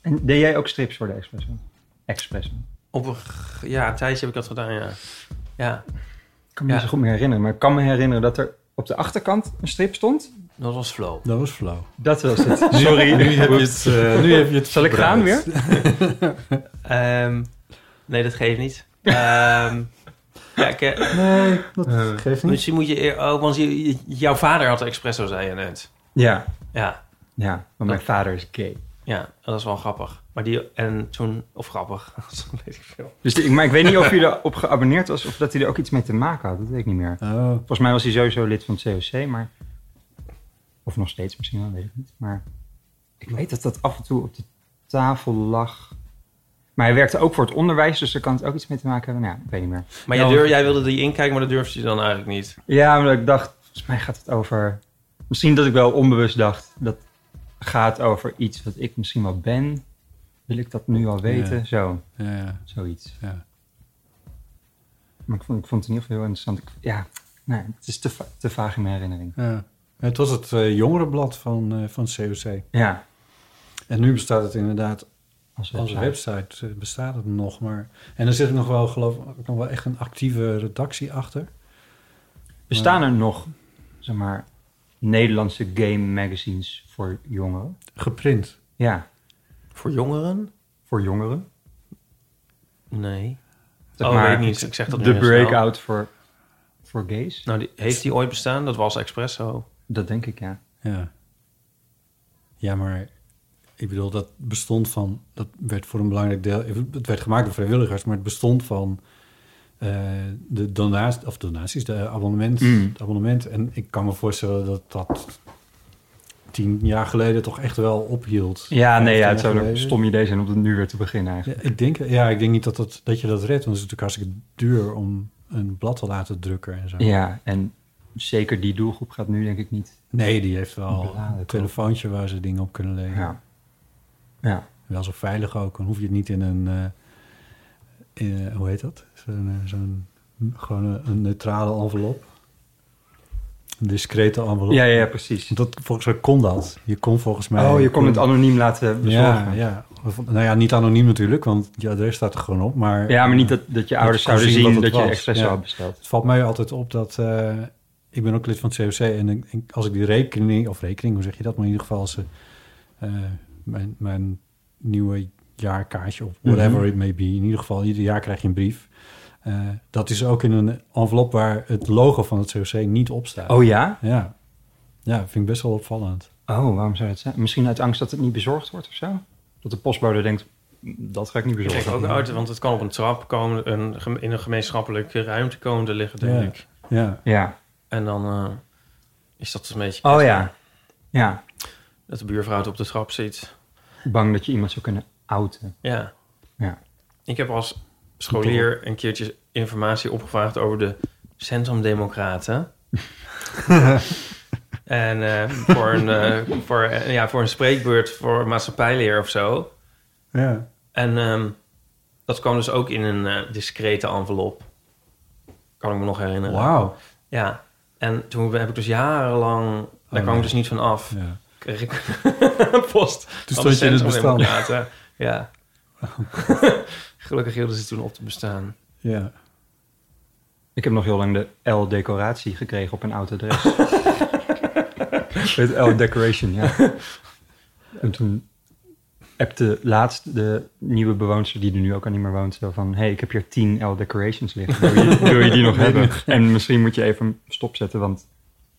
En deed jij ook strips voor de Expresso? Expresso. Op een g- ja, tijdje heb ik dat gedaan, ja. Ja, Ik kan me Ja. niet zo goed meer herinneren, maar ik kan me herinneren dat er op de achterkant een strip stond. dat was flow. Dat was flauw. Dat was het. Sorry. Nu heb je het. eh, nu heb je het Zal ik gaan weer? Ehm, nee, dat geeft niet. Ehm, ja, ik, eh, Nee, dat geeft niet. misschien moet je... eer- Oh, want je- je- jouw vader had Expresso, zei je net. Ja. Ja, Ja, maar mijn vader is gay. ja, dat is wel grappig. Maar die... En toen... Of grappig, dat weet ik veel. Dus die- maar ik weet niet of hij erop geabonneerd was of dat hij er ook iets mee te maken had. Dat weet ik niet meer. Oh, Volgens mij was hij sowieso lid van het COC, maar... Of nog steeds misschien wel, weet ik niet. Maar ik weet dat dat af en toe op de tafel lag. Maar hij werkte ook voor het onderwijs, dus daar kan het ook iets mee te maken hebben. Nou ja, ik weet niet meer. Maar Ja, jij, want- durf, jij wilde die inkijken, maar dat durfde je dan eigenlijk niet. Ja, omdat ik dacht, volgens mij gaat het over... Misschien dat ik wel onbewust dacht, dat gaat over iets wat ik misschien wel ben. Wil ik dat nu al weten? Ja. Zo, ja, ja, zoiets. ja. Maar ik vond, ik vond het in ieder geval heel interessant. Ik- ja, nee, het is te, va- te vaag in mijn herinnering. ja. Het was het eh, jongerenblad van, eh, van COC. Ja, En nu bestaat het inderdaad als als website. website. eh, bestaat het nog maar. En er zit nog wel, geloof ik, nog wel echt een actieve redactie achter. Bestaan er nog, zeg maar, Nederlandse game magazines voor jongeren? Geprint. Ja, Voor jongeren? voor jongeren. Nee. Zeg oh, maar, weet Oh, ik niet. Ik zeg dat nu De heel snel. breakout voor, voor gays? Nou, die, heeft die ooit bestaan? Dat was Expresso. Dat denk ik, ja. Ja. Ja, maar ik bedoel, dat bestond van... Dat werd voor een belangrijk deel... Het werd gemaakt door vrijwilligers, maar het bestond van... eh, de donaties, of donaties, de abonnement, Mm. het abonnement. En ik kan me voorstellen dat dat tien jaar geleden toch echt wel ophield. Ja, nee, ja, het Vijftien zou jaar een geleden. stom idee zijn om het nu weer te beginnen Ja, eigenlijk. ik, denk, ja, ik denk niet dat, dat, dat je dat redt, want het is natuurlijk hartstikke duur om een blad te laten drukken en zo. Ja, en zeker die doelgroep gaat nu denk ik niet. Nee, die heeft wel Bladen een telefoontje waar ze dingen op kunnen leggen. Ja. Ja. Wel zo veilig ook. Dan hoef je het niet in een... eh, in, eh, hoe heet dat? Zo'n, eh, zo'n- gewoon een, een neutrale envelop. Een discrete envelop. Ja, ja, precies. Dat, volgens mij kon dat. Je kon volgens mij... Oh, je kon het anoniem laten Ja, bezorgen. Ja, ja. Of- Nou ja, niet anoniem natuurlijk, want je adres staat er gewoon op. Maar, maar niet dat, dat je ouders kon zouden zien zien wat dat het je was. expresso Ja. had besteld. Het valt mij altijd op dat... eh, ik ben ook lid van het COC en ik- ik- als ik die rekening... Of rekening, hoe zeg je dat? Maar in ieder geval als eh, eh, mijn, mijn nieuwe jaarkaartje... of Mhm. whatever it may be. In ieder geval, ieder jaar krijg je een brief. Eh, dat is ook in een envelop waar het logo van het COC niet op staat. Oh ja? Ja. ja, vind ik best wel opvallend. Oh, waarom zou dat zijn? Misschien uit angst dat het niet bezorgd wordt of zo? Dat de postbode denkt, dat ga ik niet Ik bezorgen. denk ook uit, want het kan op een trap komen, een, gem- in een gemeenschappelijke ruimte komen te liggen, denk Ja. ik. Ja, Ja. En dan eh, is dat een Ah. beetje... Oh ja. Ja. Dat de buurvrouw het op de trap zit. Bang dat je iemand zou kunnen outen. Ja. Ja. Ik heb als scholier een keertje informatie opgevraagd over de Centrumdemocraten. en eh, voor, een, eh, voor, eh, ja, voor een spreekbeurt voor maatschappijleer of zo. ja. En ehm, dat kwam dus ook in een eh, discrete envelop. Kan ik me nog herinneren. Wauw. Ja. En toen heb ik dus jarenlang... Oh, daar kwam nee. ik dus niet van af. Ja. Kreeg ik post. Toen van de stond je in het bestand. Centrumdemocraten. Ja. Gelukkig hielden ze toen op te bestaan. Ja. Ik heb nog heel lang de L-decoratie gekregen op een oud adres. Het L-decoration, ja. En toen appte laatst de nieuwe bewoonster, die er nu ook al niet meer woont, zo van... hey, ik heb hier 10 L-decorations liggen. Wil je, wil je die nog hebben? En misschien moet je even stopzetten, want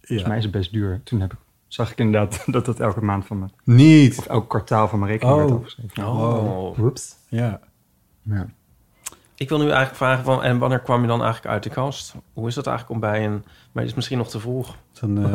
volgens mij is ja. het best duur. Toen heb ik, zag ik inderdaad dat dat elke maand van mijn... Niet. of elk kwartaal van mijn rekening werd Oh. afgeschreven. Oh. Whoops. Ja. Ja. Ik wil nu eigenlijk vragen van, en wanneer kwam je dan eigenlijk uit de kast? Hoe is dat eigenlijk om bij een, maar het is misschien nog te vroeg. Dan, eh,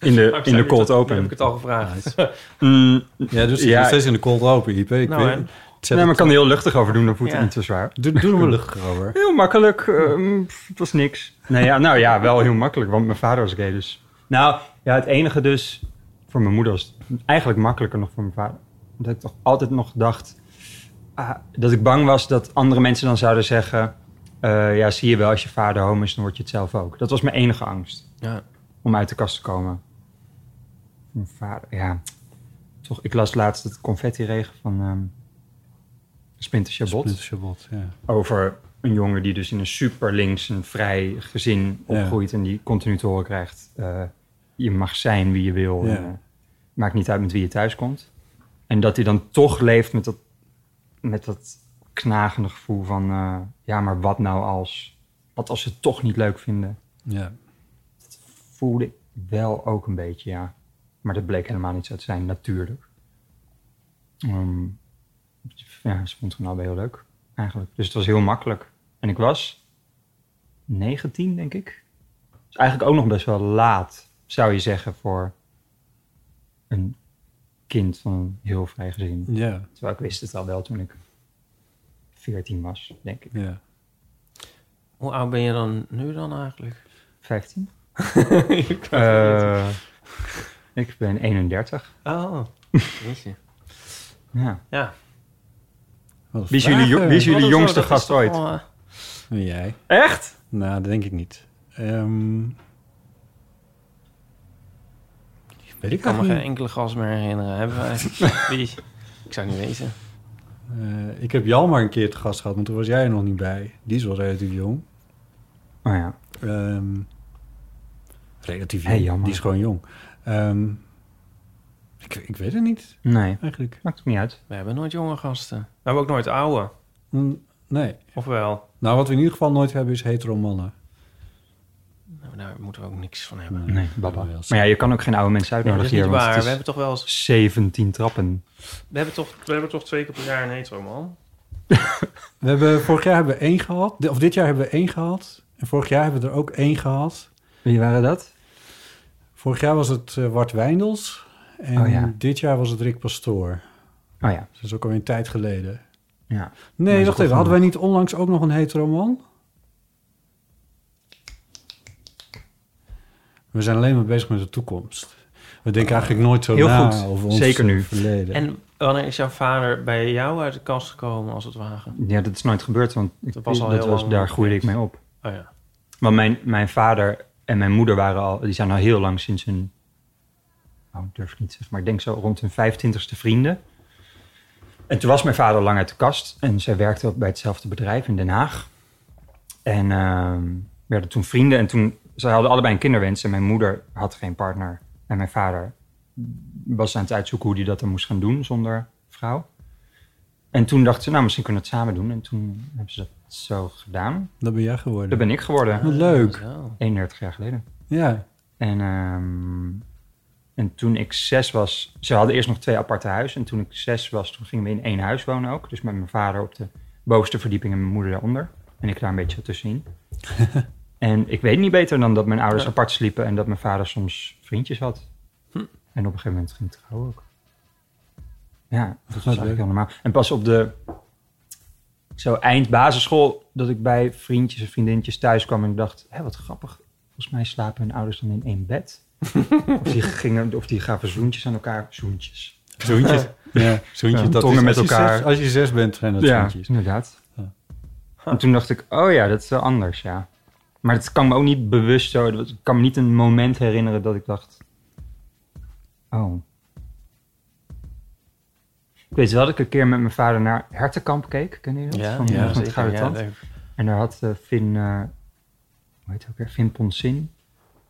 in de, Maar in de Oh, Nou, ik- cold nu open. Heb ik het al gevraagd. Mm, Ja, dus Ja. ja, steeds in de cold open, IP. Ik Nou, weet- hè. zet nee, maar het- ik kan er heel luchtig over doen, dan voelt het Ja. niet te zwaar. doe, doe er maar luchtig over. Heel makkelijk, ehm, pff, het was niks. Nou ja, nou ja, wel heel makkelijk, want mijn vader was gay dus. Nou, ja, het enige dus, voor mijn moeder was het eigenlijk makkelijker nog voor mijn vader. Omdat ik toch altijd nog dacht, ah, dat ik bang was dat andere mensen dan zouden zeggen... eh, ja, zie je wel, als je vader homo is, dan word je het zelf ook. Dat was mijn enige angst, Ja. om uit de kast te komen. Mijn vader, ja. Toch, ik las laatst het confetti-regen van ehm Splinter Chabot Dit is Shabbat, ja. over een jongen die dus in een super links en vrij gezin Ja. opgroeit en die continu te horen krijgt: eh, je mag zijn wie je wil, Ja. en, eh, maakt niet uit met wie je thuis komt. En dat hij dan toch leeft met dat, met dat knagende gevoel van: eh, ja, maar wat nou als? Wat als ze het toch niet leuk vinden? ja. Voelde ik wel ook een beetje, ja. Maar dat bleek helemaal niet zo te zijn, natuurlijk. Ehm, ja, ze vond het gewoon allebei heel leuk, eigenlijk. Dus het was heel makkelijk. En ik was 19, denk ik. Dus eigenlijk ook nog best wel laat, zou je zeggen, voor een kind van een heel vrij gezin. Ja, Terwijl ik wist het al wel toen ik 14 was, denk ik. ja. Hoe oud ben je dan nu dan eigenlijk? 15? Ik kan het niet. Eh, ik ben 31. oh, jeetje. Ja. Ja. Wat Wie is jullie, jo- wie is jullie Wat is jongste dat? Dat is gast toch ooit? wel, eh, En jij? Echt? Nou, dat denk ik niet. Ehm, weet Ik ik kan me geen eigenlijk niet. enkele gast meer herinneren. Hebben wij? Wie? Ik zou niet weten. Eh, ik heb Jalmar een keer te gast gehad, maar toen was jij er nog niet bij. Die is wel relatief jong. Oh ja. Ehm, relatief Hey, jong, Jalmar. die is gewoon jong. Ehm, ik, ik weet het niet, Nee, eigenlijk. maakt ook niet uit. We hebben nooit jonge gasten. We hebben ook nooit oude. Mm, nee. Of wel? Nou, wat we in ieder geval nooit hebben, is hetero mannen. Nou, daar moeten we ook niks van hebben. Nee, baba. Wel Maar ja, je kan ook geen oude mensen Nee, dat uitnodigen is niet hier, want het waar. We is hebben toch wel eens... 17 trappen. We hebben toch, we hebben toch twee keer per jaar een hetero man? We hebben, vorig jaar hebben we één gehad. Di- Of dit jaar hebben we één gehad. En vorig jaar hebben we er ook één gehad. Wie waren dat? Vorig jaar was het eh, Wart Wijndels. En Oh ja. dit jaar was het Rick Pastoor. Oh ja. Dus dat is ook alweer een tijd geleden. ja. Nee, is wacht goed even. Hadden wij niet onlangs ook nog een hetero man? We zijn alleen maar bezig met de toekomst. We denken eigenlijk nooit zo Heel na goed. over ons Zeker nu. verleden. En wanneer is jouw vader bij jou uit de kast gekomen, als het ware? Ja, dat is nooit gebeurd, want ik, Dat was al heel lang daar niet groeide ik geweest. mee op. Oh ja. Want mijn, mijn vader en mijn moeder waren al, die zijn al heel lang sinds hun, nou durf ik niet te zeggen, maar ik denk zo rond hun 25ste vrienden. En toen was mijn vader lang uit de kast en zij werkte ook bij hetzelfde bedrijf in Den Haag. En ehm, werden toen vrienden en toen, zij hadden allebei een kinderwens en mijn moeder had geen partner. En mijn vader was aan het uitzoeken hoe hij dat dan moest gaan doen zonder vrouw. En toen dachten ze, nou misschien kunnen we het samen doen. En toen hebben ze dat zo gedaan. Dat ben jij geworden. Dat ben ik geworden. Wat leuk. Zo. 31 jaar geleden. Ja. En, ehm, en toen ik zes was, ze hadden eerst nog twee aparte huizen. En toen ik zes was, toen gingen we in één huis wonen ook. Dus met mijn vader op de bovenste verdieping en mijn moeder daaronder. En ik daar een beetje tussenin. en ik weet niet beter dan dat mijn ouders apart sliepen en dat mijn vader soms vriendjes had. En op een gegeven moment ging ik trouwen ook. Ja, dat was leuk. eigenlijk heel normaal. En pas op de zo eind basisschool, dat ik bij vriendjes en vriendinnetjes thuis kwam en ik dacht, hé, wat grappig. Volgens mij slapen hun ouders dan in één bed. of, die gingen, of die gaven zoentjes aan elkaar. Zoentjes. Zoentjes. Ja, zoentjes. Ja, dat tongen is, met als je elkaar. zes- als je zes bent, zijn dat zoentjes. inderdaad. Ja. En toen dacht ik, oh ja, dat is wel anders, ja. Maar het kan me ook niet bewust zo, ik kan me niet een moment herinneren dat ik dacht, oh. Ik weet wel dat ik een keer met mijn vader naar Hertenkamp keek, kennen jullie dat? Ja, Van, ja, van het zeker. Gouden Ja, Tand. leuk. En daar had eh, Finn, eh hoe heet hij ook weer? Finn Ponsin.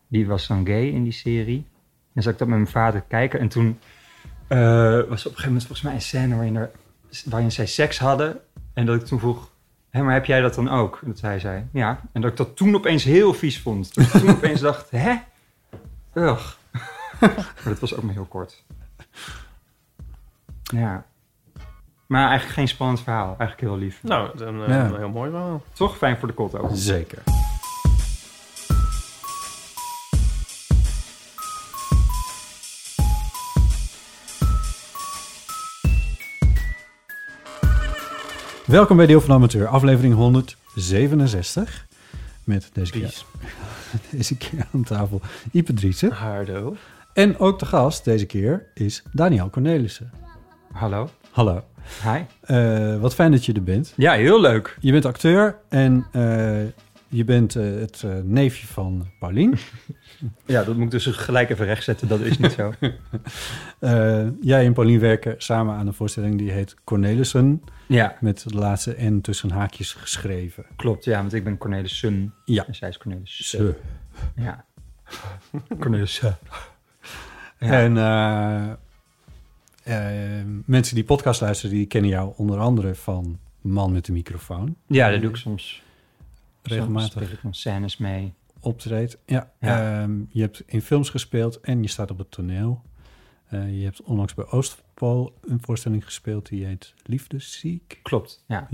Die was dan gay in die serie. En zat ik dat met mijn vader kijken. En toen eh, was op een gegeven moment volgens mij een scène waarin, er, waarin zij seks hadden. En dat ik toen vroeg, hé, maar heb jij dat dan ook? En dat hij zei, ja. En dat ik dat toen opeens heel vies vond. Dat ik toen opeens dacht, hè? Ugh. maar dat was ook maar heel kort. Ja. Maar eigenlijk geen spannend verhaal. Eigenlijk heel lief. Nou, dan, eh, Ja. een heel mooi verhaal. Toch fijn voor de kot ook. Zeker. Welkom bij Deel van de Amateur, aflevering 167. Met deze keer, Peace. deze keer aan tafel Ipe Driessen. Hardo. En ook de gast deze keer is Daniel Cornelissen. Hallo. Hallo. Hi. Eh, wat fijn dat je er bent. Ja, heel leuk. Je bent acteur en eh, je bent eh, het eh, neefje van Paulien. Ja, dat moet ik dus gelijk even rechtzetten. Dat is niet zo. Eh, jij en Paulien werken samen aan een voorstelling die heet Cornelissen. ja, Met de laatste N tussen haakjes geschreven. klopt. Ja, want ik ben Cornelis Sun. Ja. En zij is Cornelis Sun. Ze. Ja. Cornelis Sun. En eh, eh, mensen die podcast luisteren, die kennen jou onder andere van Man met de microfoon. Ja, dat doe ik soms. Soms Regelmatig speel ik nog scènes mee. optreedt. Ja, Ja. ehm, je hebt in films gespeeld en je staat op het toneel. Eh, je hebt onlangs bij Oostpool een voorstelling gespeeld die heet Liefdesziek. Klopt. Ja.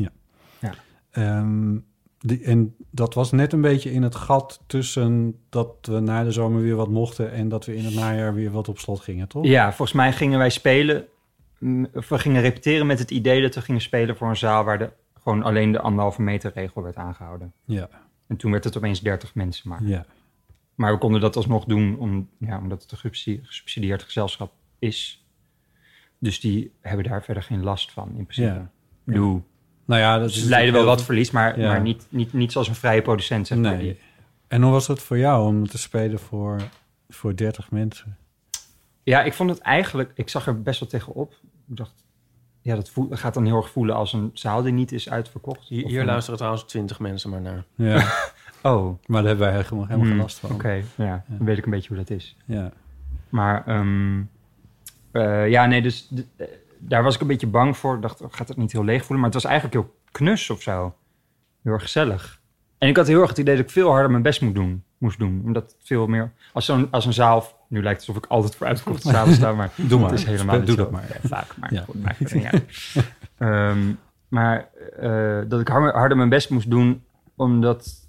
Ehm, die, en dat was net een beetje in het gat tussen dat we na de zomer weer wat mochten en dat we in het najaar weer wat op slot gingen, toch? ja, volgens mij gingen wij spelen. mm, Of we gingen repeteren met het idee dat we gingen spelen voor een zaal waar de, gewoon alleen de anderhalve meter regel werd aangehouden. Ja, En toen werd het opeens 30 mensen maar. ja. Maar we konden dat alsnog doen om, ja, omdat het een gesubsidie- gesubsidieerd gezelschap is. Dus die hebben daar verder geen last van in principe. Ja. Ik bedoel, Nou ja, dat Ze is leiden Dus wel heel- wat verlies, maar, Ja. maar niet, niet, niet zoals een vrije producent. Zeg maar. Nee. En hoe was dat voor jou om te spelen voor, voor 30 mensen? Ja, ik vond het eigenlijk, ik zag er best wel tegenop. Ik dacht, ja, dat voel- gaat dan heel erg voelen als een zaal die niet is uitverkocht. Hier, Of hier een- luisteren trouwens twintig mensen maar naar. Ja, Oh, oké. maar daar hebben wij helemaal, helemaal geen Hmm, last van. Ja, dan weet ik een beetje hoe dat is. Ja. Maar ehm, eh, ja, nee, dus d- eh, daar was ik een beetje bang voor. Ik dacht, oh, gaat het niet heel leeg voelen? Maar het was eigenlijk heel knus of zo. Heel erg gezellig. En ik had heel erg het idee dat ik veel harder mijn best moet doen, moest doen. Omdat veel meer... Als, zo'n, als een zaal... Nu lijkt het alsof ik altijd vooruit kom te zalen staan, maar... Doe maar. Het is helemaal Doe niet dat zo. maar. Ja, vaak, maar Ja. goed, maakt het niet uit. Ehm, maar eh, dat ik har- harder mijn best moest doen, omdat...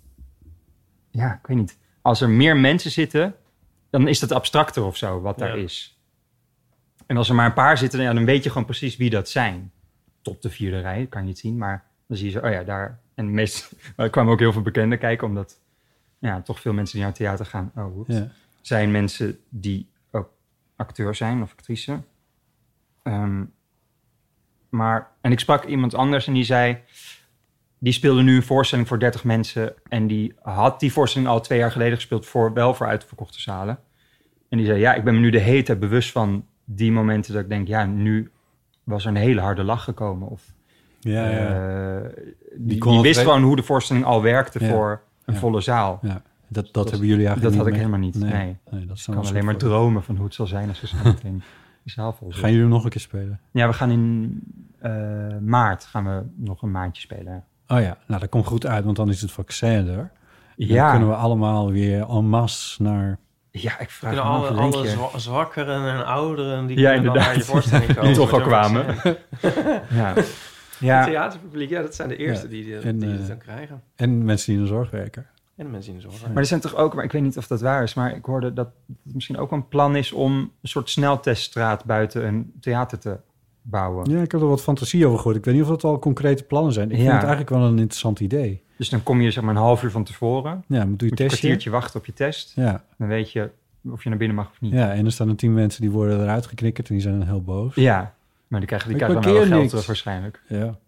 Ja, ik weet niet. Als er meer mensen zitten, dan is dat abstracter of zo, wat daar Ja. is. En als er maar een paar zitten, ja, dan weet je gewoon precies wie dat zijn. Tot de vierde rij, kan je het zien, maar dan zie je zo, oh ja, daar... En meest, er kwamen ook heel veel bekenden kijken, omdat... Ja, toch veel mensen die naar het theater gaan. Oh, oeps Ja. zijn mensen die ook acteur zijn of actrice. Ehm, maar, en ik sprak iemand anders en die zei... die speelde nu een voorstelling voor 30 mensen... en die had die voorstelling al twee jaar geleden gespeeld... Voor, wel voor uitverkochte zalen. En die zei, ja, ik ben me nu de hete bewust van die momenten... dat ik denk, ja, nu was er een hele harde lach gekomen. Of, Ja, ja. eh, die, kon die het wist re- gewoon hoe de voorstelling al werkte Ja. voor een Ja. volle zaal. ja. Dat, dat, hebben jullie eigenlijk dat niet Dus had ik mee- helemaal niet, nee. dat is Ik dan kan alleen maar voor- dromen van hoe het zal zijn als we zo meteen de zaal vol Gaan zitten. jullie nog een keer spelen? Ja, we gaan in eh, maart gaan we nog een maandje spelen. Oh ja, nou dat komt goed uit, want dan is het vaccin er. En Dan Ja. kunnen we allemaal weer en masse naar... Ja, ik vraag me Kunnen af alle, een alle linkje. zwa- zwakkeren en ouderen die Ja, kunnen dan inderdaad. naar je voorstelling komen. Die toch al Wordt er kwamen. gezegd. Ja. Het ja, theaterpubliek, ja, dat zijn de eerste Ja, die, die, en, die eh, het dan krijgen. En mensen die in de zorg werken. En de mensen in de zorg. maar er zijn toch ook, maar ik weet niet of dat waar is, maar ik hoorde dat het misschien ook een plan is om een soort snelteststraat buiten een theater te bouwen. Ja, ik heb er wat fantasie over gehoord. Ik weet niet of dat al concrete plannen zijn. Ik vind Ja. het eigenlijk wel een interessant idee. Dus dan kom je zeg maar een half uur van tevoren. Ja, moet doe je Moet je een testen. kwartiertje wachten op je test. Ja. Dan weet je of je naar binnen mag of niet. ja, en er staan er tien mensen die worden eruit geknikkerd en die zijn dan heel boos. Ja. Maar die krijgen, die Ik krijgen dan parkeer wel geld niks. terug waarschijnlijk. Ja.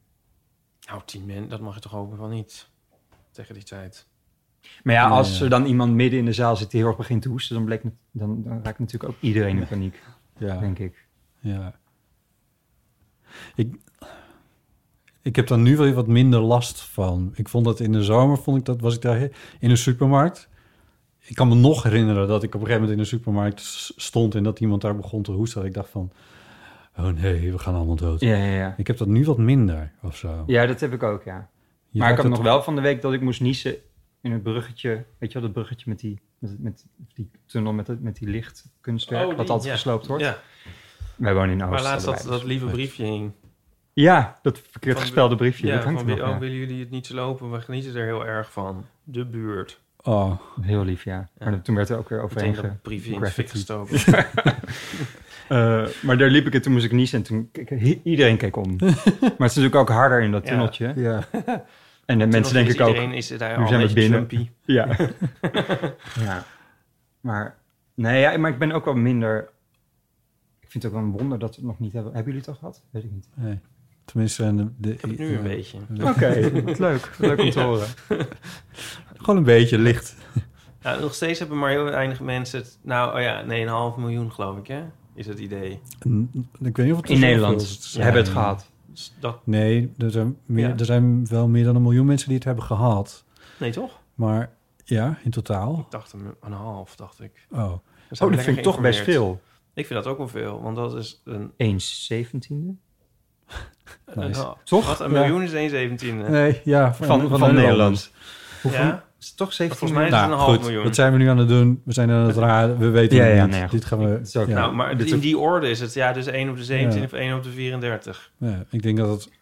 Nou, tien men, dat mag je toch hopen van niet. Tegen die tijd. Maar ja, Ja, als ja. er dan iemand midden in de zaal zit die heel erg begint te hoesten, dan, bleek, dan, dan raakt natuurlijk ook iedereen in paniek, Ja. denk ik. Ja. Ik, ik heb daar nu wel wat minder last van. Ik vond dat in de zomer, vond ik dat, was ik daar he- in een supermarkt. Ik kan me nog herinneren dat ik op een gegeven moment in een supermarkt s- stond en dat iemand daar begon te hoesten. Dat ik dacht van, oh nee, we gaan allemaal dood. Ja, ja, ja. Ik heb dat nu wat minder of zo. Ja, dat heb ik ook, ja. Je maar ik raakt had nog het- wel van de week dat ik moest niezen in het bruggetje. Weet je wel, dat bruggetje met die, met, met die tunnel met, het- met die lichtkunstwerk, wat altijd Oh, ja. gesloopt wordt. Ja, Wij wonen in Oost. maar laatst dat, allebei, dat dus. lieve briefje hing. Ja, dat verkeerd Van- gespelde briefje, Ja, dat hangt van, er wie- nog, oh, ja. willen jullie het niet slopen? We genieten er heel erg van. De buurt. Oh, Heel lief, ja. Maar toen werd er ook weer Meteen overheen dat briefje in het fik gegraffiti. gestoken. Eh, maar daar liep ik en toen moest ik niezen en toen keek- i- iedereen keek om. maar het is natuurlijk ook harder in dat Ja. tunneltje. Ja. En de mensen Nog denk steeds ik ook. Iedereen is daar nu al zijn een we beetje binnen. Trumpy. Ja. ja. Maar, nee, ja, maar ik ben ook wel minder... Ik vind het ook wel een wonder dat we het nog niet hebben. Hebben jullie het al gehad? Weet ik niet. Nee. Tenminste, en de, de, Ik heb het nu een beetje. beetje. Oké, wat leuk. Leuk om te horen. Gewoon een beetje licht. Nou, nog steeds hebben maar heel weinig mensen het... Nou oh ja, nee, een half miljoen geloof ik, hè? Is het idee. N- Ik weet niet of het In Nederland zoveel is. hebben het gehad. Dus dat, Nee, er zijn, meer, Ja. er zijn wel meer dan een miljoen mensen die het hebben gehad. nee, toch? Maar ja, in totaal. Ik dacht een, een half, dacht ik. We Oh, zijn Oh, dat lekker vind ik toch best geïnformeerd. veel. Ik vind dat ook wel veel, want dat is een... Eens zeventiende? een Nice. half. Toch? Wat, een Ja. miljoen is 1 zeventiende. nee, ja. Van, van, Nederland. Hoeveel? Ja? Is het toch Volgens 17 mij is het Nou, een half goed, miljoen. wat zijn we nu aan het doen? We zijn aan het raden, we weten Ja, nou het ja, niet. nee, goed. Dit gaan Het is ook- we... Ja. nou, maar dit in ook- die orde is het. Ja, dus 1 op de 17 Ja. of 1 op de 34. Ja, ik denk dat het...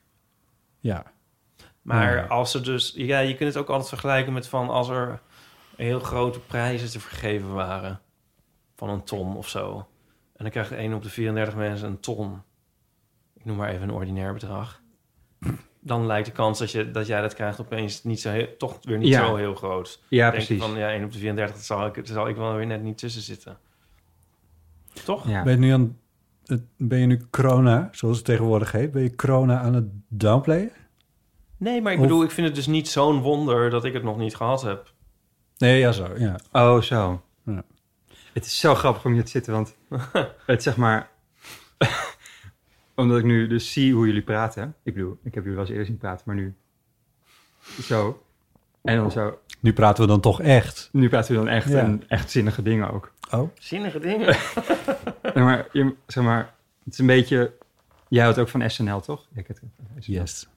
Ja, Maar Ja. als er dus... Ja, je kunt het ook altijd vergelijken met van als er heel grote prijzen te vergeven waren. Van een ton of zo. En dan krijgt 1 op de 34 mensen een ton. Ik noem maar even een ordinair bedrag. Dan lijkt de kans dat, je, dat jij dat krijgt opeens niet zo heel, toch weer niet Ja. zo heel groot. Ja, Denk je precies. van ja, 1 op de 34 dat zal, ik, dat zal ik wel weer net niet tussen zitten. Toch? Ja. ben je nu aan... het- Ben je nu corona, zoals het tegenwoordig heet... ben je corona aan het downplayen? Nee, maar ik Of- bedoel, ik vind het dus niet zo'n wonder dat ik het nog niet gehad heb. Nee, ja, zo. Ja. Oh, zo. Ja. Het is zo grappig om hier te zitten, want het zeg maar... omdat ik nu dus zie hoe jullie praten. Ik bedoel, ik heb jullie wel eens eerder zien praten, maar nu... Zo. En dan zo. Nu praten we dan toch echt. Nu praten we dan echt, Ja. en echt zinnige dingen ook. Oh, Zinnige dingen. Nee, maar, je, zeg maar, het is een beetje... Jij houdt ook van SNL, toch? Ik het yes.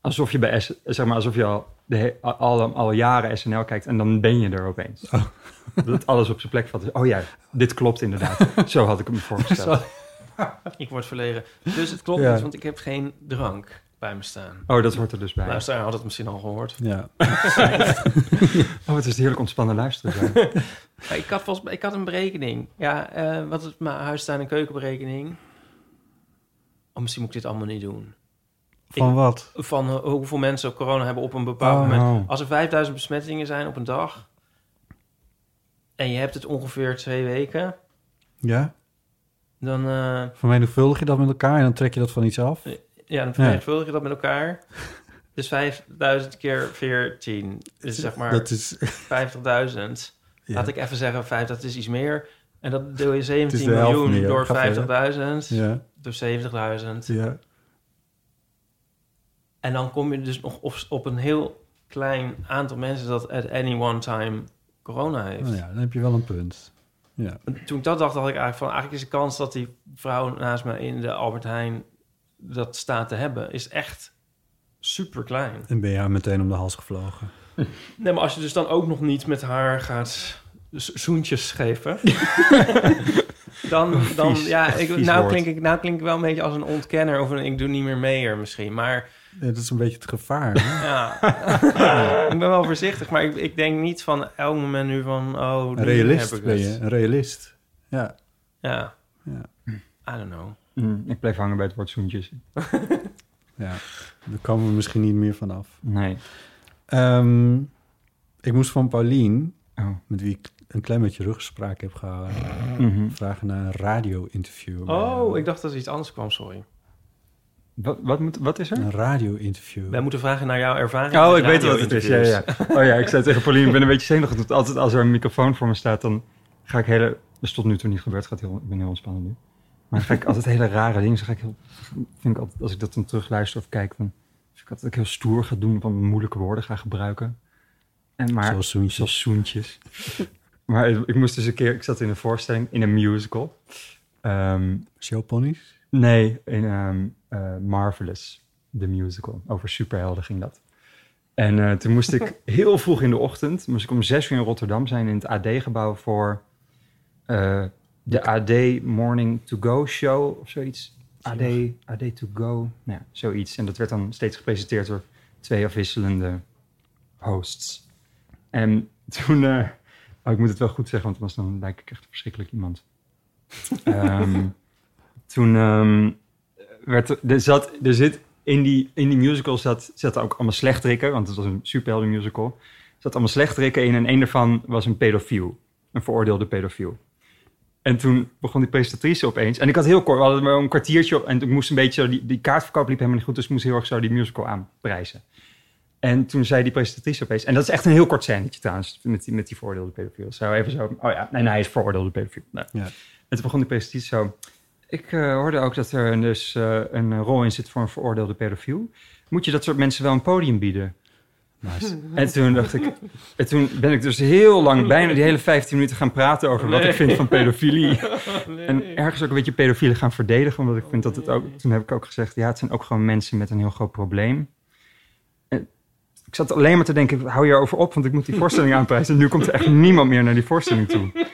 Alsof je, bij S, zeg maar, alsof je al, de he- al, al, al jaren SNL kijkt en dan ben je er opeens. Oh. Dat alles op zijn plek valt. Oh ja, dit klopt inderdaad. Zo had ik hem voorgesteld. Ik word verlegen. Dus het klopt Ja. niet, want ik heb geen drank bij me staan. Oh, dat hoort er dus bij. Luisteraar had het misschien al gehoord. Ja. Oh, het is heerlijk ontspannen luisteren. zijn. Maar ik had, volgens, mij- ik had een berekening. Ja, eh, wat is mijn huis staan en keukenberekening? Oh, misschien moet ik dit allemaal niet doen. Van Ik- wat? Van eh, hoeveel mensen corona hebben op een bepaald Oh. moment. Als er 5000 besmettingen zijn op een dag... en je hebt het ongeveer twee weken... Ja? dan... eh, Vermenigvuldig je dat met elkaar en dan trek je dat van iets af? Ja, dan vermenigvuldig je dat met elkaar. Dus 5000 keer 14. Dus zeg maar Dat is... 50.000. Laat ik even zeggen, 5, dat is iets meer. En dat deel je 17 de helft miljoen meer. door 50.000. Ga verder. Ja, Door 70.000. ja. En dan kom je dus nog op, op een heel klein aantal mensen dat at any one time corona heeft. Nou ja, dan heb je wel een punt. Ja. En Toen ik dat dacht, dacht ik eigenlijk van... Eigenlijk is de kans dat die vrouw naast mij in de Albert Heijn dat staat te hebben... is echt super klein. En ben je haar meteen om de hals gevlogen. Nee, maar als je dus dan ook nog niet met haar gaat z- zoentjes geven... dan, dan Vies, ja, echt ik, vies nou, woord. klink ik, nou klink ik wel een beetje als een ontkenner... of een ik doe niet meer mee er misschien. Maar Ja, dat is een beetje het gevaar. hè? ja, ik ben wel voorzichtig. Maar ik, ik denk niet van elk moment nu van... oh, nu Een realist heb ik ben het. je. Een realist. Ja. Ja. Ja. I don't know. Mm, ik bleef hangen bij het woord zoentjes. ja. Daar komen we misschien niet meer van af. Nee. Ehm, ik moest van Paulien, Oh. met wie ik een klein beetje ruggespraak heb gehouden... Mhm. vragen naar een radio-interview. Oh, ik dacht dat er iets anders kwam, sorry. wat, wat, moet, wat is er? Een radio-interview. Wij moeten vragen naar jouw ervaring. Oh, met ik weet wat het is. Ja, radio-interviews. ja. Oh ja, ik zei tegen Pauline, ik ben een beetje zenuwachtig. want Altijd als er een microfoon voor me staat, dan ga ik hele... Dat is tot nu toe niet gebeurd. Gaat heel, ik ben heel ontspannen nu. Maar dan ga ik altijd hele rare dingen. Dan ga ik heel, vind ik altijd, als ik dat dan terugluister of kijk, dan vind ik altijd dat ik heel stoer ga doen. Van moeilijke woorden ga gebruiken. En maar, Zoals zoentjes. Zoals zoentjes. maar ik, ik moest dus een keer... Ik zat in een voorstelling, in een musical. Ehm, Showponies? Nee, in ehm, eh, Marvelous, de musical. Over superhelden ging dat. En eh, toen moest ik heel vroeg in de ochtend, moest ik om zes uur in Rotterdam zijn in het AD-gebouw voor eh, de AD Morning to Go show of zoiets. AD, AD to Go, nou, ja, zoiets. En dat werd dan steeds gepresenteerd door twee afwisselende hosts. En toen, eh, oh, ik moet het wel goed zeggen, want anders dan lijk ik echt een verschrikkelijk iemand. Ehm, toen ehm, werd er, er, zat, er zit in die, in die musical zat, zaten ook allemaal slechtrikken, want het was een superhelden musical. Er zaten allemaal slechtrikken in en een daarvan was een pedofiel, een veroordeelde pedofiel. En toen begon die presentatrice opeens. En ik had heel kort, we hadden maar een kwartiertje op. En ik moest een beetje, zo die, die kaartverkoop liep helemaal niet goed. Dus ik moest heel erg zo die musical aanprijzen. En toen zei die presentatrice opeens... En dat is echt een heel kort scènetje trouwens, met die, met die veroordeelde pedofiel. Zo even zo, oh ja, en hij is veroordeelde pedofiel. Nou. Ja. En toen begon die presentatrice zo... Ik eh, hoorde ook dat er dus eh, een rol in zit voor een veroordeelde pedofiel. Moet je dat soort mensen wel een podium bieden? Nice. En toen dacht ik... En toen ben ik dus heel lang, bijna die hele 15 minuten gaan praten over wat Nee. ik vind van pedofilie. Nee. En ergens ook een beetje pedofielen gaan verdedigen. Omdat ik vind dat het ook. Toen heb ik ook gezegd: ja, het zijn ook gewoon mensen met een heel groot probleem. En ik zat alleen maar te denken: hou je over op, want ik moet die voorstelling aanprijzen. En nu komt er echt niemand meer naar die voorstelling toe.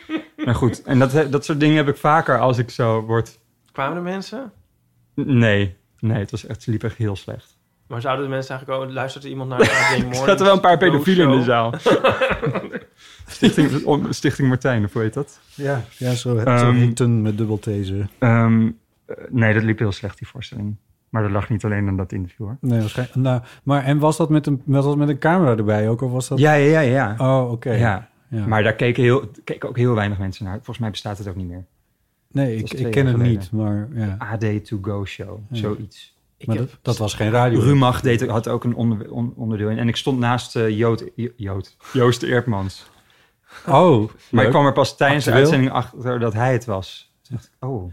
Maar goed, en dat, dat soort dingen heb ik vaker als ik zo word. Kwamen er mensen? Nee, nee, het, was echt, het liep echt heel slecht. Maar zouden de mensen eigenlijk ook... Luistert er iemand naar de Saturday Er Morning zaten wel een paar Show? pedofielen in de zaal. Stichting, Stichting Martijn, of hoe heet dat? Ja, ja zo, zo Ehm, heet een met dubbel taser. Ehm, eh, nee, dat liep heel slecht, die voorstelling. Maar dat lag niet alleen aan dat interview hoor. Nee, waarschijnlijk. Nou, maar en was dat met een, was dat met een camera erbij ook? Of was dat... Ja, ja, ja, ja. Oh, oké. Ja. Ja. Maar daar keken, heel, keken ook heel weinig mensen naar. Volgens mij bestaat het ook niet meer. nee, dat ik, is twee ik ken jaar het geleden. niet, maar ja. AD to go show, zoiets. Ik maar heb- dat, dat was geen radio. Rumach deed, had ook een onder- on- onderdeel in. En ik stond naast eh, Jood, Jo- Jood, Joost Eerdmans. Oh, Maar ik leuk. kwam er pas tijdens de Actueel. uitzending achter dat hij het was. Toen dacht ik, oh,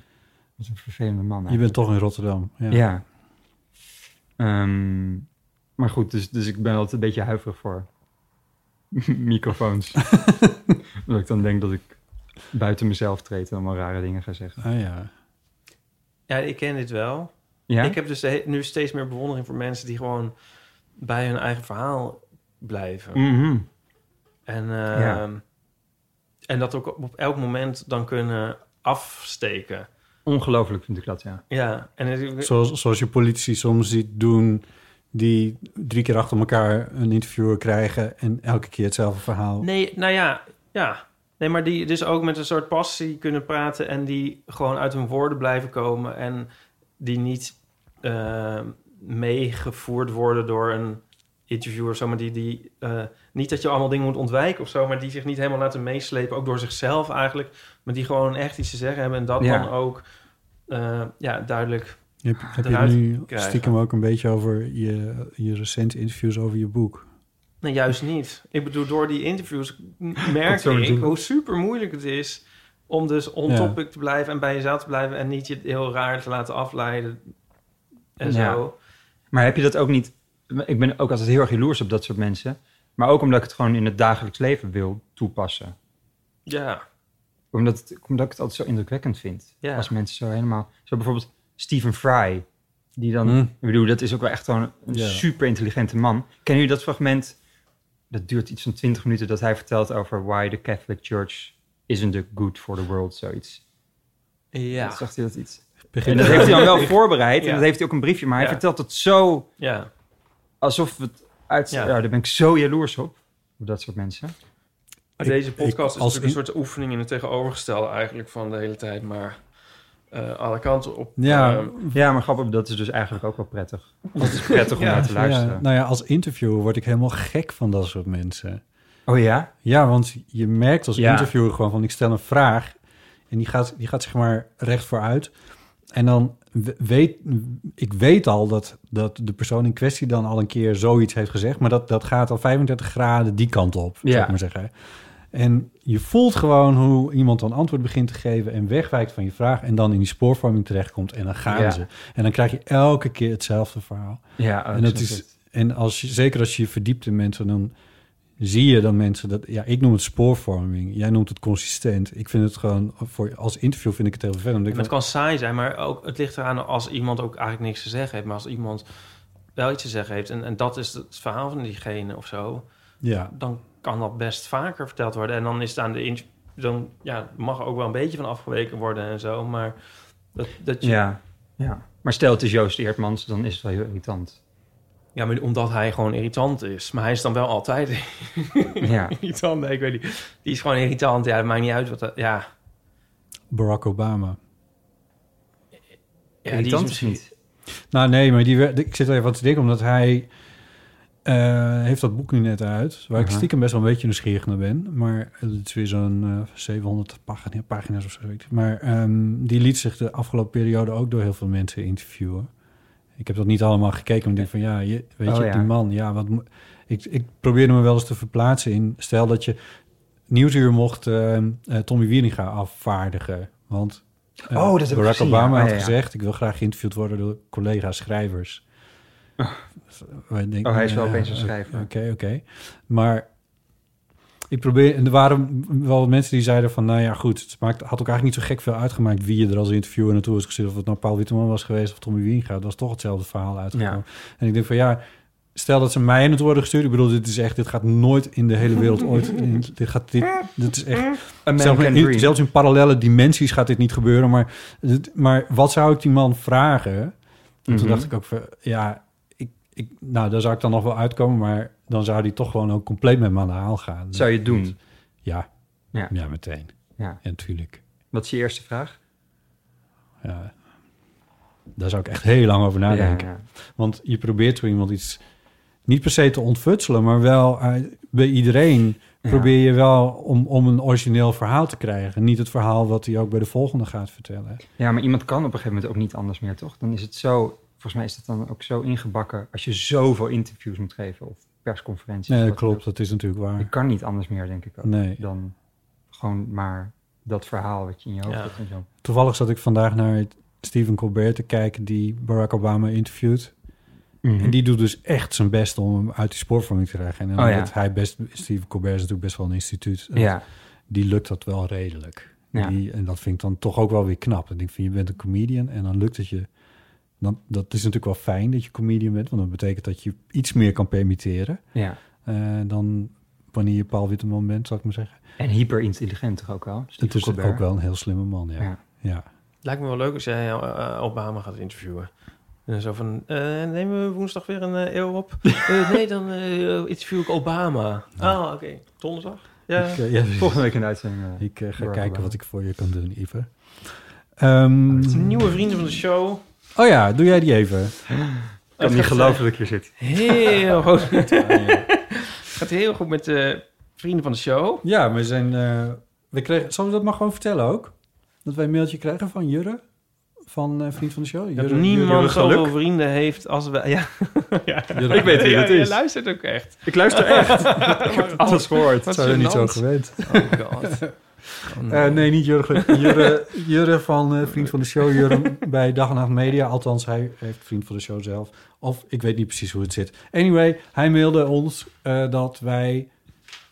wat een vervelende man. je eigenlijk. bent toch in Rotterdam. Ja. Nou. Ja. Ehm, maar goed, dus, dus ik ben altijd een beetje huiverig voor microfoons. Omdat ik dan denk dat ik buiten mezelf treed en allemaal rare dingen ga zeggen. Ah, ja. Ja, ik ken dit wel. Ja? Ik heb dus de he- nu steeds meer bewondering voor mensen die gewoon bij hun eigen verhaal blijven. Mhm. En, eh, Ja. en dat ook op op elk moment dan kunnen afsteken. Ongelooflijk vind ik dat, ja. Ja, en het- Zoals, zoals je politici soms ziet doen... die drie keer achter elkaar een interviewer krijgen... en elke keer hetzelfde verhaal. Nee, nou ja, ja. Nee, maar die dus ook met een soort passie kunnen praten en die gewoon uit hun woorden blijven komen en die niet eh, meegevoerd worden door een interviewer, zomaar die, die eh, niet dat je allemaal dingen moet ontwijken of zo, maar die zich niet helemaal laten meeslepen, ook door zichzelf eigenlijk, maar die gewoon echt iets te zeggen hebben en dat Ja. dan ook eh, ja, duidelijk. Heb, heb je het Eruit nu krijgen. stiekem ook een beetje over je, je recente interviews over je boek? Nee, juist niet. Ik bedoel, door die interviews m- merk zo ik doen. hoe super moeilijk het is om dus on Ja. topic te blijven en bij jezelf te blijven en niet je heel raar te laten afleiden en Ja. zo. Maar heb je dat ook niet... Ik ben ook altijd heel erg jaloers op dat soort mensen. Maar ook omdat ik het gewoon in het dagelijks leven wil toepassen. Ja, Omdat, het- omdat ik het altijd zo indrukwekkend vind. Ja. Als mensen zo helemaal... Zo bijvoorbeeld Stephen Fry. Die dan... Hm. Ik bedoel, dat is ook wel echt gewoon een Ja. super intelligente man. Kennen jullie dat fragment? Dat duurt iets van 20 minuten dat hij vertelt over... Why the Catholic Church isn't the good for the world, zoiets. ja, Zegt hij dat iets? Begin En dat heeft hij dan wel voorbereid. Ja. En dat heeft hij ook een briefje. Maar hij Ja. vertelt het zo... ja. alsof het uit... Ja. Ja. daar ben ik zo jaloers op. Op dat soort mensen. Deze podcast ik- is als natuurlijk een soort oefening in het tegenovergestelde eigenlijk van de hele tijd, maar eh, alle kanten op. Ja, ehm, Ja, maar grappig, dat is dus eigenlijk ook wel prettig. Dat is prettig om Ja. naar te luisteren. Ja, nou ja, als interviewer word ik helemaal gek van dat soort mensen. Oh ja? Ja, want je merkt als Ja. interviewer gewoon van ik stel een vraag en die gaat, die gaat zeg maar recht vooruit. En dan we- weet ik weet al dat, dat de persoon in kwestie dan al een keer zoiets heeft gezegd, maar dat, dat gaat al 35 graden die kant op, Ja. zou ik maar zeggen. En je voelt gewoon hoe iemand dan antwoord begint te geven en wegwijkt van je vraag en dan in die spoorvorming terechtkomt en dan gaan Ja. ze. En dan krijg je elke keer hetzelfde verhaal. Ja, oh, En ik dat snap is, het. en als je, zeker als je je verdiept in mensen, dan zie je dan mensen dat. Ja, ik noem het spoorvorming. Jij noemt het consistent. Ik vind het gewoon voor als interview vind ik het heel vervelend. omdat Maar het ik kan saai zijn, maar ook, het ligt eraan als iemand ook eigenlijk niks te zeggen heeft. Maar als iemand wel iets te zeggen heeft en, en dat is het verhaal van diegene of zo, dan- ja, dan kan dat best vaker verteld worden. En dan is het aan de inch, dan ja, mag er ook wel een beetje van afgeweken worden en zo. Maar dat, dat je, ja. Ja. ja. Maar stel het is Joost Eertmans, dan is het wel heel irritant. maar omdat hij gewoon irritant is. Maar hij is dan wel altijd Ja. irritant. Nee, ik weet niet. Die is gewoon irritant. Ja, het maakt niet uit wat. dat- ja, Barack Obama. Ja, Irritant die is of misschien niet? Nou nee, maar die, werd- ik zit er even aan te denken, omdat hij eh, heeft dat boek nu net uit, waar ik Aha. stiekem best wel een beetje nieuwsgierig naar ben. Maar het is weer zo'n eh, 700 pagina, pagina's of zo. weet ik. Maar ehm, die liet zich de afgelopen periode ook door heel veel mensen interviewen. Ik heb dat niet allemaal gekeken, maar ik denk van ja, je, weet Oh, je, ja. die man, ja, wat, mo- ik, ik probeerde me wel eens te verplaatsen in, stel dat je Nieuwsuur mocht ehm, eh, Tommy Wieringa afvaardigen, want eh, Oh, dat heb ik Barack gezien, ja. Obama Ah, had ja, ja. gezegd, ik wil graag geïnterviewd worden door collega's schrijvers. Dus, eh, Wij denken, Ah. eh, Oh, hij is wel ja, opeens een oké, schrijver. Oké, oké. Maar ik probeer... En er waren wel mensen die zeiden van... Nou ja, goed, het maakt, had ook eigenlijk niet zo gek veel uitgemaakt... wie je er als interviewer naartoe was gestuurd. Of het nou Paul Witteman was geweest of Tommy Wienga. Het was toch hetzelfde verhaal uitgekomen. Ja. En ik denk van ja... Stel dat ze mij naartoe worden gestuurd. Ik bedoel, dit is echt... Dit gaat nooit in de hele wereld ooit... in- dit gaat... Dit, dit is echt... Zelfs American in, Dream. zelfs in parallele dimensies gaat dit niet gebeuren. Maar, het- maar wat zou ik die man vragen? En Toen Mhm. dacht ik ook van, ja, ik, ik, nou, daar zou ik dan nog wel uitkomen. Maar dan zou die toch gewoon ook compleet met me aan de haal gaan. Zou je het doen? Ja. Ja. ja. meteen. Ja. Ja, natuurlijk. Wat is je eerste vraag? Ja. Daar zou ik echt heel lang over nadenken. Ja, ja. Want je probeert zo iemand iets niet per se te ontfutselen, maar wel eh, bij iedereen Ja. probeer je wel om, om een origineel verhaal te krijgen. Niet het verhaal wat hij ook bij de volgende gaat vertellen. Ja, maar iemand kan op een gegeven moment ook niet anders meer, toch? Dan is het zo, volgens mij is dat dan ook zo ingebakken als je zoveel interviews moet geven of persconferenties. Nee, of dat wat dan klopt. Dat is natuurlijk ook. Je waar. kan niet anders meer, denk ik ook. Nee. Dan gewoon maar dat verhaal wat je in je hoofd Ja. hebt en zo. Toevallig zat ik vandaag naar Stephen Colbert te kijken die Barack Obama interviewt. Mhm. En die doet dus echt zijn best om hem uit die spoorvorming te krijgen. En Oh, ja. omdat hij best, Stephen Colbert is natuurlijk best wel een instituut. ja. die lukt dat wel redelijk. Ja. Die, en dat vind ik dan toch ook wel weer knap. Dan denk ik van, je bent een comedian en dan lukt het je... Dan, dat is natuurlijk wel fijn dat je comedian bent... want dat betekent dat je iets meer kan permitteren... ja. eh, dan wanneer je Paul Witteman bent, zou ik maar zeggen. En hyper intelligent toch ook wel? Dus Het is ook wel een heel slimme man, ja. Ja. ja. Lijkt me wel leuk als jij eh, Obama gaat interviewen. En dan zo van, eh, nemen we woensdag weer een eh, eeuw op? Eh, nee, dan eh, interview ik Obama. Ah, oké. Donderdag? Ja. Ik, eh, ja, Volgende week een uitzending. eh. ik eh, ga Barack kijken Obama. wat ik voor je kan doen, Iver. Ehm, De Nieuwe vrienden van de show. oh ja, doe jij die even. Ik kan Het niet gaat, geloven dat ik hier zit. eh, Heel goed. met- gaat heel goed met de vrienden van de show. Ja, we zijn... eh, we kregen, zullen we dat maar gewoon vertellen ook? Dat wij een mailtje krijgen van Jurre... Van eh, vriend van de show. Dat Jurre- niemand Jurre zoveel Geluk? vrienden heeft als wij. Ja, Jurre- Ik weet wie ja, dat je is. luistert ook echt. Ik luister echt. ik heb alles gehoord. Wat Zou je niet zo gênant. gewend? Oh god. Oh, Eh, nee, niet Jurgen. Jurre, Jurre van eh, Vriend van de Show. Jurre bij Dag en Nacht Media. Althans, hij heeft Vriend van de Show zelf. Of ik weet niet precies hoe het zit. Anyway, hij mailde ons eh, dat wij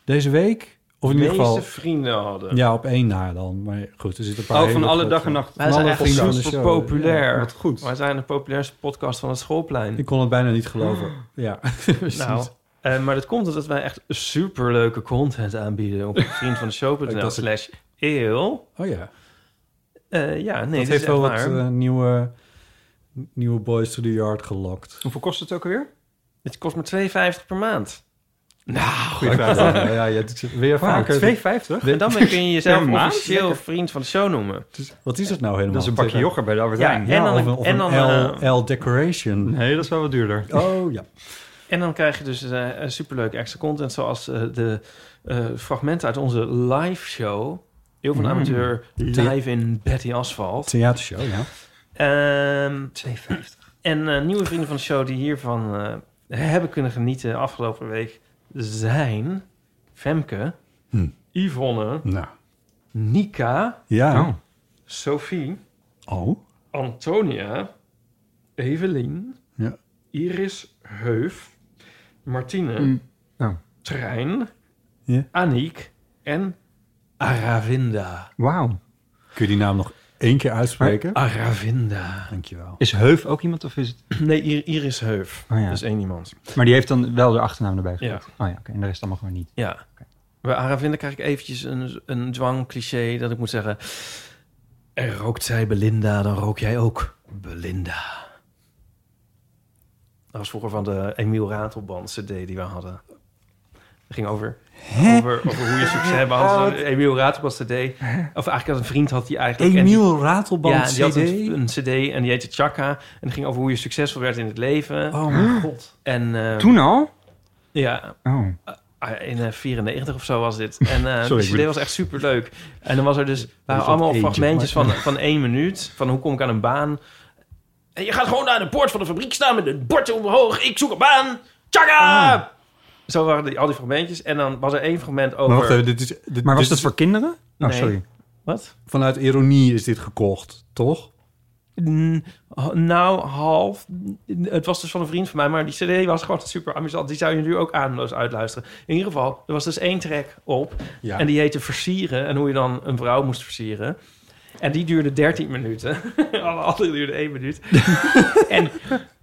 deze week... Of in de ieder geval... meeste vrienden hadden. Ja, op één na dan. Maar goed, er zitten een paar... eh, Oh, van hele alle grote- dag en nacht. Wij zijn alle echt vrienden van de super show. populair. Wat goed. Wij zijn de populairste podcast van het schoolplein. Ik kon het bijna niet geloven. Oh. Ja. precies. Oh nou, eh, maar dat komt omdat wij echt superleuke content aanbieden op Ik vriendvandeshow.nl dacht het- slash eeuw. Oh ja. Eh, ja, nee, dat dit is heeft wel echt wat waar. eh, nieuwe, nieuwe boys to the yard gelokt. Hoeveel kost het ook alweer? Het kost maar 2,50 per maand. Goeie vraag. Ja, ja, ja, het is weer vaker. 2,50? En daarmee kun je jezelf Per maand? officieel vriend van de show noemen. Dus Wat is dat nou helemaal? Dat is een bakje yoghurt bij de Albert Ja, Heijn. en dan of een- een, of en een dan, L, eh, L decoration. Nee, dat is wel wat duurder. Oh ja. En dan krijg je dus eh, een superleuk extra content, zoals eh, de eh, fragmenten uit onze live show. Heel van de Mm. Amateur live in Betty Asphalt. Theatershow, ja. Ehm 2,50. En eh, nieuwe vrienden van de show die hiervan eh, hebben kunnen genieten afgelopen week zijn Femke, Hm. Yvonne, Nou. Nika, Ja. Oh, Sophie, Oh. Antonia, Evelien, Ja. Iris Heuf, Martine, Mm. Oh. Trein, Ja. Aniek en Aravinda. Wauw. Kun je die naam nog één keer uitspreken? Aravinda. Dankjewel. Is Heuf ook iemand of is het... Nee, I- Iris Heuf. Oh ja. Dat is één iemand. Maar die heeft dan wel de achternaam erbij gezet. Ja. Oh ja, oké. En de rest allemaal gewoon niet. Ja. Bij Aravinda krijg ik eventjes een, een dwangcliché dat ik moet zeggen... Er rookt zij Belinda, dan rook jij ook Belinda. Dat was vroeger van de Emiel Ratelband cd die we hadden. ging over, over, over hoe je succes hebt. Had ze- Emiel Raad was cd. Of eigenlijk had een vriend had die eigenlijk... en die- Emiel Ratelband ja, CD. die had een, een cd en die heette Chaka. En het ging over hoe je succesvol werd in het leven. Oh mijn god. En eh, Toen al? ja, Oh. Ah, In eh, 94 of zo was dit. En eh Sorry, die ik CD bedoel- was echt super leuk. En dan was er dus waren dat allemaal age, fragmentjes van, van één minuut. Van hoe kom ik aan een baan? En je gaat gewoon naar de poort van de fabriek staan met een bordje omhoog. Ik zoek een baan. Tjaga! Ah. Zo waren die, al die fragmentjes. En dan was er één fragment over. Maar wacht even, dit is, dit, Maar was dit dat is- voor kinderen? Oh, Nee. sorry. Wat? vanuit ironie is dit gekocht, toch? Mm, h- nou, half. Mm, Het was dus van een vriend van mij, maar die CD was gewoon super amusant. Die zou je nu ook ademloos uitluisteren. In ieder geval, er was dus één track op. Ja. En die heette Versieren en hoe je dan een vrouw moest versieren. En die duurde 13 minuten. Alle andere duurde 1 minuut. en,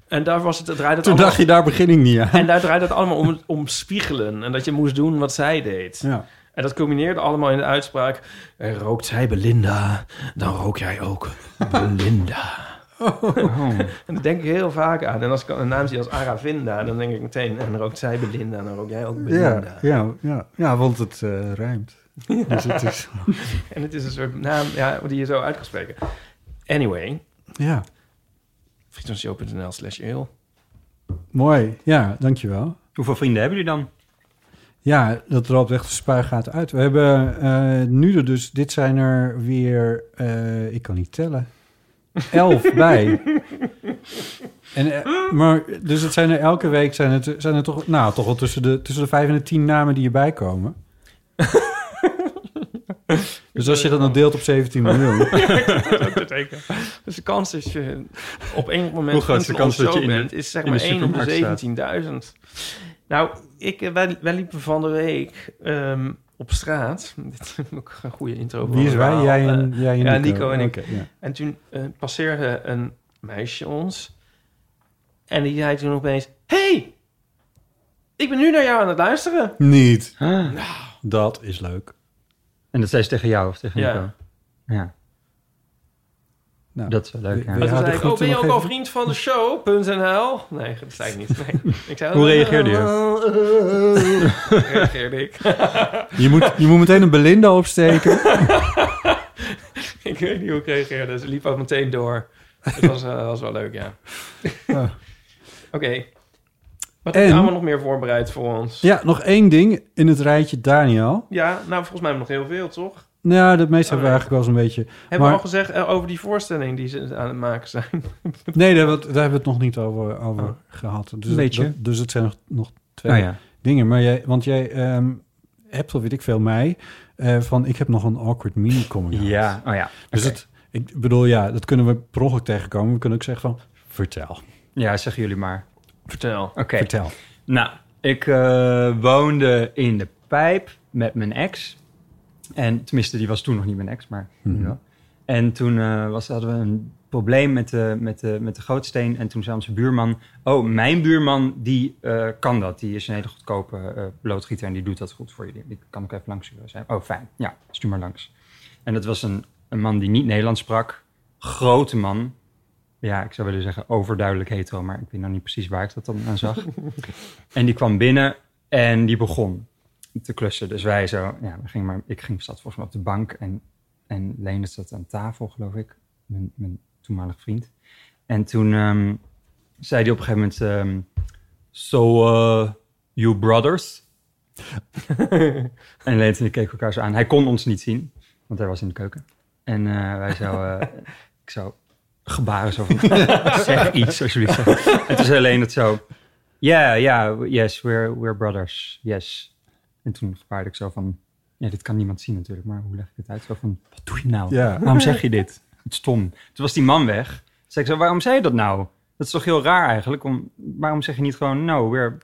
en daar was het, het draaide het Toen allemaal, dacht je daar begin ik niet aan. En daar draaide het allemaal om, om spiegelen. En dat je moest doen wat zij deed. Ja. En dat culmineerde allemaal in de uitspraak... "Eh, Rookt zij Belinda, dan rook jij ook Belinda. Oh. En daar denk ik heel vaak aan. En als ik een naam zie als Aravinda, dan denk ik meteen... En rookt zij Belinda, dan rook jij ook Belinda. Ja, ja, ja, ja, want het eh, rijmt. Dus het is, En het is een soort naam ja, die je zo uit kan spreken. Anyway, ja, frietenshow.nl slash eel. mooi. Ja, dankjewel. Hoeveel vrienden hebben jullie dan? Ja, dat loopt echt de spuigaat uit. We hebben eh, nu er dus, dit zijn er weer, eh, ik kan niet tellen, elf bij. En, eh, maar, dus het zijn er elke week, zijn het, zijn er toch, nou, toch wel tussen de, tussen de vijf en de tien namen die erbij komen. dus als je dat dan deelt op 17 miljoen. Dus de kans dat je op enig moment Hoe groot is de vriend van kans ons dat je zo in de- bent, is zeg in maar de 1 op supermarkt staat? de 17.000. Nou, ik, eh, wij, wij liepen van de week ehm, op straat. Dit is ook een goede intro. voor Wie is een wij? verhaal. Jij en, Eh, jij en Oh, ja, Nico. Nico en ik. Oké, ja. en toen eh, passeerde een meisje ons. En die zei toen opeens... hey, ik ben nu naar jou aan het luisteren. Niet. Dat is leuk. Ah. En dat zei ze tegen jou of tegen Ja. Nico? Ja. Nou. Dat is wel leuk, ja. Ja. En toen de zei ik, oh, groeten ben je nog ook al even. vriend van de show.nl? Nee, dat zei ik niet. Nee. Ik zei, "Oh, Hoe reageerde je? reageerde ik. Je moet, je moet meteen een Belinda opsteken. ik weet niet hoe ik reageerde. Ze liep ook meteen door. Het was, eh, was wel leuk, ja. Ah. Oké. Wat En- hebben we allemaal nog meer voorbereid voor ons? Ja. Ja, nog één ding in het rijtje Daniel. nou, volgens mij hebben we nog heel veel, toch? Nou, dat meeste hebben we Oh, eigenlijk wel eens een beetje... Hebben Maar- we al gezegd eh, over die voorstelling die ze aan het maken zijn? Nee, daar, hebben we het- daar hebben we het nog niet over, over Oh. gehad. Dus, Een beetje. dat- dus het zijn nog, nog twee Oh, ja. dingen. Maar jij, want jij ehm, hebt, of weet ik veel, mij... eh, van ik heb nog een awkward mini coming out. Ja. Oh ja. Dus Oké. het, ik bedoel, ja, dat kunnen we per ongeluk tegenkomen. We kunnen ook zeggen van, vertel, Ja, zeggen jullie maar. Vertel. Oké. vertel. Nou, ik eh, woonde in de pijp met mijn ex. En tenminste, die was toen nog niet mijn ex, maar nu Mhm. wel. En toen eh, was, hadden we een probleem met de, met, de, met de gootsteen. En toen zei onze buurman... Oh, mijn buurman, die eh, kan dat. Die is een hele goedkope eh loodgieter en die doet dat goed voor je. Die kan ook even langs u zijn. Oh, fijn. Ja, stuur maar langs. En dat was een, een man die niet Nederlands sprak. Grote man. Ja, ik zou willen zeggen overduidelijk hetero. Maar ik weet nog niet precies waar ik dat dan aan zag. En die kwam binnen en die begon te klussen. Dus wij zo, ja, we gingen maar, ik ging zat volgens mij op de bank en, en Lene zat aan tafel, geloof ik, mijn, mijn toenmalige vriend. En toen ehm, zei hij op een gegeven moment, ehm, so eh, you brothers? en Lene en ik keken elkaar zo aan. Hij kon ons niet zien, want hij was in de keuken. En eh, wij zo, eh, ik zo, gebaren zo van, zeg iets alsjeblieft. En toen zei Lene het zo, ja, ja, yes, we're, we're brothers, yes. En toen gebaarde ik zo van, ja, dit kan niemand zien natuurlijk, maar hoe leg ik het uit? Zo van, wat doe je nou? Ja. Waarom zeg je dit? Het is stom. Toen was die man weg. Toen zei ik zo, waarom zei je dat nou? Dat is toch heel raar eigenlijk? Om, waarom zeg je niet gewoon, no, we're,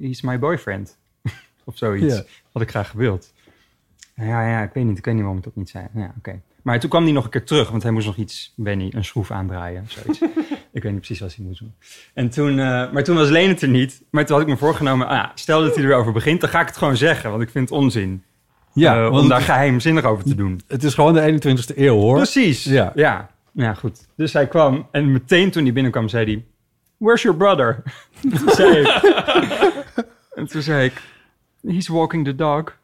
he's my boyfriend? of zoiets. Ja. Had ik graag gewild. Ja, ja, ik weet niet. Ik weet niet waarom ik dat niet zei. Ja, oké. Maar toen kwam hij nog een keer terug, want hij moest nog iets, Benny, een schroef aandraaien of zoiets. ik weet niet precies wat hij moest doen. En toen, eh, maar toen was Leen het er niet. Maar toen had ik me voorgenomen, ah, stel dat hij erover begint, dan ga ik het gewoon zeggen, want ik vind het onzin. Ja, eh, om want daar geheimzinnig over te doen. het is gewoon de 21ste eeuw, hoor. Precies. Ja. ja. Ja, goed. Dus hij kwam en meteen toen hij binnenkwam zei hij... Where's your brother? Toen zei ik... en toen zei ik... he's walking the dog.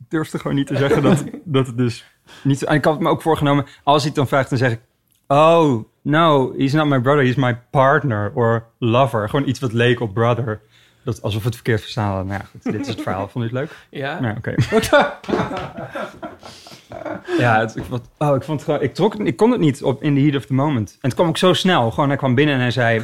Ik durfde gewoon niet te zeggen dat, dat het dus niet... En ik had het me ook voorgenomen, als hij het dan vraagt, dan zeg ik... Oh, no, he's not my brother, he's my partner or lover. Gewoon iets wat leek op brother. Dat, alsof we het verkeerd verstaan hadden. Nou ja, goed, dit is het verhaal. Vond je het leuk? Ja? Ja, oké. ja, het, ik, vond- oh, ik, vond het gewoon- ik, trok, het- ik kon het niet op in the heat of the moment. En het kwam ook zo snel. Gewoon, hij kwam binnen en hij zei...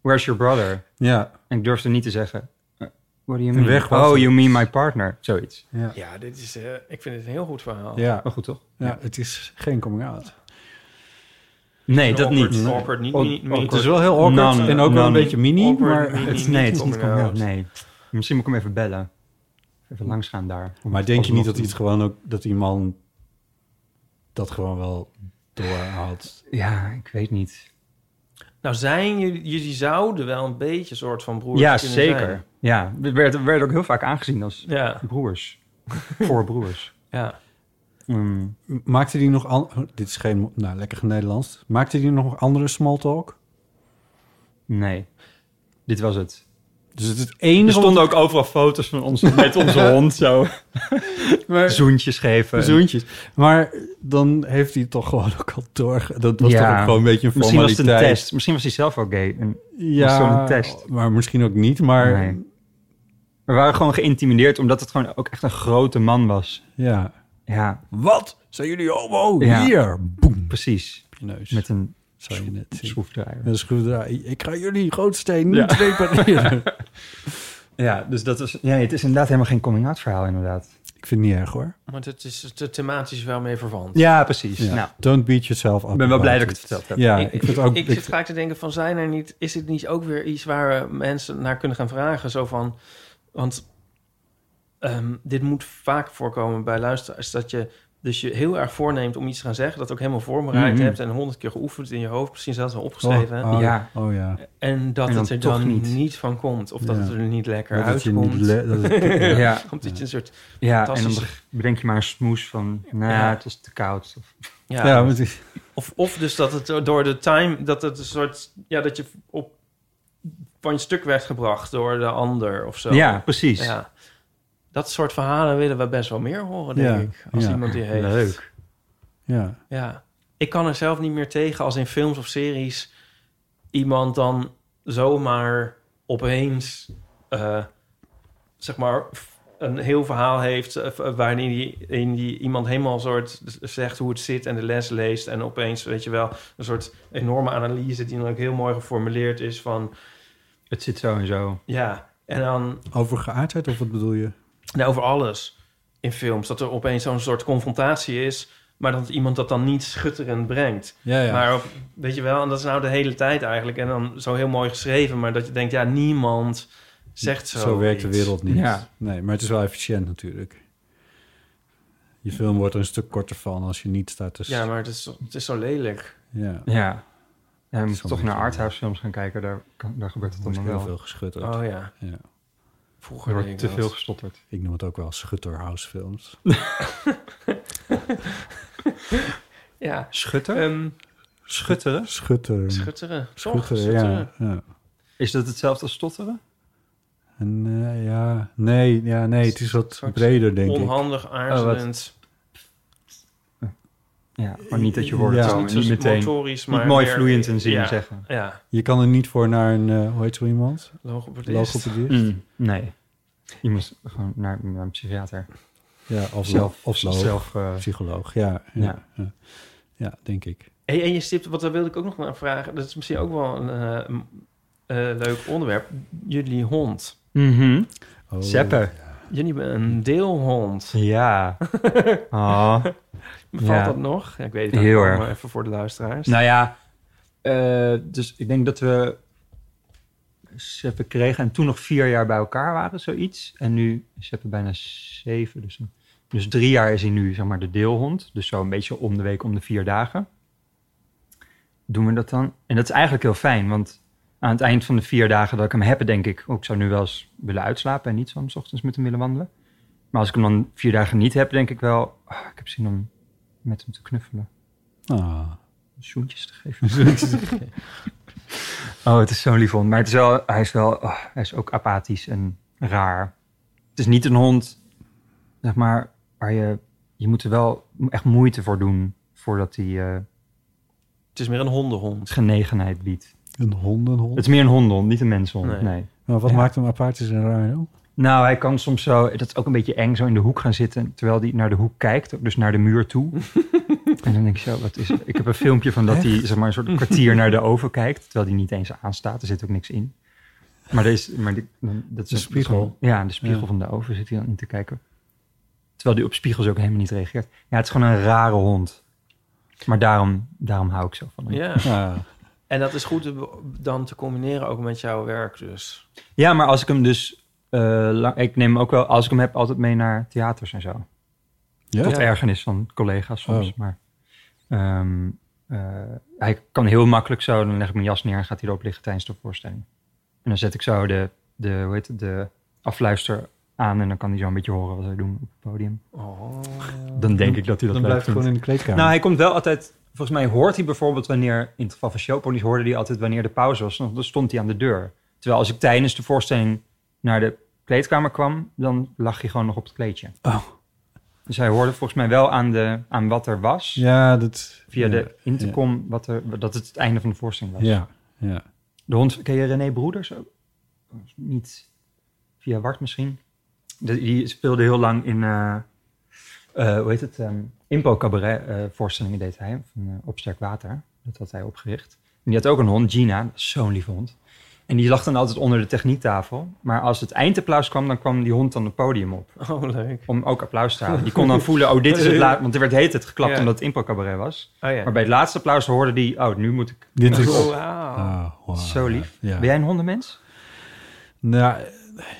Where's your brother? Ja, En ik durfde niet te zeggen... eh, What do you mean? Weg was oh, het. you mean my partner. Zoiets. ja. Ja, dit is, eh, ik vind het een heel goed verhaal. Ja, Maar goed, toch? ja, het is geen coming out. Nee, Een dat awkward- niet. Awkward, niet, Aw- niet, niet- Het is wel heel awkward Nan, en ook wel nan. een beetje mini, Awkward, maar... mini. Het is, nee, het is niet Coming out. coming out. Nee. Misschien moet ik hem even bellen. Even langs gaan daar. Maar denk je Alsnog niet dat doen. hij het gewoon ook, dat die man dat gewoon wel doorhaalt? Ja, ik weet niet. Nou, zijn jullie, jullie zouden wel een beetje een soort van broers ja, kunnen zeker. zijn. Ja, we werden werd ook heel vaak aangezien als Ja, broers. Voor broers. ja. Mm. Maakte hij nog, an- oh, dit is geen, nou lekker Nederlands. Maakte hij nog andere small talk? Nee, dit was het. Dus het is het Er enige stonden ook overal foto's van ons met onze hond zo. Zoentjes geven. Zoentjes. Maar dan heeft hij het toch gewoon ook al door. Dat was Ja. toch ook gewoon een beetje een Misschien was formaliteit. het een test. Misschien was hij zelf ook gay. En Ja, Was zo'n test. maar misschien ook niet. Maar Nee. we waren gewoon geïntimideerd omdat het gewoon ook echt een grote man was. ja. Ja, Wat? Zijn jullie homo? Ja. Hier. Boem. precies. Op je neus. Met een Zou je net zien. schroefdraaier. Met een schroefdraai. Ik ga jullie grootsteen Ja. niet repareren. Ja, dus dat is, ja, het is inderdaad helemaal geen coming-out verhaal inderdaad. ik vind het niet erg hoor. Maar het is het thematisch wel mee verwant. Ja, precies. Ja. Nou, Don't beat yourself up. ik ben wel about blij dat ik it. het verteld heb. Ja, ik, vind ook... ik zit vaak te denken van zijn er niet, is dit niet ook weer iets waar eh, mensen naar kunnen gaan vragen? Zo van, want ehm, dit moet vaak voorkomen bij luisteraars, dat je dus je heel erg voorneemt om iets te gaan zeggen, dat ook helemaal voorbereid Mhm. hebt en honderd keer geoefend in je hoofd, misschien zelfs wel opgeschreven. Mm-hmm. oh, oh, Ja. ja. Oh ja. En dat En dan het er toch dan niet. niet. van komt, of dat Ja. het er niet lekker Dat het je uitkomt. niet le- dat het- Ja, ja. ja. Omdat je een soort, en dan Fantastische- beg- bedenk je maar een smoes van, nou, Ja. het was te koud. Of, ja, Ja, want ik- Of, of dus dat het door de time, dat het een soort, ja, dat je op van je stuk werd gebracht door de ander of zo. ja, precies. Ja. Dat soort verhalen willen we best wel meer horen, denk Ja, ik. Als ja. iemand die heeft. Leuk. ja. Ja. Ik kan er zelf niet meer tegen als in films of series iemand dan zomaar opeens, eh, zeg maar, f- een heel verhaal heeft eh, v- waarin die, in die iemand helemaal soort z- zegt hoe het zit en de les leest en opeens, weet je wel, een soort enorme analyse die dan ook heel mooi geformuleerd is van, Het zit zo en zo. ja, en dan Over geaardheid of wat bedoel je? Nee, over alles in films. Dat er opeens zo'n soort confrontatie is, maar dat iemand dat dan niet schutterend brengt. Ja, ja. Maar op- weet je wel, en dat is nou de hele tijd eigenlijk. En dan zo heel mooi geschreven, maar dat je denkt, ja, niemand zegt zo. zo werkt de iets. wereld niet. Ja. Nee, maar het is wel efficiënt natuurlijk. Je film wordt er een stuk korter van als je niet staat te... s- Ja, maar het is, het is zo lelijk. ja. Ja. Ja, we moeten toch beetje- naar arthouse films gaan kijken. Daar, kan- daar gebeurt het Er wordt allemaal heel wel. veel geschutterd. Oh ja, Ja. Er vroeger deed wordt ik te dat. veel gestotterd. Ik noem het ook wel schutterhouse films. Ja. Schutter? Ehm, Mm. Schutteren? Schutter. schutteren. Toch? Schutter, ja. ja. Is dat hetzelfde als stotteren? En, eh, ja. Nee, ja, nee, het is wat Soort breder, denk ik. Onhandig, Oh, aarzelend. Ja, maar niet dat je hoort. Ja. het zo, Het niet niet zo meteen. motorisch, maar niet mooi meer- vloeiend en zin ja. zeggen. Ja, Je kan er niet voor naar een, eh, hoe heet zo iemand? logopedist. Logopedist? Mm, Nee. Je moet gewoon naar, naar een psychiater. Ja, of Zelf- zelf, of lo- Zelf, eh, psycholoog. Ja, ja, Ja. ja. Ja, denk ik. Hey, en je stipt, want daar wilde ik ook nog naar vragen. Dat is misschien ook wel een eh, m- eh, leuk onderwerp. Jullie hond. mhm. Oh, Zeppen. Jullie hebben een deelhond. Ja. Ah. Valt Ja. dat nog? Ja, ik weet het Heel ook, erg. maar even voor de luisteraars. Nou ja, eh, dus ik denk dat we Seppe kregen en toen nog vier jaar bij elkaar waren, zoiets. En nu is Seppe bijna zeven, dus, een- dus drie jaar is hij nu zeg maar de deelhond. Dus zo een beetje om de week, om de vier dagen. Doen we dat dan? En dat is eigenlijk heel fijn, want aan het eind van de vier dagen dat ik hem heb, denk ik, ook ik zou nu wel eens willen uitslapen en niet zo om 's ochtends met hem willen wandelen. Maar als ik hem dan vier dagen niet heb, denk ik wel, ah, ik heb zin om met hem te knuffelen Ah. zoentjes te geven. oh, het is zo'n lief hond. Maar het is wel, hij is wel, oh, hij is ook apathisch en raar. Het is niet een hond, zeg maar, waar je... Je moet er wel echt moeite voor doen voordat hij eh, Het is meer een hondenhond. genegenheid biedt. Een hondenhond. Het is meer een hondenhond, niet een menshond. Nee. nee. Maar wat Ja. maakt hem apart is een raar dan? Nou, hij kan soms zo, dat is ook een beetje eng, zo in de hoek gaan zitten. Terwijl hij naar de hoek kijkt, dus naar de muur toe. en dan denk ik zo, wat is het? Ik heb een filmpje van dat hij zeg maar, een soort kwartier naar de oven kijkt. Terwijl hij niet eens aanstaat, er zit ook niks in. Maar, er is, maar die- dan- dat is De spiegel. Ja, de spiegel Ja. van de oven zit hij dan in te kijken. Terwijl hij op spiegels ook helemaal niet reageert. Ja, het is gewoon een rare hond. Maar daarom, daarom hou ik zo van hem. Ja. Ja. En dat is goed te be- dan te combineren ook met jouw werk dus. Ja, maar als ik hem dus... eh, lang- ik neem hem ook wel, als ik hem heb, altijd mee naar theaters en zo. Ja? Tot ergernis van collega's soms. Oh. Maar ehm, eh, hij kan heel makkelijk zo. Dan leg ik mijn jas neer en gaat hij erop liggen tijdens de voorstelling. En dan zet ik zo de, de, hoe heet het, de afluister aan. En dan kan hij zo een beetje horen wat wij doen op het podium. Oh. Dan denk ik dat hij dat Dan blijft blijft hij gewoon in de kleedkamer. Nou, hij komt wel altijd... Volgens mij hoort hij bijvoorbeeld wanneer... In het geval van showponies hoorde hij altijd wanneer de pauze was. Dan stond hij aan de deur. Terwijl als ik tijdens de voorstelling naar de kleedkamer kwam... dan lag hij gewoon nog op het kleedje. Oh. Dus hij hoorde volgens mij wel aan, de, aan wat er was. Ja, dat... Via ja. de intercom wat er, dat het het einde van de voorstelling was. Ja, ja. De hond, ken je René Broeders ook? Niet via Wart misschien. De- die speelde heel lang in, eh, eh, hoe heet het, ehm Impo Cabaret eh, voorstellingen deed hij. Van, eh, op Sterk Water, dat had hij opgericht. En die had ook een hond, Gina, dat is zo'n lieve hond. En die lag dan altijd onder de techniektafel. Maar als het eindapplaus kwam, dan kwam die hond dan het podium op. Oh, leuk. Om ook applaus te halen. Die kon dan voelen, oh dit is het laatste. Want er werd heet het geklapt Ja. omdat het Impo Cabaret was. Oh ja. Maar bij het laatste applaus hoorde die, oh nu moet ik... Dit is... Oh, wauw. Ah, wow. Zo lief. Ja. Ben jij een hondenmens? Nou,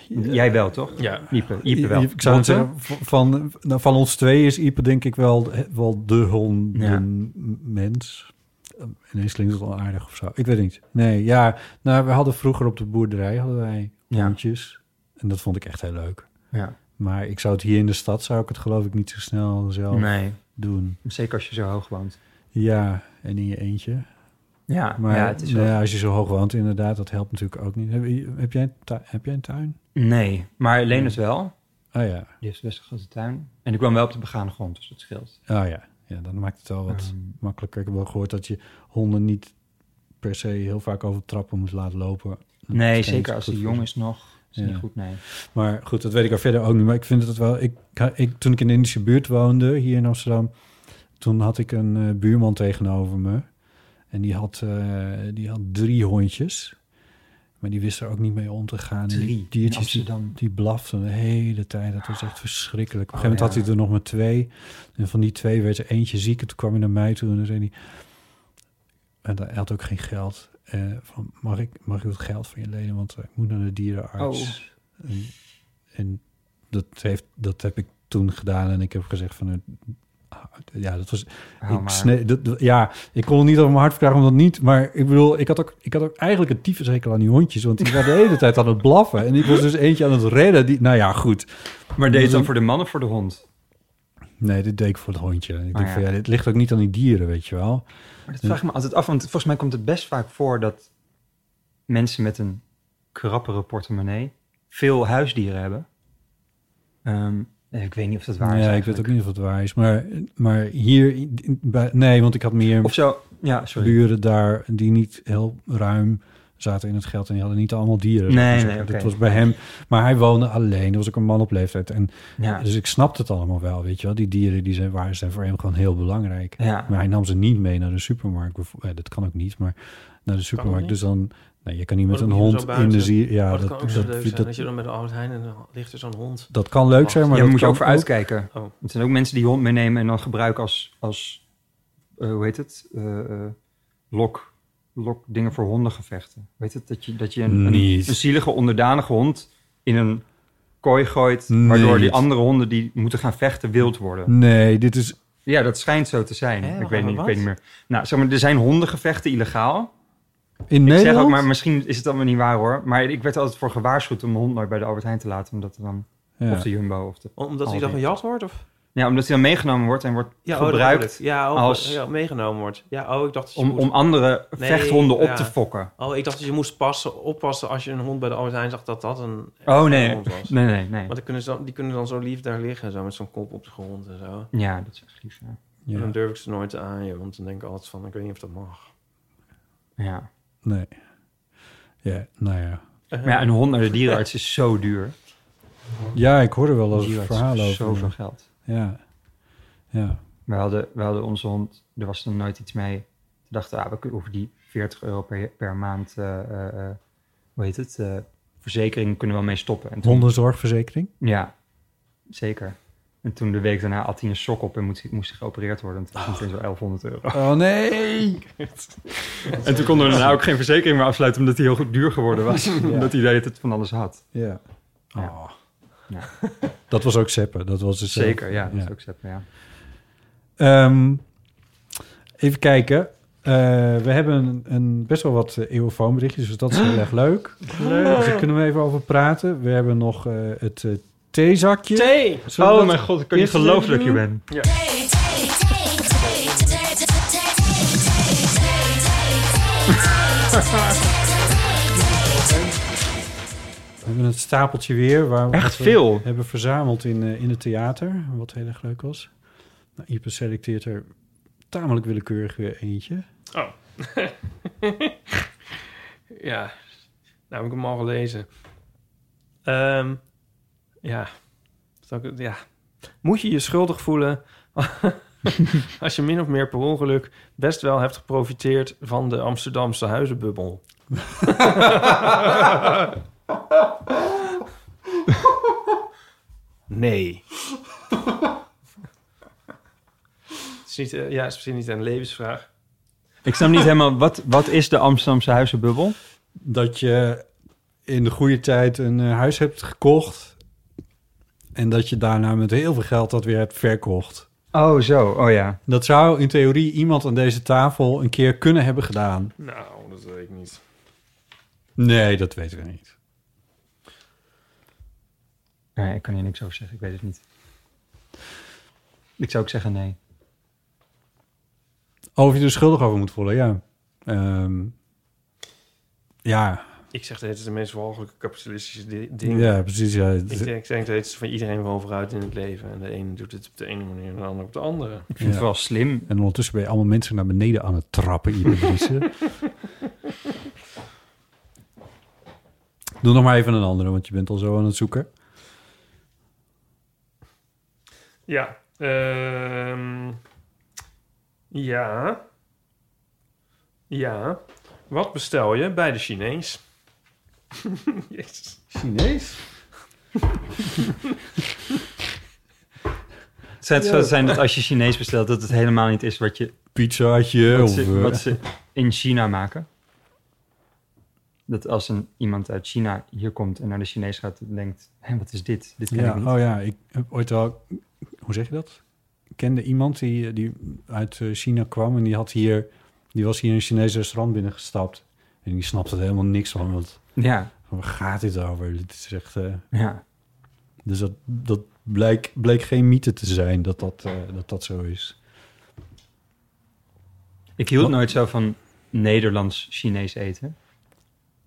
Jij wel, toch? Ja. Iepe, Iepe wel. Ik zou het Botte? zeggen, v- van, nou, van ons twee is Ipe denk ik wel, wel de hondenmens. Ineens klinkt het wel aardig of zo. Ik weet het niet. Nee, ja. Nou, we hadden vroeger op de boerderij hadden wij Ja. hondjes. En dat vond ik echt heel leuk. Ja. Maar ik zou het hier in de stad, zou ik het geloof ik niet zo snel zelf Nee, doen. zeker als je zo hoog woont. Ja, en in je eentje. Ja, Maar ja, het is nou wel- ja, als je zo hoog woont, inderdaad, dat helpt natuurlijk ook niet. Heb, je- heb, jij, een tu- heb jij een tuin? Nee, maar Leen het wel. Oh ja, Die heeft best een grote tuin. En ik kwam wel op de begane grond, dus dat scheelt. Oh ja, ja dan maakt het wel wat Ehm. makkelijker. Ik heb wel gehoord dat je honden niet per se heel vaak over trappen moet laten lopen. Dat Nee, schijnt zeker als goed hij voor jong ze. is nog. Is Ja. niet goed, nee. Maar goed, dat weet ik al verder ook niet. Maar ik vind het wel... Ik, ik, toen ik in de Indische buurt woonde, hier in Amsterdam... toen had ik een eh, buurman tegenover me. En die had, eh, die had drie hondjes. Maar die wist er ook niet mee om te gaan. En die Drie, in diertjes die- Amsterdam. die blaften de hele tijd. Dat was echt verschrikkelijk. Op een Oh, gegeven moment ja. had hij er nog maar twee. En van die twee werd er eentje ziek. En toen kwam hij naar mij toe en dan zei hij... En hij had ook geen geld. Eh, van, mag, ik, mag ik wat geld van je lenen? Want eh, ik moet naar de dierenarts. Oh. En, en dat, heeft, dat heb ik toen gedaan. En ik heb gezegd van... eh, ja, dat was... Hou ik maar. snee- dat- dat- ja, ik kon het niet over mijn hart verkrijgen, omdat niet. Maar ik bedoel, ik had ook, ik had ook eigenlijk een tyfushekel aan die hondjes. Want die waren de hele tijd aan het blaffen. En ik was dus eentje aan het redden. Die, nou ja, goed. Maar deed het dan dan voor de man of voor de hond? Nee, dit deed ik voor het hondje. Ik denk Oh ja. van ja, dit ligt ook niet aan die dieren, weet je wel. Maar dat vraag ik me altijd af, want volgens mij komt het best vaak voor dat mensen met een krappere portemonnee veel huisdieren hebben. Ehm, ik weet niet of dat waar is. ja, ik eigenlijk. weet ook niet of het waar is. Maar, maar hier, in- bij, nee, want ik had meer Of zo, ja, sorry. buren daar die niet heel ruim zaten in het geld en die hadden niet allemaal dieren. Nee, Dus nee, dat oké. was bij hem. Maar hij woonde alleen. Er was ook een man op leeftijd. En Ja. Dus ik snapte het allemaal wel, weet je wel. Die dieren die zijn, waren, zijn voor hem gewoon heel belangrijk. Ja. Maar hij nam ze niet mee naar de supermarkt. bijvo- eh, dat kan ook niet, maar naar de supermarkt. niet? Dus dan, nou, je kan niet Oh, met dan een moet je hond zo in de buiten. zier. Ja, Oh, dat, dat, kan ook dat, zo leuk zijn. dat, Dat je dan met de Albert Heijn en dan ligt er zo'n hond. dat kan leuk zijn, maar Ja, dat daar moet Oh, je kan ook voor ook- uitkijken. Oh. Het zijn ook mensen die je hond meenemen en dan gebruiken als, als eh, hoe heet het, Eh, eh, lok, lok dingen voor hondengevechten. Weet het, dat je, dat je een, een, Niet. een zielige, onderdanige hond in een kooi gooit, waardoor Niet. die andere honden die moeten gaan vechten wild worden. Nee, dit is... Ja, dat schijnt zo te zijn. Hè, ik, wacht weet even, niet, ik wat? weet niet meer. Nou, zeg maar, er zijn hondengevechten illegaal. In Ik Nederland? zeg ook, maar misschien is het allemaal niet waar hoor. Maar ik werd er altijd voor gewaarschuwd om mijn hond nooit bij de Albert Heijn te laten, omdat er dan Ja. of de Jumbo of de Omdat hij Aldi. dan gejat wordt? Of? Ja, omdat hij dan meegenomen wordt en wordt Ja, oh, dat bedoel gebruikt ik. ja, oh, als- ja, meegenomen wordt. Ja, oh, ik dacht dat je om, moest- om andere Nee, vechthonden op ja. te fokken. Oh, ik dacht dat je moest passen, oppassen als je een hond bij de Albert Heijn zag dat dat een Oh een nee, hond was. nee, nee, nee. Want dan kunnen ze dan, die kunnen dan zo lief daar liggen, zo met zo'n kop op de grond en zo. Ja, dat is echt lief. Ja. Ja. En dan durf ik ze nooit aan je, want dan denk ik altijd van, ik weet niet of dat mag. Ja. Nee. Ja, nou ja. Uh-huh. Maar ja, een hond naar de dierenarts is zo duur. Ja, ik hoorde wel Een als het dierenarts verhaal is over. zoveel geld. Ja. Ja. We hadden, we hadden onze hond, er was nog nooit iets mee. Toen dachten we, ah, we kunnen over die 40 euro per, per maand, eh, eh, eh, hoe heet het, eh, verzekering kunnen we wel mee stoppen. En toen- Hondenzorgverzekering. Ja, zeker. En toen de week daarna had hij een sok op en moest, moest hij geopereerd worden. En toen Ah. was het zo 1100 euro. Oh nee. En toen konden we daarna ook geen verzekering meer afsluiten, omdat hij heel goed duur geworden was. Omdat hij deed het van alles had. Ja. Ja. Oh. Ja. Dat was ook seppen. Dat was dus eh, Zeker, ja. Dat is ook zet, ja. Ehm, even kijken. Eh, we hebben een, een best wel wat eh, eeuwfoonberichtjes, dus dat is heel erg leuk. Leuk. Dus daar kunnen we even over praten. We hebben nog eh, het eh, theezakje. Thee! Zullen we dat- Oh god, ik kan niet geloven dat je bent. We hebben het stapeltje weer. Waar we Echt wat eh, we veel. hebben verzameld in, eh, in het theater, wat heel erg leuk was. Nou, Ipe selecteert er tamelijk willekeurig weer eentje. Ja, nou heb ik hem al gelezen. Ehm, ja. Zal ik het- ja. Moet je je schuldig voelen als je min of meer per ongeluk best wel hebt geprofiteerd van de Amsterdamse huizenbubbel? nee. Het is niet, eh, ja, het is misschien niet een levensvraag. Ik snap niet helemaal, wat, wat is de Amsterdamse huizenbubbel? dat je in de goede tijd een eh, huis hebt gekocht. En dat je daarna met heel veel geld dat weer hebt verkocht. Oh, zo. Oh ja. Dat zou in theorie iemand aan deze tafel een keer kunnen hebben gedaan. Nou, dat weet ik niet. Nee, dat weten we niet. Nee, ik kan hier niks over zeggen. Ik weet het niet. Ik zou ook zeggen nee. Of je er schuldig over moet voelen, ja. Ehm, ja, Ik zeg dat het is de meest walgelijke kapitalistische di- ding. ja, precies. Ja. Ik denk, ik denk dat het is van iedereen wel vooruit in het leven. En de ene doet het op de ene manier en de ander op de andere. Ik vind Ja. het wel slim. En ondertussen ben je allemaal mensen naar beneden aan het trappen, Ibe Driessen. Doe nog maar even een andere, want je bent al zo aan het zoeken. Ja. ehm, ja. Ja. Wat bestel je bij de Chinees? Jezus. Chinees? Het zou het zou zijn dat als je Chinees bestelt, dat het helemaal niet is wat, je, Pizzaatje wat, of... ze, eh, wat ze in China maken. Dat als een, iemand uit China hier komt en naar de Chinees gaat en denkt, hé, wat is dit? Dit ken ja, ik niet. oh ja, ik heb ooit wel... Hoe zeg je dat? Ik kende iemand die, eh, die uit eh, China kwam en die, had hier, die was hier in een Chinees restaurant binnengestapt. En die snapte er helemaal niks van, want Ja, waar gaat dit over? Dit is echt... eh, ja. dus dat, dat bleek, bleek geen mythe te zijn dat dat, eh, dat, dat zo is. Ik hield nooit zo van Nederlands-Chinees eten.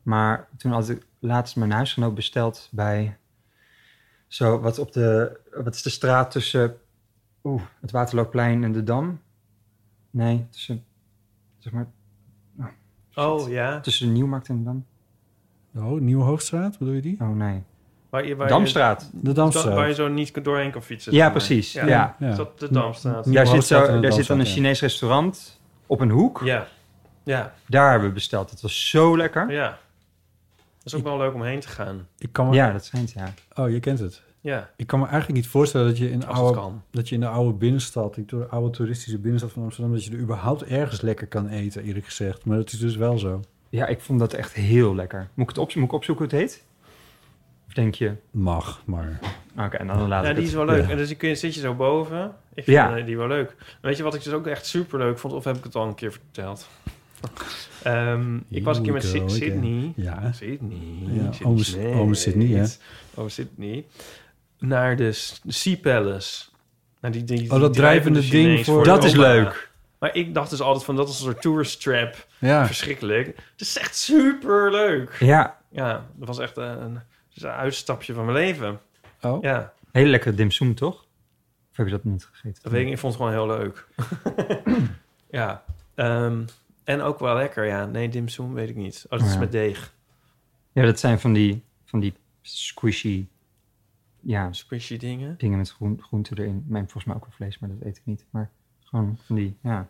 Maar toen had ik laatst mijn huisgenoot besteld bij... Zo, wat op de... Wat is de straat tussen... Oeh, het Waterloopplein en de Dam? Nee, tussen... Zeg maar, Oh ja. tussen de Nieuwmarkt en de Dam? Oh, Nieuwe Hoogstraat, bedoel je die? Oh, nee. Waar je, waar je- Damstraat. De da- waar je Damstraat. zo niet kan- doorheen kan fietsen. Ja, zeg maar. precies. Ja. Ja. Is dat de Damstraat? Ja. Daar, zit, Hoogstraat en zo, de daar zit dan een Damstraat, ja. Chinees restaurant op een hoek. Ja. Ja. Daar hebben we besteld. Het was zo lekker. Ja. Dat is ook wel leuk om heen te gaan. Ik kan me, Ja, dat schijnt, ja. Oh, je kent het. Ja. Ik kan me eigenlijk niet voorstellen dat je Als in het oude, kan. dat je in de oude binnenstad, die to- oude toeristische binnenstad van Amsterdam, dat je er überhaupt ergens lekker kan eten, eerlijk gezegd. Maar dat is dus wel zo. Ja, ik vond dat echt heel lekker. Moet ik, het opzo- moet ik opzoeken hoe het heet? Of denk je... Mag, maar. Oké, nou dan laat Ja, ik die het. is wel leuk. Ja. En dus kun je, zit je zo boven. Ik vind Ja. eh, die wel leuk. En Weet je wat ik dus ook echt super leuk vond? Of heb ik het al een keer verteld? Ehm, ik was een keer met Here Sy- we go Sydney. Ja. Sydney. Ja, Sydney ome Sy- ome Sydney, hè? Ome Sydney. Naar de S- Sea Palace. Nou, die, die, die Oh, dat drijvende ding Chinees voor- de Dat is opera. leuk. Maar ik dacht dus altijd van, dat is een soort tourist trap. Ja. Verschrikkelijk. Het is echt super leuk. Ja, Ja, dat was echt een, een, een uitstapje van mijn leven. Oh. Ja, hele lekkere dimsum, toch? Of heb je dat niet gegeten? dat weet ik, ik vond het gewoon heel leuk. ja, ehm, en ook wel lekker, ja. Nee, dimsum weet ik niet. Oh, dat is Ja. met deeg. Ja, dat zijn van die, van die squishy ja, Squishy dingen. dingen met groen, groente erin. Mijn volgens mij ook wel vlees, maar dat eet ik niet. Maar gewoon van die, ja.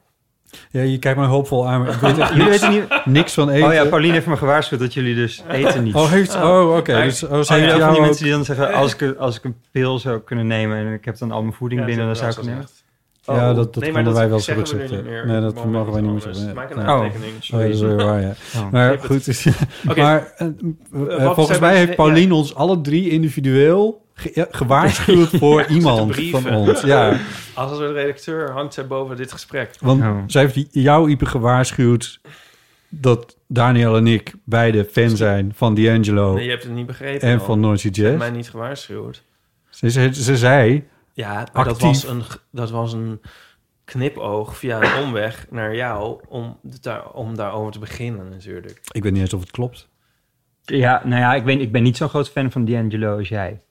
Ja, je kijkt me hoopvol aan, maar ik weet echt Jullie weten niet... niks van eten. Oh ja, Pauline heeft me gewaarschuwd dat jullie dus eten niet. Oh, heeft... Oh, oké. Ja. Dus, oh, Zijn zijn jullie ook van jou die ook- mensen die dan zeggen, als ik, als ik een pil zou kunnen nemen en ik heb dan al mijn voeding Ja, binnen, dan dat zou heb ik het wel nemen? eens gezegd. Ja, Oh, dat- dat nee, maar vonden wij wel eens zeggen we goed nu zitten. niet meer. Nee, dat Op het mogen wij niet meer moment zeggen. Maak een Nee. aantekening. Oh, dat is wel waar, ja. Oh. Maar Ik heb goed, is, Oké. maar eh, eh, volgens zijn mij we- heeft ja. Paulien ons alle drie individueel ge- ja, gewaarschuwd voor iemand brieven. van ons. Ja, Als een soort redacteur hangt zij boven dit gesprek. want Oh. zij heeft jou, Ipe, gewaarschuwd dat Daniel en ik beide fan zijn van D'Angelo Nee, je hebt het niet begrepen. Oh. en al. van Noisy Je hebt Jazz. mij niet gewaarschuwd. Ze, ze, ze zei, Ja, maar dat Actief. was, een, g- dat was een knipoog via een omweg naar jou om, de- daar, om daarover te beginnen natuurlijk. ik weet niet eens of het klopt. Ja, nou ja, ik, ben, ik ben niet zo'n groot fan van D'Angelo als jij.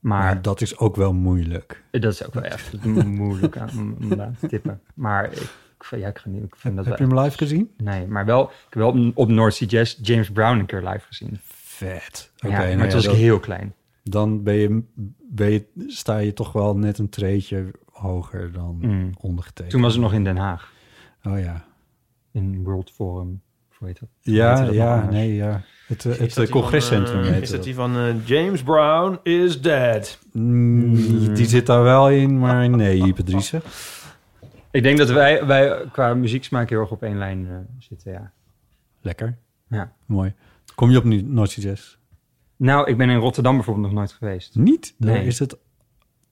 Maar Maar dat is ook wel moeilijk. dat is ook wel echt moeilijk aan- om om daar te tippen. Maar ik, ja, ik, geniet- ik vind dat Heb wel je hem live gezien? Nee, maar wel, ik heb wel op, op North Sea Jazz James Brown een keer live gezien. Vet. Ja, Oké, maar nou toen ja, was dat- ik heel klein. dan ben je, ben je, sta je toch wel net een treetje hoger dan Mm. ondergetekend. Toen was het nog in Den Haag, Oh ja. in World Forum, of hoe heet dat? Hoe Ja, heet dat ja, nog anders? nee, ja. Het, eh, Is het dat eh, die van, congrescentrum eh, heet Is dat dat. die van eh, James Brown is dead? Mm, Die zit daar wel in, maar nee, Ipe Driessen. Ik denk dat wij, wij qua muzieksmaak heel erg op één lijn eh, zitten, ja. Lekker. ja. Mooi. Kom je op nu, Noordse Jazz? Nou, ik ben in Rotterdam bijvoorbeeld nog nooit geweest. Niet? Daar, Nee. is het,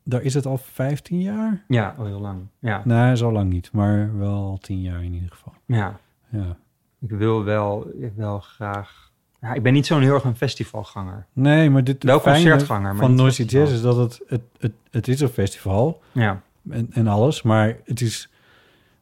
daar is het al 15 jaar? Ja, al heel lang. Ja, Nee, zo lang niet, maar wel al 10 jaar in ieder geval. ja. Ja. ik wil wel, ik wel graag... Ja, ik ben niet zo'n heel erg een festivalganger. Nee, maar dit Wel het fijne concertganger, maar van niet Noordse festival. Jazz is dat het, het, het, het is een festival, Ja, en, en alles. Maar het is,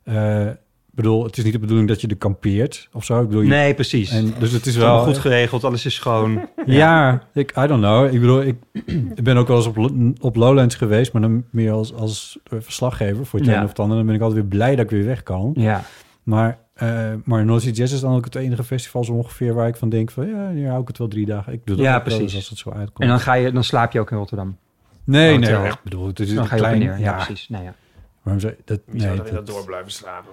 eh, bedoel, het is niet de bedoeling dat je er kampeert of zo. Ik bedoel, je- nee, precies. En, en, dus het is wel wel goed geregeld, alles is schoon. ja, ik, I don't know. Ik bedoel, ik, ik ben ook wel eens op, Lo- op Lowlands geweest, maar dan meer als, als eh, verslaggever voor het Ja. een of het ander. Dan ben ik altijd weer blij dat ik weer weg kan. ja. Maar, eh maar North Sea Jazz is dan ook het enige festival zo ongeveer waar ik van denk van, ja, hier hou ik het wel drie dagen. Ik doe dat Ja, ook wel eens precies. als het zo uitkomt. En dan, ga je, dan slaap je ook in Rotterdam. nee, nee, hotel. ik bedoel, het is Dan een ga je op klein, en neer. Ja, ja, precies. Nou ja. waarom zou je- dat, Wie zou nee, er in dat- dat door blijven slapen?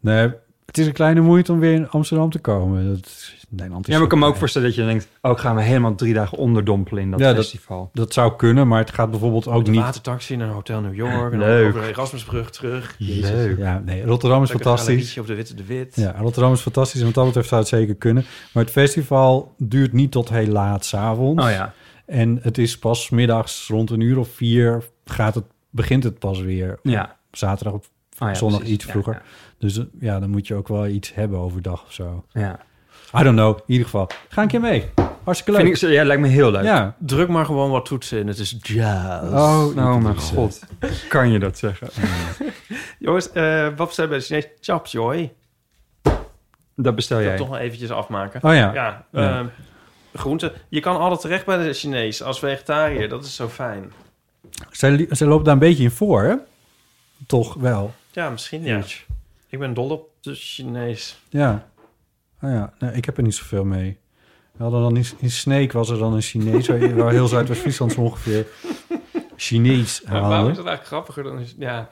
Nee, het is een kleine moeite om weer in Amsterdam te komen. Dat is, Nederland is eh, Ja, maar ik kan me zo ook klein. voorstellen dat je denkt... oh, ik ga me helemaal drie dagen onderdompelen in dat Ja, dat- festival. Dat zou kunnen, maar het gaat bijvoorbeeld ook De niet... watertaxi naar Hotel New York. En dan Leuk. over de Erasmusbrug terug. Leuk. Ja, nee, Rotterdam is Lekker fantastisch. galerietje op de Witte de Wit. Ja, Rotterdam is fantastisch en wat dat betreft zou het zeker kunnen. Maar het festival duurt niet tot heel laat s'avonds. Oh ja. En het is pas 's middags rond een uur of vier gaat het, begint het pas weer. Ja. Zaterdag op Oh ja, zondag precies. iets Ja, vroeger. Dus eh, ja, dan moet je ook wel iets hebben overdag of zo. Ja, ja. I don't know. In ieder geval, ga een keer mee. Hartstikke leuk. Vind ik, zo- ja, lijkt me heel leuk. ja, Druk maar gewoon wat toetsen in. Het is jazz. Oh, Oh mijn god, kan je dat zeggen? Jongens, eh, wat zijn bij de Chinees? Chap joy. Dat bestel Ik jij. wil toch nog eventjes afmaken. Oh ja. Ja, Ja. ehm, groenten. Je kan altijd terecht bij de Chinees als vegetariër. Dat is zo fijn. Zij, li- zij loopt daar een beetje in voor, hè? Toch wel. Ja, misschien ja. Ik ben dol op de Chinees. Ja. Ah ja. Nee, ik heb er niet zoveel mee. We hadden dan in, in Sneek was er dan een Chinees, waar, waar heel Zuidwest-Friesland zo ongeveer Chinees Maar waarom is haalde. het eigenlijk grappiger dan... is- Ja,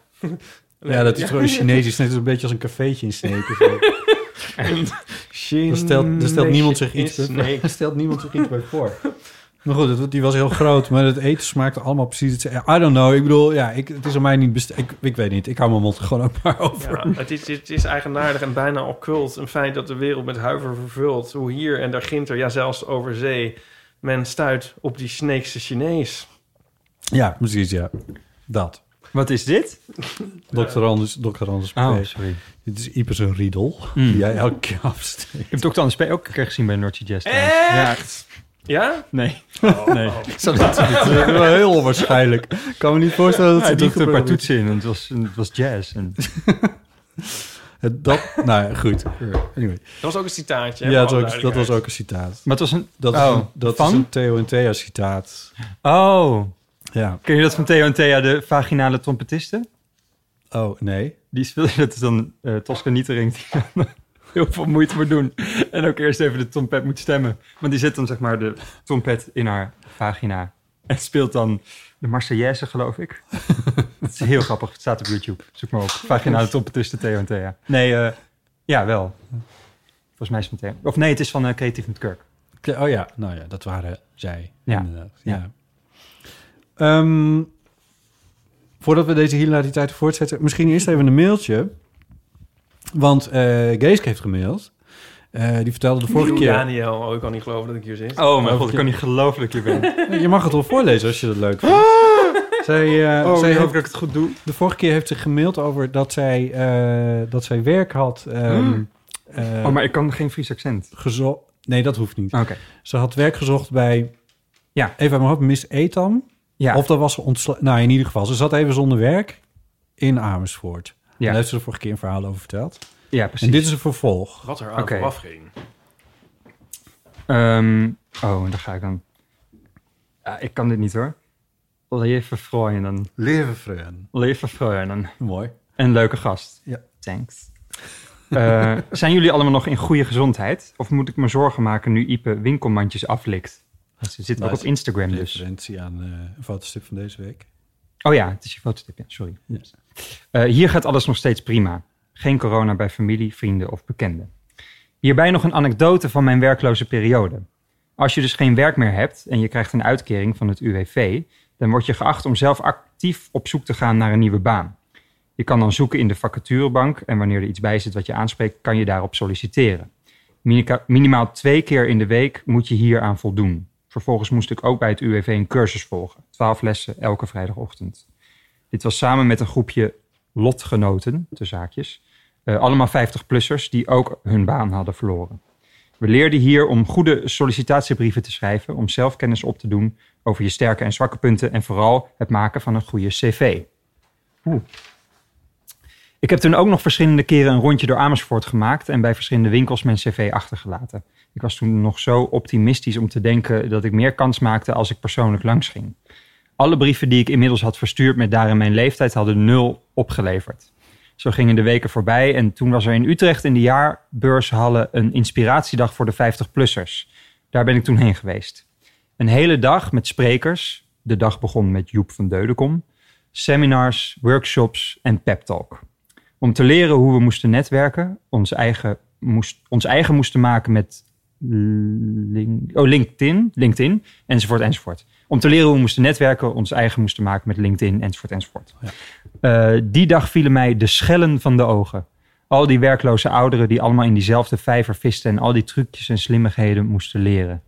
Ja, dat is gewoon Chinees. is net een beetje als een cafeetje in Sneek. of zo. Daar stelt, daar stelt niemand zich iets in bij, Sneek. daar stelt niemand zich iets bij voor. Maar goed, het- die was heel groot, maar het eten smaakte allemaal precies hetzelfde. I don't know. Ik bedoel, ja, ik, het is aan mij niet best. Ik, ik weet niet. Ik hou mijn mond er gewoon ook maar over. Ja, nou, het, is, het is eigenaardig en bijna occult. Een feit dat de wereld met huiver vervult. Hoe hier en daar ginter, ja zelfs over zee... men stuit op die Sneekse Chinees. Ja, precies, ja. Dat. Wat is dit? Dokter Anders, Dokter Anders P. Oh, sorry. Dit is Ieper een riedel. Mm. Die jij elke keer afsteekt. Eh? Ik heb Dr. Anders P ook een keer gezien bij Nortje Jazz. trouwens. Ja, Ja? Nee. nee. Dat is wel heel onwaarschijnlijk. Ik kan me niet voorstellen dat Hij ze die drukte een paar geprobeerd toetsen in en het was, het was jazz. En Het- Dat, nou ja, goed. Anyway. Dat was ook een citaatje. Ja, hè, dat, voor was alle ook, dat was duidelijkheid. ook een citaat. Maar het was een... Dat is oh, een, dat is van? een Theo en Thea citaat. Oh, Ja. ken je dat van Theo en Thea, de vaginale trompetisten? Oh, nee. Die speelde, dat is dan eh Tosca Nietering, die dan heel veel moeite moet doen. En ook eerst even de trompet moet stemmen. Want die zet dan zeg maar de trompet in haar vagina. En speelt dan de Marseillaise, geloof ik. dat is heel grappig, het staat op YouTube. Zoek maar op. Vaginale trompetisten Theo en Thea. Nee, eh, ja, wel. Volgens mij is het meteen. Of nee, het is van eh, Creatief met Kirk. Ja, Oh ja, nou ja, dat waren zij. Ja. Inderdaad. Ja. Ja. Ehm, voordat we deze hilariteit voortzetten, misschien eerst even een mailtje. Want eh Geeske heeft gemaild. Eh, die vertelde de vorige keer... Daniel, oh, ik kan niet geloven dat ik hier zit. Oh mijn god, ik kan niet geloven dat je bent. Je mag het wel voorlezen als je dat leuk vindt. Ah! Zij, Oh, eh, zij ik heeft- het goed doe. de vorige keer heeft ze gemaild over dat zij, eh, dat zij werk had. ehm, eh, Oh, maar Ah. ik kan geen Fries accent. gezo- nee, dat hoeft niet. Oké. Ze had werk gezocht bij. Ja. Even uit mijn hoofd, Miss Etam. Ja. Of dat was ze ontslagen. Nou, in ieder geval, ze zat even zonder werk in Amersfoort. Ja. Daar heeft ze de vorige keer een verhaal over verteld. ja, En precies. dit is een vervolg. Wat er aan Oké. vooraf ging. Ehm, oh, en daar ga ik dan. Ja, ik kan dit niet hoor. Leven freuen. Levenfreun. Leven freuen. Mooi. Een leuke gast. Ja. Thanks. Eh, zijn jullie allemaal nog in goede gezondheid? Of moet ik me zorgen maken nu Ipe winkelmandjes aflikt? Ze zit ook Nice. op Instagram Een dus. referentie aan eh, een fotostip van deze week. Oh ja, het is je fotostip, ja. Sorry. Eh, hier gaat alles nog steeds prima. Geen corona bij familie, vrienden of bekenden. Hierbij nog een anekdote van mijn werkloze periode. Als je dus geen werk meer hebt en je krijgt een uitkering van het UWV, dan word je geacht om zelf actief op zoek te gaan naar een nieuwe baan. Je kan dan zoeken in de vacaturebank en wanneer er iets bij zit wat je aanspreekt, kan je daarop solliciteren. Minica- Minimaal twee keer in de week moet je hier aan voldoen. Vervolgens moest ik ook bij het UWV een cursus volgen. Twaalf lessen elke vrijdagochtend. Dit was samen met een groepje lotgenoten, te zaakjes. eh, allemaal 50-plussers die ook hun baan hadden verloren. We leerden hier om goede sollicitatiebrieven te schrijven, om zelfkennis op te doen over je sterke en zwakke punten en vooral het maken van een goede cv. Oeh. Ik heb toen ook nog verschillende keren een rondje door Amersfoort gemaakt en bij verschillende winkels mijn cv achtergelaten. Ik was toen nog zo optimistisch om te denken dat ik meer kans maakte als ik persoonlijk langs ging. Alle brieven die ik inmiddels had verstuurd met daarin mijn leeftijd hadden nul opgeleverd. Zo gingen de weken voorbij en toen was er in Utrecht in de jaarbeurshallen een inspiratiedag voor de 50-plussers. Daar ben ik toen heen geweest. Een hele dag met sprekers. De dag begon met Joep van Deudekom. Seminars, workshops en pep talk. Om te leren hoe we moesten netwerken, ons eigen, moest, ons eigen moesten maken met link- oh, LinkedIn, LinkedIn, enzovoort, enzovoort. Om te leren hoe we moesten netwerken, ons eigen moesten maken met LinkedIn, enzovoort, enzovoort. Eh, die dag vielen mij de schellen van de ogen. Al die werkloze ouderen die allemaal in diezelfde vijver visten en al die trucjes en slimmigheden moesten leren.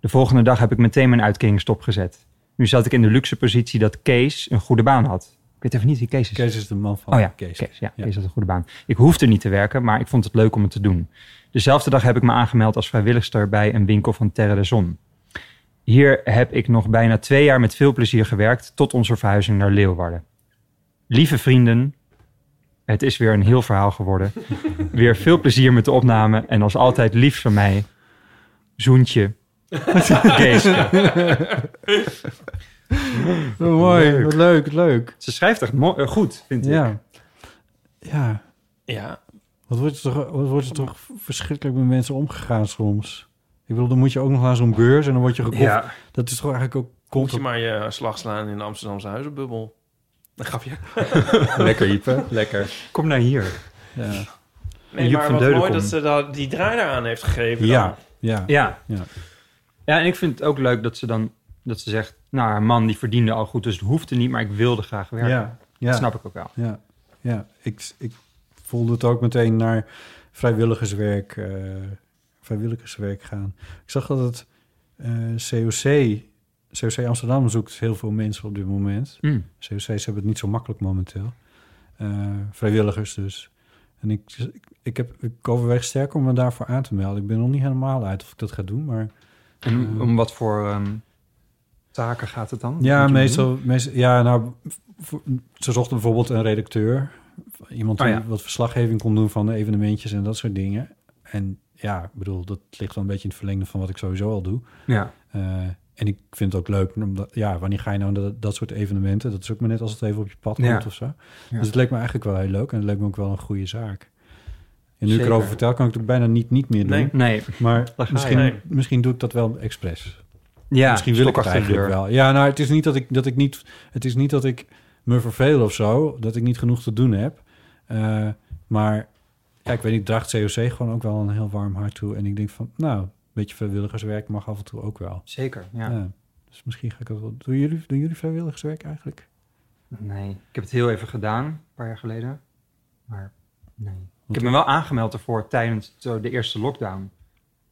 De volgende dag heb ik meteen mijn uitkering stopgezet. Nu zat ik in de luxe positie dat Kees een goede baan had. Ik weet even niet wie Kees is. Kees is de man van Oh ja, Kees. Kees. ja, Kees had een goede baan. Ik hoefde niet te werken, maar ik vond het leuk om het te doen. Dezelfde dag heb ik me aangemeld als vrijwilligster bij een winkel van Terre de Zon. Hier heb ik nog bijna twee jaar met veel plezier gewerkt tot onze verhuizing naar Leeuwarden. Lieve vrienden, het is weer een heel verhaal geworden. weer veel plezier met de opname en als altijd lief van mij, zoentje. Keeske. Oh, mooi, wat leuk, leuk. Ze schrijft echt mo- eh, goed, vind ik. Ja. Ja. Ja, Wat wordt er toch, wat wordt er toch verschrikkelijk met mensen omgegaan soms? Ik bedoel, dan moet je ook nog naar zo'n beurs en dan word je gekocht. Ja. Dat is toch eigenlijk ook moet je contra- maar je slag slaan in de Amsterdamse huizenbubbel. Een grapje. Lekker, Ipe. Lekker. Kom naar hier. Ja. Nee, Joep van maar wat mooi Deudekom. dat ze dat, die draai daaraan heeft gegeven. Ja, Ja. ja. Ja. Ja. ja. en ik vind het ook leuk dat ze dan dat ze zegt, nou, haar man die verdiende al goed, dus het hoefde niet, maar ik wilde graag werken. Ja, ja. Dat snap ik ook wel. Ja, ja. Ik, ik voelde het ook meteen naar vrijwilligerswerk, eh, vrijwilligerswerk gaan. Ik zag dat het eh, COC, COC Amsterdam zoekt heel veel mensen op dit moment. COC's hebben het niet zo makkelijk momenteel. Eh, vrijwilligers dus. En ik, ik, heb, ik overweeg sterk om me daarvoor aan te melden. Ik ben nog niet helemaal uit of ik dat ga doen, maar En om wat voor ehm, taken gaat het dan? Ja, Moet je doen? meestal, meestal. Ja, nou, voor- ze zochten bijvoorbeeld een redacteur. Iemand die Oh ja. wat verslaggeving kon doen van de evenementjes en dat soort dingen. En ja, ik bedoel, dat ligt wel een beetje in het verlengde van wat ik sowieso al doe. Ja, Eh, en ik vind het ook leuk, omdat, ja, wanneer ga je nou naar dat, dat soort evenementen? Dat is ook maar net als het even op je pad komt Ja. of zo. Ja. Dus het leek me eigenlijk wel heel leuk en het leek me ook wel een goede zaak. En nu ik Zeker. erover vertel, kan ik het ook bijna niet, niet meer doen. Nee. nee. Maar Daar ga je. misschien, Nee. misschien doe ik dat wel expres. Ja, Misschien wil ik stok het achter de eigenlijk deur. wel. Ja, nou, het is niet dat ik, dat ik niet... Het is niet dat ik me verveel of zo. Dat ik niet genoeg te doen heb. Eh, maar ja, ik weet niet, draagt COC gewoon ook wel een heel warm hart toe. En ik denk van, nou, een beetje vrijwilligerswerk mag af en toe ook wel. Zeker, ja. Ja. dus misschien ga ik dat wel... Doen jullie, doen jullie vrijwilligerswerk eigenlijk? Nee, ik heb het heel even gedaan, een paar jaar geleden. Maar nee. Ik heb me wel aangemeld ervoor tijdens zo de eerste lockdown.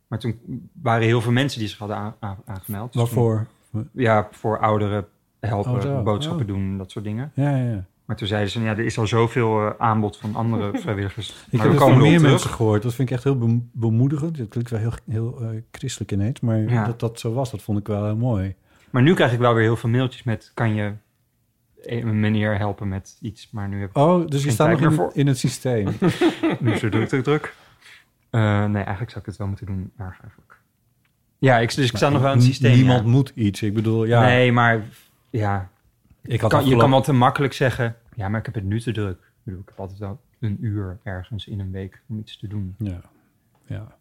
Maar toen waren heel veel mensen die zich hadden aan- aan- aangemeld. Dus Waarvoor? toen- Ja, voor ouderen helpen, Oh, zo. boodschappen Oh. doen, dat soort dingen. Ja, ja, ja. Maar toen zeiden ze, nou ja, er is al zoveel eh, aanbod van andere vrijwilligers. Ik maar heb we het van komen meer erop mensen terug. gehoord. Dat vind ik echt heel bem- bemoedigend. Dat klinkt wel heel, heel eh, christelijk ineens. Maar Ja. dat dat zo was, dat vond ik wel heel mooi. Maar nu krijg ik wel weer heel veel mailtjes met, kan je een meneer helpen met iets? Maar nu heb ik Oh, dus je Geen staat nog tijd meer in, voor. in het systeem. Nu zo druk, druk, druk. Eh, nee, eigenlijk zou ik het wel moeten doen. Maar eigenlijk. Ja, ik, dus ik sta nog wel in het systeem. Niemand ja. moet iets. Ik bedoel, ja. Nee, maar ja, ik had kan, je kan afgelopen- wel te makkelijk zeggen... Ja, maar ik heb het nu te druk. Ik bedoel, ik heb altijd wel een uur ergens in een week om iets te doen. Ja. ja.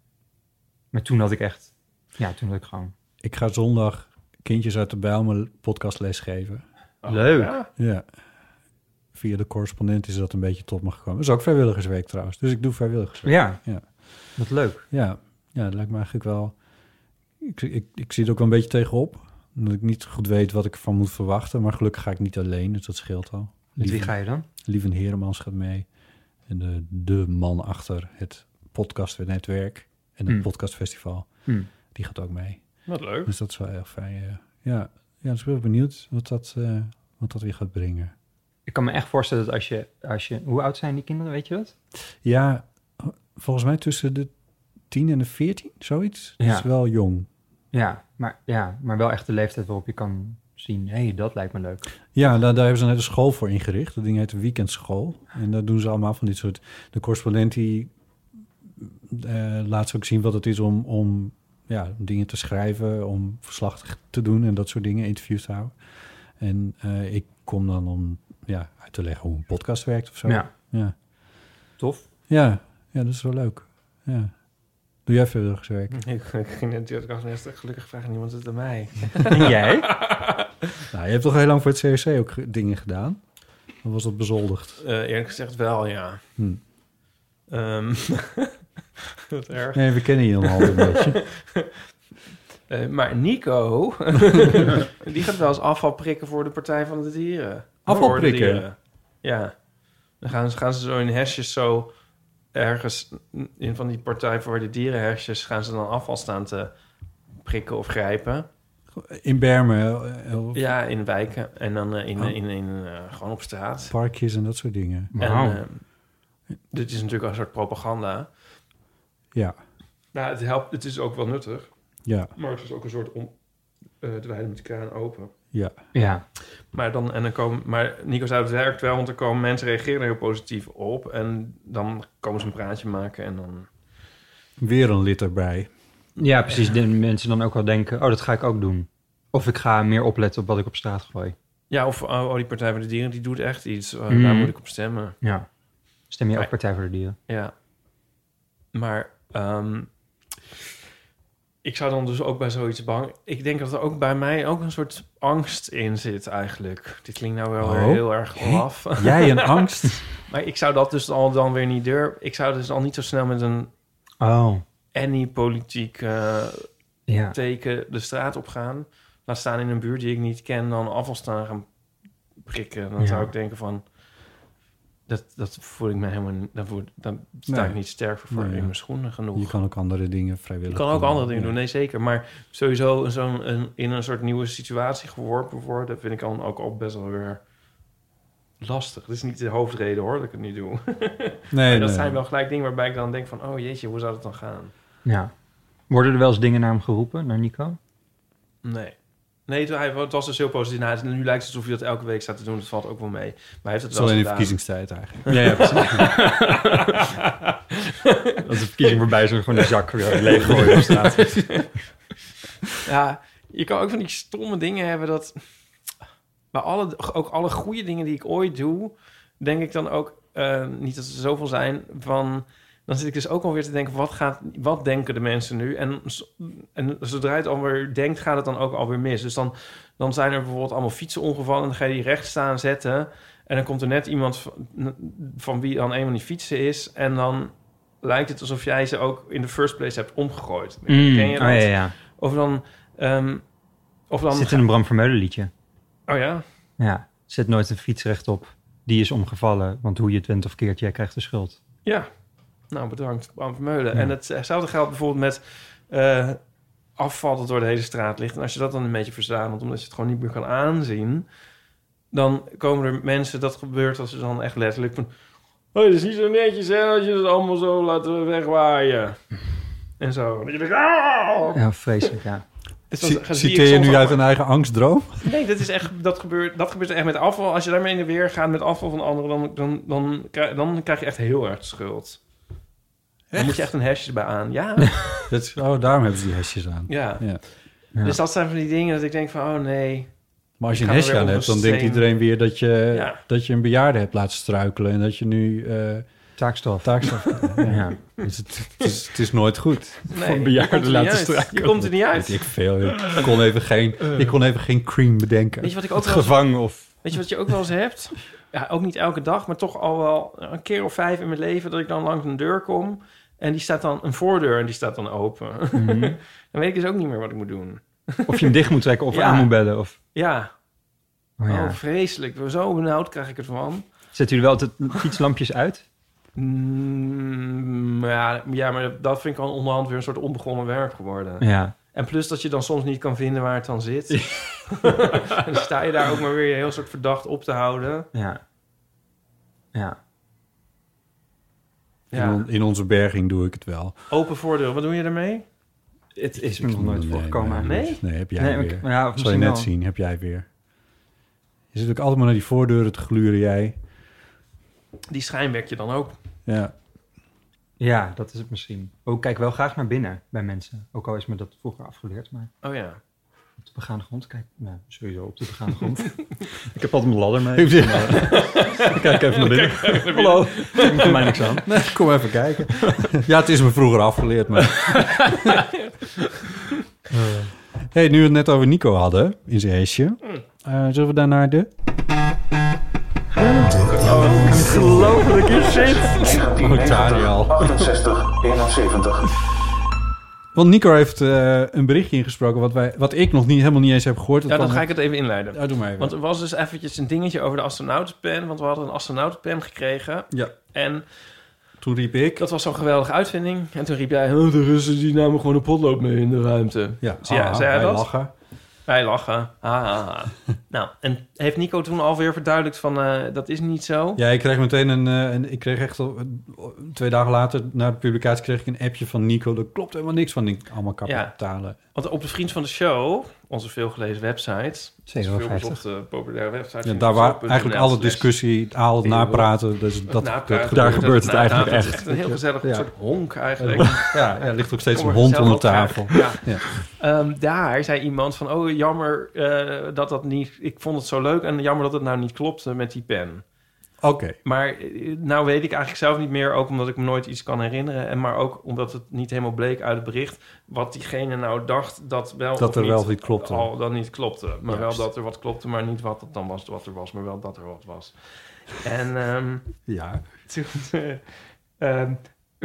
Maar toen had ik echt... Ja, toen had ik gewoon... Ik ga zondag kindjes uit de Bijlmer podcastles geven. Leuk. Ja. Via de correspondent is dat een beetje tot me gekomen. Dat is ook vrijwilligersweek trouwens. Dus ik doe vrijwilligersweek. Ja, Ja. wat leuk. Ja, ja dat lijkt me eigenlijk wel... Ik, ik, ik zie het ook wel een beetje tegenop. Omdat ik niet goed weet wat ik ervan moet verwachten. Maar gelukkig ga ik niet alleen, dus dat scheelt al. Met wie Lieve- ga je dan? Lieven Heremans gaat mee. En de, de man achter het podcastnetwerk en het Hmm. podcastfestival, Hmm. die gaat ook mee. Wat leuk. Dus dat is wel heel fijn. ja. Ja, ja dus ik ben wel benieuwd wat dat, eh, wat dat weer gaat brengen. Ik kan me echt voorstellen dat als je, als je... Hoe oud zijn die kinderen, weet je dat? Ja, volgens mij tussen de 10 en de 14, zoiets. Dat Ja. is wel jong. Ja maar, ja, maar wel echt de leeftijd waarop je kan zien... Hé, hey, dat lijkt me leuk. Ja, daar, daar hebben ze net een school voor ingericht. Dat ding heet de weekendschool. En daar doen ze allemaal van dit soort... De correspondent die eh, laat ze ook zien wat het is om, om ja, om dingen te schrijven... om verslag te doen en dat soort dingen, interviews te houden. En eh, ik kom dan om ja, uit te leggen hoe een podcast werkt of zo. Ja, ja. tof. Ja, ja, dat is wel leuk. Ja. Doe jij vrijwilligerswerk? Ik ging net, ik dacht net, gelukkig vraagt niemand het aan mij. En jij? Nou, je hebt toch heel lang voor het CRC ook ge- dingen gedaan? Dan was dat bezoldigd. Eh, eerlijk gezegd wel, ja. Hm. Ehm, wat erg. Nee, we kennen je al een beetje. Eh, maar Nico, die gaat wel eens afval prikken voor de Partij van de Dieren. Afval Voor de prikken? dieren. Ja. Dan gaan ze, gaan ze zo in hesjes zo ergens in van die Partij voor de Dieren hesjes... gaan ze dan afval staan te prikken of grijpen. In Bermen, eh, of Ja, in wijken. En dan eh, in, Oh. in, in, eh, gewoon op straat. parkjes en dat soort dingen. Wauw. En eh, dit is natuurlijk al een soort propaganda. Ja, Nou, het helpt. Het is ook wel nuttig. ja, Maar het is ook een soort om eh dweilen met de kraan open. ja. Ja, Maar, dan, en dan komen, maar Nico zei, het werkt wel, want dan komen mensen reageren er heel positief op. En dan komen ze een praatje maken en dan... Weer een lid erbij. ja precies. De mensen dan ook wel denken, oh, dat ga ik ook doen. Of ik ga meer opletten op wat ik op straat gooi. Ja, of oh, oh, die Partij van de Dieren, die doet echt iets. Eh, Mm. Daar moet ik op stemmen. Ja. Stem je ook Nee. Partij voor de Dieren? Ja. Maar ehm, ik zou dan dus ook bij zoiets bang... Ik denk dat er ook bij mij ook een soort angst in zit eigenlijk. Dit klinkt nou wel weer Oh. heel erg laf. Jij een angst? Maar ik zou dat dus al dan weer niet durven. Ik zou dus al niet zo snel met een Oh, any politiek eh, ja. teken de straat op gaan. Laat staan in een buurt die ik niet ken, dan afval staan gaan prikken. Dan Ja. zou ik denken van, dat, dat voel ik me helemaal, daar voel, daar sta Nee. ik niet sterk voor Nee. in mijn schoenen genoeg. Je kan ook andere dingen Je vrijwillig kan ook andere dingen Ja. doen, nee zeker. Maar sowieso zo'n, een, in een soort nieuwe situatie geworpen worden, vind ik dan ook al best wel weer lastig. Dat is niet de hoofdreden hoor, dat ik het niet doe. Nee, Maar dat nee. zijn wel gelijk dingen waarbij ik dan denk van... oh jeetje, hoe zou dat dan gaan? ja. Worden er wel eens dingen naar hem geroepen, naar Nico? Nee. Nee, het, hij, het was dus heel positief. Nou, het- nu lijkt het alsof hij dat elke week staat te doen. Dat valt ook wel mee. Maar hij heeft het Het is wel alleen in gedaan. verkiezingstijd eigenlijk. Ja, ja Als de verkiezing voorbij is, dan gewoon de zak weer leeggooien op straat. Ja, je kan ook van die stomme dingen hebben dat... Maar alle, ook alle goede dingen die ik ooit doe... denk ik dan ook, eh, niet dat er zoveel zijn, van... Dan zit ik dus ook alweer te denken, wat, gaat, wat denken de mensen nu? En, zo- en zodra je het alweer denkt, gaat het dan ook alweer mis. Dus dan, dan zijn er bijvoorbeeld allemaal fietsenongevallen... en dan ga je die recht staan zetten... en dan komt er net iemand van, van wie dan een van die fietsen is... en dan lijkt het alsof jij ze ook in de first place hebt omgegooid. Ken je dat? Oh, ja, ja. Of dan... ehm, of dan Zit in een Bram Vermeulen liedje. Oh ja? Ja, zet nooit een fiets rechtop. Die is omgevallen, want hoe je het went of keert, jij krijgt de schuld. Ja. Nou, bedankt, Bram Vermeulen. Ja. En eh, hetzelfde geldt bijvoorbeeld met eh, afval dat door de hele straat ligt. En als je dat dan een beetje verzamelt, omdat je het gewoon niet meer kan aanzien... dan komen er mensen, dat gebeurt als ze dan echt letterlijk van... Oh, dat is niet zo netjes, hè, als je het allemaal zo laat eh, wegwaaien. En zo. Dat je denkt, "Ah!" Ja, vreselijk, ja. Dus dan zie Ci- ik Citeer je soms nu ook- uit een eigen angstdroom? Nee, dat, is echt, dat, gebeurt, dat gebeurt echt met afval. Als je daarmee in de weer gaat met afval van anderen, dan, dan, dan, krijg- dan krijg je echt heel erg schuld. Dan moet je echt een hesje erbij aan. Ja, Dat is, oh, daarom hebben ze die hesjes aan. ja. Ja. Dus dat zijn van die dingen dat ik denk van, oh nee. Maar als je Ik een ga er hesje weer aan op hebt, een dan denkt steen. iedereen weer dat je, Ja. dat je een bejaarde hebt laten struikelen. En dat je nu eh, Taakstraf. taakstraf ja. Ja. Dus het, het, is, het is nooit goed. Nee, Van je bejaarden komt er laten niet uit. struikelen. Eh. Je komt er niet Weet uit. ik veel. Ik kon even geen, ik kon even geen cream bedenken. Weet je wat ik ook Het wel- gevangen of... Weet je wat je ook wel eens hebt? Ja, ook niet elke dag, maar toch al wel een keer of vijf in mijn leven dat ik dan langs een deur kom en die staat dan, een voordeur en die staat dan open. dan weet ik dus ook niet meer wat ik moet doen. Of je hem dicht moet trekken of Ja. aan moet bellen. Of, Ja, oh, ja. oh vreselijk. Zo benauwd krijg ik ervan. Zet u wel altijd fietslampjes uit? Mm, maar ja, ja, maar dat vind ik al onderhand weer een soort onbegonnen werk geworden. Ja. En plus dat je dan soms niet kan vinden waar het dan zit. en dan sta je daar ook maar weer je heel soort verdacht op te houden. Ja. Ja. In, Ja. on- in onze berging doe ik het wel. Open voordeel, wat doe je daarmee? Het is me nog nooit Nee, voorgekomen. maar- Nee? Nee, heb jij Nee, maar weer. ik- maar ja, of Zal je misschien net wel. zien, heb jij weer. Je zit ook altijd maar naar die voordeuren te gluren, jij. Die schijnwerk je dan ook. Ja. Ja, dat is het misschien. Ook kijk wel graag naar binnen bij mensen. Ook al is me dat vroeger afgeleerd, maar Oh ja. op de begaande grond kijk. Nou, sowieso op de begaande grond. ik heb altijd mijn ladder mee. Kijk even naar binnen. Hallo. Doet voor mij niks aan. Nee, kom even kijken. ja, het is me vroeger afgeleerd, maar... hey, nu we het net over Nico hadden, in zijn heesje. Hm. eh, zullen we daarnaar de... Ongelofelijke shit. 1990, 68, 71. Want Nico heeft eh, een berichtje ingesproken wat, wij, wat ik nog niet, helemaal niet eens heb gehoord. Ja, dan kwam- ga ik het even inleiden. Ja, doe maar even. Want er was dus eventjes een dingetje over de astronautenpen. Want we hadden een astronautenpen gekregen. Ja, En toen riep ik... dat was zo'n geweldige uitvinding. En toen riep jij, "Oh, de Russen die namen gewoon een potlood mee in de ruimte. Ja, Zie jij- ah, zei jij wij dat? lachen. Wij lachen. Ha, ha, ha. nou, en heeft Nico toen alweer verduidelijkt van eh, dat is niet zo? Ja, ik kreeg meteen een, eh, een ik kreeg echt al, eh, twee dagen later na de publicatie kreeg ik een appje van Nico. Dat klopt helemaal niks van die allemaal kapitalen. Want op de Vriend van de Show, onze veelgelezen website, onze 57. veelbezochte populaire website, Ja, daar waar eigenlijk alle discussies discussie, al het napraten, dus dat, dat daar gebeurt het eigenlijk Het echt. is een heel gezellig Ja. soort honk eigenlijk. Ja, ja, er ligt ook steeds Kom een er hond gezellig onder tafel. op graag. Ja. Ja. Ehm, daar zei iemand van, oh jammer eh, dat dat niet, ik vond het zo leuk en jammer dat het nou niet klopte met die pen. Oké, Maar eh, nou weet ik eigenlijk zelf niet meer, ook omdat ik me nooit iets kan herinneren. En maar ook omdat het niet helemaal bleek uit het bericht wat diegene nou dacht dat wel Dat of er niet, wel of niet klopte. Al dan niet klopte. Maar Juist. wel dat er wat klopte, maar niet wat dat dan was wat er was, maar wel dat er wat was. En ehm, ja. toen, eh, ehm,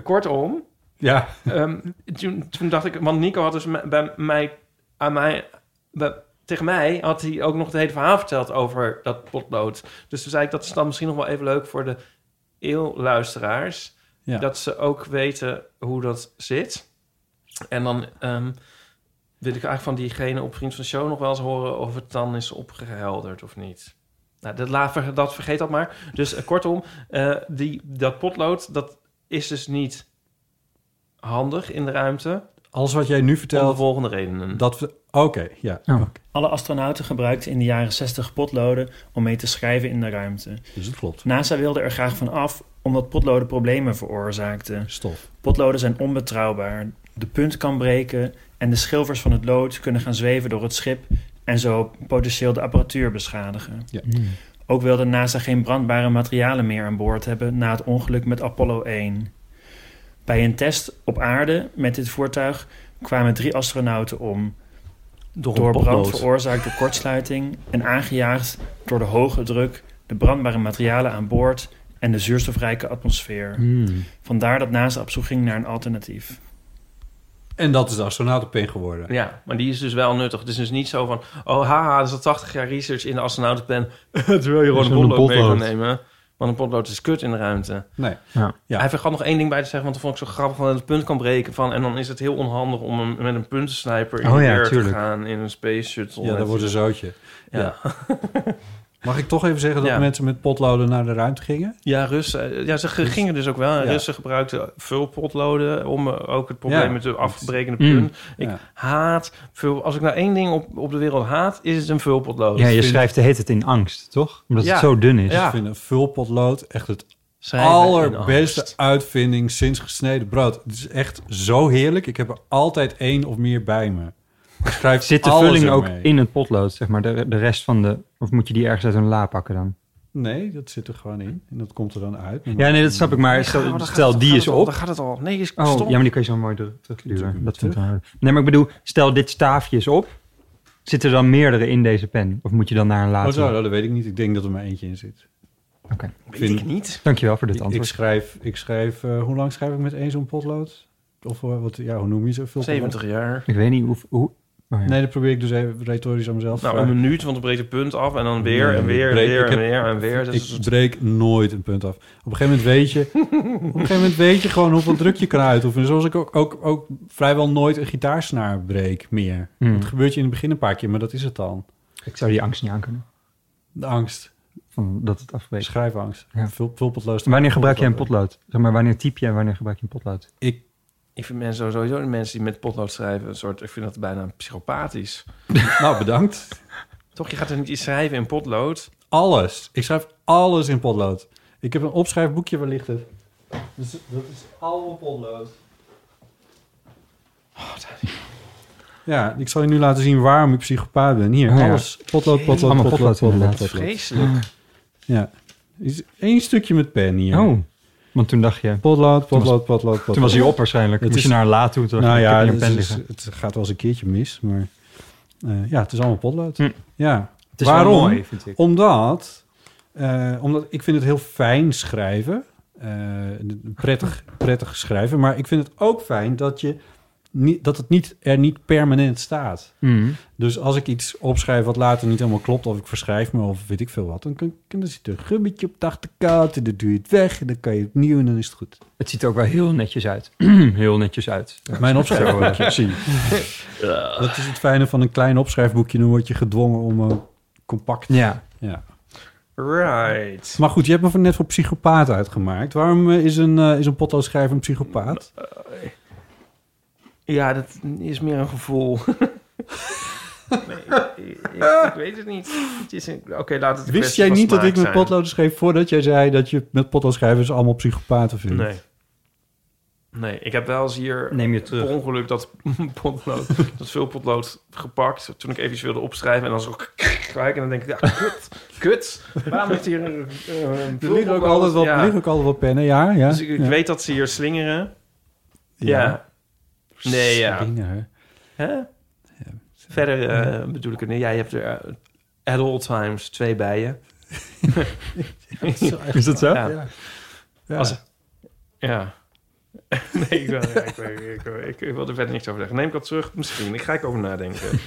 kortom, Ja, ehm, toen, toen dacht ik, want Nico had dus m- bij mij, aan mij, bij- tegen mij had hij ook nog het hele verhaal verteld over dat potlood. Dus toen zei ik, dat is dan misschien nog wel even leuk voor de eeuwluisteraars, Ja. dat ze ook weten hoe dat zit. En dan ehm, wil ik eigenlijk van diegene op Vriend van de Show nog wel eens horen of het dan is opgehelderd of niet. Nou, dat, laat ver- dat vergeet dat maar. Dus eh, kortom, eh, die, dat potlood, dat is dus niet handig in de ruimte. alles wat jij nu Om de vertelt, volgende redenen. dat we... Oké, ja. Ja. oké. Alle astronauten gebruikten in de jaren 60 potloden om mee te schrijven in de ruimte. Dus het klopt. NASA wilde er graag van af omdat potloden problemen veroorzaakten. Stof. Potloden zijn onbetrouwbaar. De punt kan breken en de schilvers van het lood kunnen gaan zweven door het schip en zo potentieel de apparatuur beschadigen. Ja. Mm. Ook wilde NASA geen brandbare materialen meer aan boord hebben na het ongeluk met Apollo 1. Bij een test op aarde met dit voertuig kwamen drie astronauten om. door Door brand potlood. veroorzaakt door kortsluiting en aangejaagd door de hoge druk, de brandbare materialen aan boord en de zuurstofrijke atmosfeer. Hm. Hmm. Vandaar dat NASA op zoek ging naar een alternatief. En dat is de astronautenpin geworden. Ja, maar die is dus wel nuttig. Het is dus niet zo van... Oh, haha, er zat 80 jaar research in de astronautenpen. Terwijl je gewoon een gewoon een potlood mee kan potlood. nemen. Want een potlood is kut in de ruimte. Nee. Ja. Hij vergat nog één ding bij te zeggen, want dat vond ik zo grappig. Van dat het punt kan breken van... En dan is het heel onhandig om hem met een puntensniper in Oh de ja, air te tuurlijk. gaan. In een space shuttle. Ja, Met- dat wordt een zootje. Ja. Mag ik toch even zeggen dat Ja. mensen met potloden naar de ruimte gingen? Ja, Russen. eh, Ja, ze ge- gingen dus ook wel. En Ja. Russen gebruikten vulpotloden om eh, ook het probleem Ja. met de afbrekende Mm. punt. Ik Ja. haat vul. Als ik nou één ding op, op de wereld haat, is het een vulpotlood. Ja, je Vind- schrijft de heet het in angst, toch? Omdat Ja. het zo dun is. Ja. Ik vind een vulpotlood echt het Schrijven in allerbeste angst. uitvinding sinds gesneden brood. Het is echt zo heerlijk. Ik heb er altijd één of meer bij me. Ik schrijf Zit de alles vulling ook ermee. in het potlood, zeg maar? De, de rest van de... Of moet je die ergens uit een la pakken dan? Nee, dat zit er gewoon in. En dat komt er dan uit. Ja, nee, dat snap ik. Maar Ja, maar stel, dan gaat stel het- die gaat is het al- op. Dan gaat het al. Nee, is Oh, stop. ja, maar die kan je zo mooi terug- terugduwen. Natuurlijk, Dat vind ik wel aardig. Nee, maar ik bedoel, stel dit staafje is op. Zitten er dan meerdere in deze pen? Of moet je dan naar een Oh, later? zo, nou, dat weet ik niet. Ik denk dat er maar eentje in zit. Oké, Weet vind- ik niet. dankjewel voor dit Ik, ik antwoord. schrijf, ik schrijf eh, hoe lang schrijf ik met één zo'n potlood? Of eh, wat, ja, hoe noem je ze? Vulpotlood? 70 jaar. Ik, weet niet hoe... hoe oh ja. Nee, dat probeer ik dus even retorisch aan mezelf. te Nou, een vragen. minuut, want dan breekt het punt af. En dan weer, Nee, en weer, en ik breek- weer, ik en heb- weer, en weer. Dus ik breek nooit een punt af. Op een gegeven moment weet je, op een gegeven moment weet je gewoon hoeveel druk je kan uitoefenen. Zoals ik ook, ook, ook vrijwel nooit een gitaarsnaar breek meer. Hmm. Het gebeurt je in het begin een paar keer, maar dat is het dan. Ik zou die angst niet aankunnen. De angst, Van dat het afbreekt. schrijfangst, Ja. Vul, vulpotloos. Wanneer gebruik je een potlood? Zeg maar, wanneer typ je en wanneer gebruik je een potlood? Ik, ik vind mensen sowieso, de mensen die met potlood schrijven, een soort, ik vind dat bijna psychopathisch. nou, bedankt. Toch, je gaat er niet iets schrijven in potlood. Alles. Ik schrijf alles in potlood. Ik heb een opschrijfboekje, waar ligt het? Dus dat is allemaal potlood. Oh, Ja, ik zal je nu laten zien waarom ik psychopaat ben. Hier, Oh, ja. alles. Potlood, potlood, Allemaal potlood, potlood, potlood, potlood, inderdaad. potlood. Vreselijk. Ja. Is één stukje met pen hier. Oh, want toen dacht je... Potlood, Toen was- potlood, potlood, potlood. Toen was hij op waarschijnlijk. Het Moest is- je naar een la toe. Toen dacht Nou je, ik ja, heb hier het, een pen is- liggen. het gaat wel eens een keertje mis, maar... eh, ja, het is allemaal potlood. Hm. Ja. Het is wel Waarom? mooi, vind ik. Omdat, eh, omdat ik vind het heel fijn schrijven. Eh, prettig, prettig schrijven. Maar ik vind het ook fijn dat, je niet, dat het niet, er niet permanent staat. Mm. Dus als ik iets opschrijf wat later niet helemaal klopt... of ik verschrijf me of weet ik veel wat... dan, kan, kan, dan zit er een gummetje op de achterkant... en dan doe je het weg en dan kan je het opnieuw en dan is het goed. Het ziet er ook wel heel netjes uit. heel netjes uit. Mijn opschrijfboekje, zie Dat is het fijne van een klein opschrijfboekje. Dan word je gedwongen om eh, compact... Ja. Ja. Right. Maar goed, je hebt me voor- net voor psychopaat uitgemaakt. Waarom eh, is een, eh, is een potloodschrijver een Nou, psychopaat? Ja, dat is meer een gevoel. nee, ik, ik weet het niet. Het is een- Oké, laat het een Wist kwestie jij van niet dat smaak ik met zijn. potloden schreef... voordat jij zei dat je met potloodschrijvers allemaal psychopaten vindt? Nee. Nee, ik heb wel eens hier Neem je per terug. ongeluk dat potlood, dat veel potlood gepakt. Toen ik eventjes wilde opschrijven en dan zo kijk en dan denk ik, ja, kut, kut. Waarom heeft hier een, een Er liggen ook altijd wel, Ja. er liggen ook altijd wel pennen, ja. ja, Dus ik, ik ja. weet dat ze hier slingeren. Ja. Nee, ja. Hè? Verder eh, bedoel ik het niet. Jij hebt er eh, at all times twee bijen. Is dat zo? Ja. Ja. nee, ik wil, ja, ik, wil- ik, wil- ik, wil er verder niks over zeggen. Neem ik dat terug? Misschien. Ik ga ik over nadenken.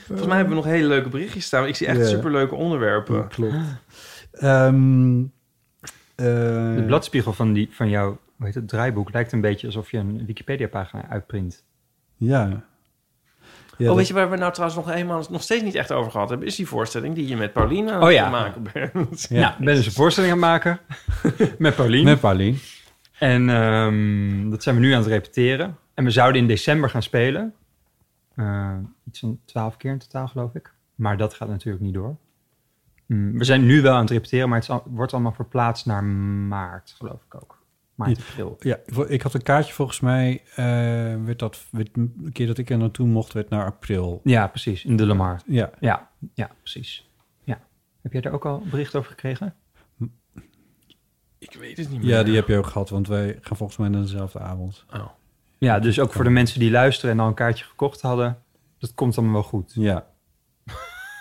Volgens mij hebben we nog hele leuke berichtjes staan. Ik zie echt Ja. superleuke onderwerpen. Oh, klopt. Ah. Ehm, eh, De bladspiegel van, die, van jouw hoe heet het, draaiboek lijkt een beetje alsof je een Wikipedia-pagina uitprint. Ja. ja oh, weet je waar we nou trouwens nog eenmaal nog steeds niet echt over gehad hebben? Is die voorstelling die je met Paulina aan Oh het ja. maken bent. Ja. Nou, ben dus een voorstelling aan het maken met Paulien. Met Paulien. En ehm, dat zijn we nu aan het repeteren. En we zouden in december gaan spelen. Eh, iets van twaalf keer in totaal, geloof ik. Maar dat gaat natuurlijk niet door. Mm, we zijn nu wel aan het repeteren, maar het is al- wordt allemaal verplaatst naar maart, geloof ik ook. Maart, april. Ja, voor- ik had een kaartje volgens mij. eh, werd dat, werd, een keer dat ik er naartoe mocht, werd naar april. Ja, precies. In de Lamar. Ja, Ja, ja precies. Ja. Heb jij daar ook al bericht over gekregen? Ik weet het niet meer. ja die heb je ook gehad, want wij gaan volgens mij naar dezelfde avond. Oh. Ja, dus ook voor de mensen die luisteren en al een kaartje gekocht hadden. Dat komt allemaal wel goed. Ja,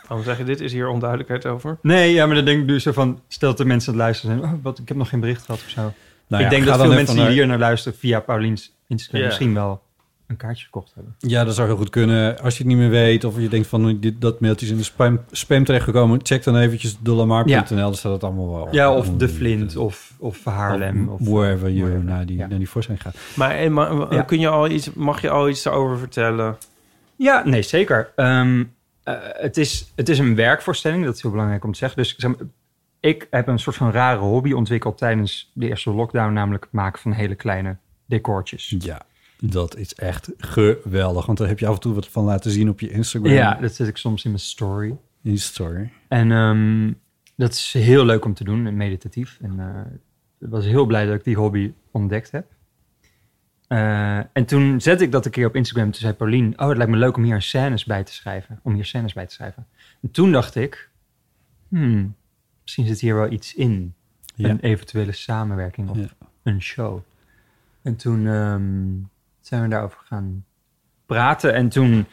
Waarom zeg je dit? Is hier onduidelijkheid over? Nee, ja, maar dan denk ik dus zo van... Stel dat de mensen aan het luisteren zijn. Oh, wat, ik heb nog geen bericht gehad of zo. Nou ik ja, denk ga dat dan veel even mensen naar- die hier naar luisteren via Paulien's Instagram Ja. misschien wel een kaartje gekocht hebben. Ja, dat zou heel goed kunnen. Als je het niet meer weet of je denkt van "Oh, dit, dat mailtje is in de spam, spam terechtgekomen, check dan eventjes dolamar.nl, daar staat het allemaal wel. Ja, of De Flint of, of Haarlem. Oh, Of, wherever you wherever, naar die, ja. naar die voorstelling gaat. Maar, eh, maar eh, Ja. kun je al iets, mag je al iets daarover vertellen? Ja, nee, zeker. Ehm, eh, het, is, het is een werkvoorstelling, dat is heel belangrijk om te zeggen. Dus zeg maar, ik heb een soort van rare hobby ontwikkeld tijdens de eerste lockdown, namelijk het maken van hele kleine decortjes. Ja, dat is echt geweldig, want daar heb je af en toe wat van laten zien op je Instagram. Ja, dat zet ik soms in mijn story. In je story. En ehm, dat is heel leuk om te doen en meditatief. En eh, ik was heel blij dat ik die hobby ontdekt heb. Eh, en toen zette ik dat een keer op Instagram. Toen zei Paulien, oh, het lijkt me leuk om hier scènes bij te schrijven. Om hier scènes bij te schrijven. En toen dacht ik, hmm, misschien zit hier wel iets in. Ja. Een eventuele samenwerking of Ja. een show. En toen ehm, zijn we daarover gaan praten. En toen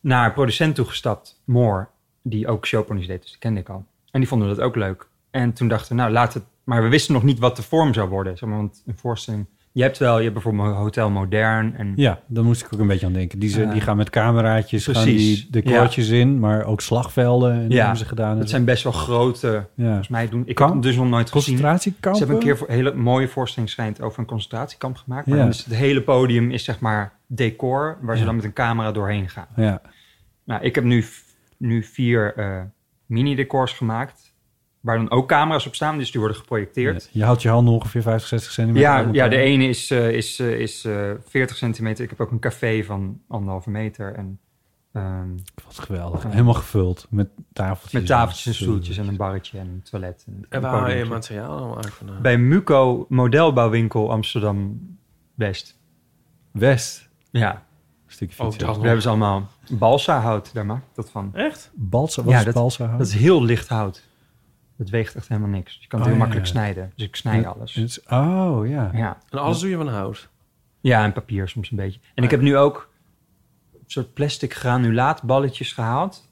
naar een producent toegestapt, Moore, die ook showponies deed. Dus die kende ik al. En die vonden dat ook leuk. En toen dachten we, nou, laat het... Maar we wisten nog niet wat de vorm zou worden. Zeg maar, want een voorstelling... Je hebt wel, je hebt bijvoorbeeld Hotel Modern en... Ja, daar moest ik ook een beetje aan denken. Die, ze, Ja. die gaan met cameraatjes gaan Ah. Precies. die de koortjes in, maar ook slagvelden en Ja, hebben ze gedaan. Dat zijn best wel grote, ja. volgens mij doen. Ik Kamp? heb hem dus nog nooit gezien. Ze concentratiekampen. hebben een keer voor, een hele mooie voorstelling schijnt over een concentratiekamp gemaakt. Maar Ja. dan is het hele podium is zeg maar decor, waar ze dan met een camera doorheen gaan. Ja, Nou, ik heb nu, nu vier eh, mini-decors gemaakt. Waar dan ook camera's op staan, dus die worden geprojecteerd. je houdt je handen ongeveer 50, 60 centimeter uit Ja, elkaar. ja, de ene is, eh, is, eh, is eh, 40 centimeter. Ik heb ook een café van anderhalve meter. En, ehm, Wat geweldig. Helemaal gevuld met tafeltjes. met tafeltjes en stoeltjes en een barretje en een toilet. En, En een waar haal je je podiumtje. materiaal allemaal uit vandaan? Bij Muco Modelbouwwinkel Amsterdam West. West. Ja, Een stukje Oh, fiets. dat daar hebben ze allemaal balsa-hout. Daar maak ik dat van. Echt? Balsa, wat Ja, is dat- balsa hout? Dat is heel licht hout. Het weegt echt helemaal niks. Je kan het Oh, heel ja, makkelijk ja. snijden. Dus ik snij alles. Het is- Oh, ja. Ja. En alles doe je van hout? ja, en papier soms een beetje. En ik heb nu ook een soort plastic granulaatballetjes gehaald.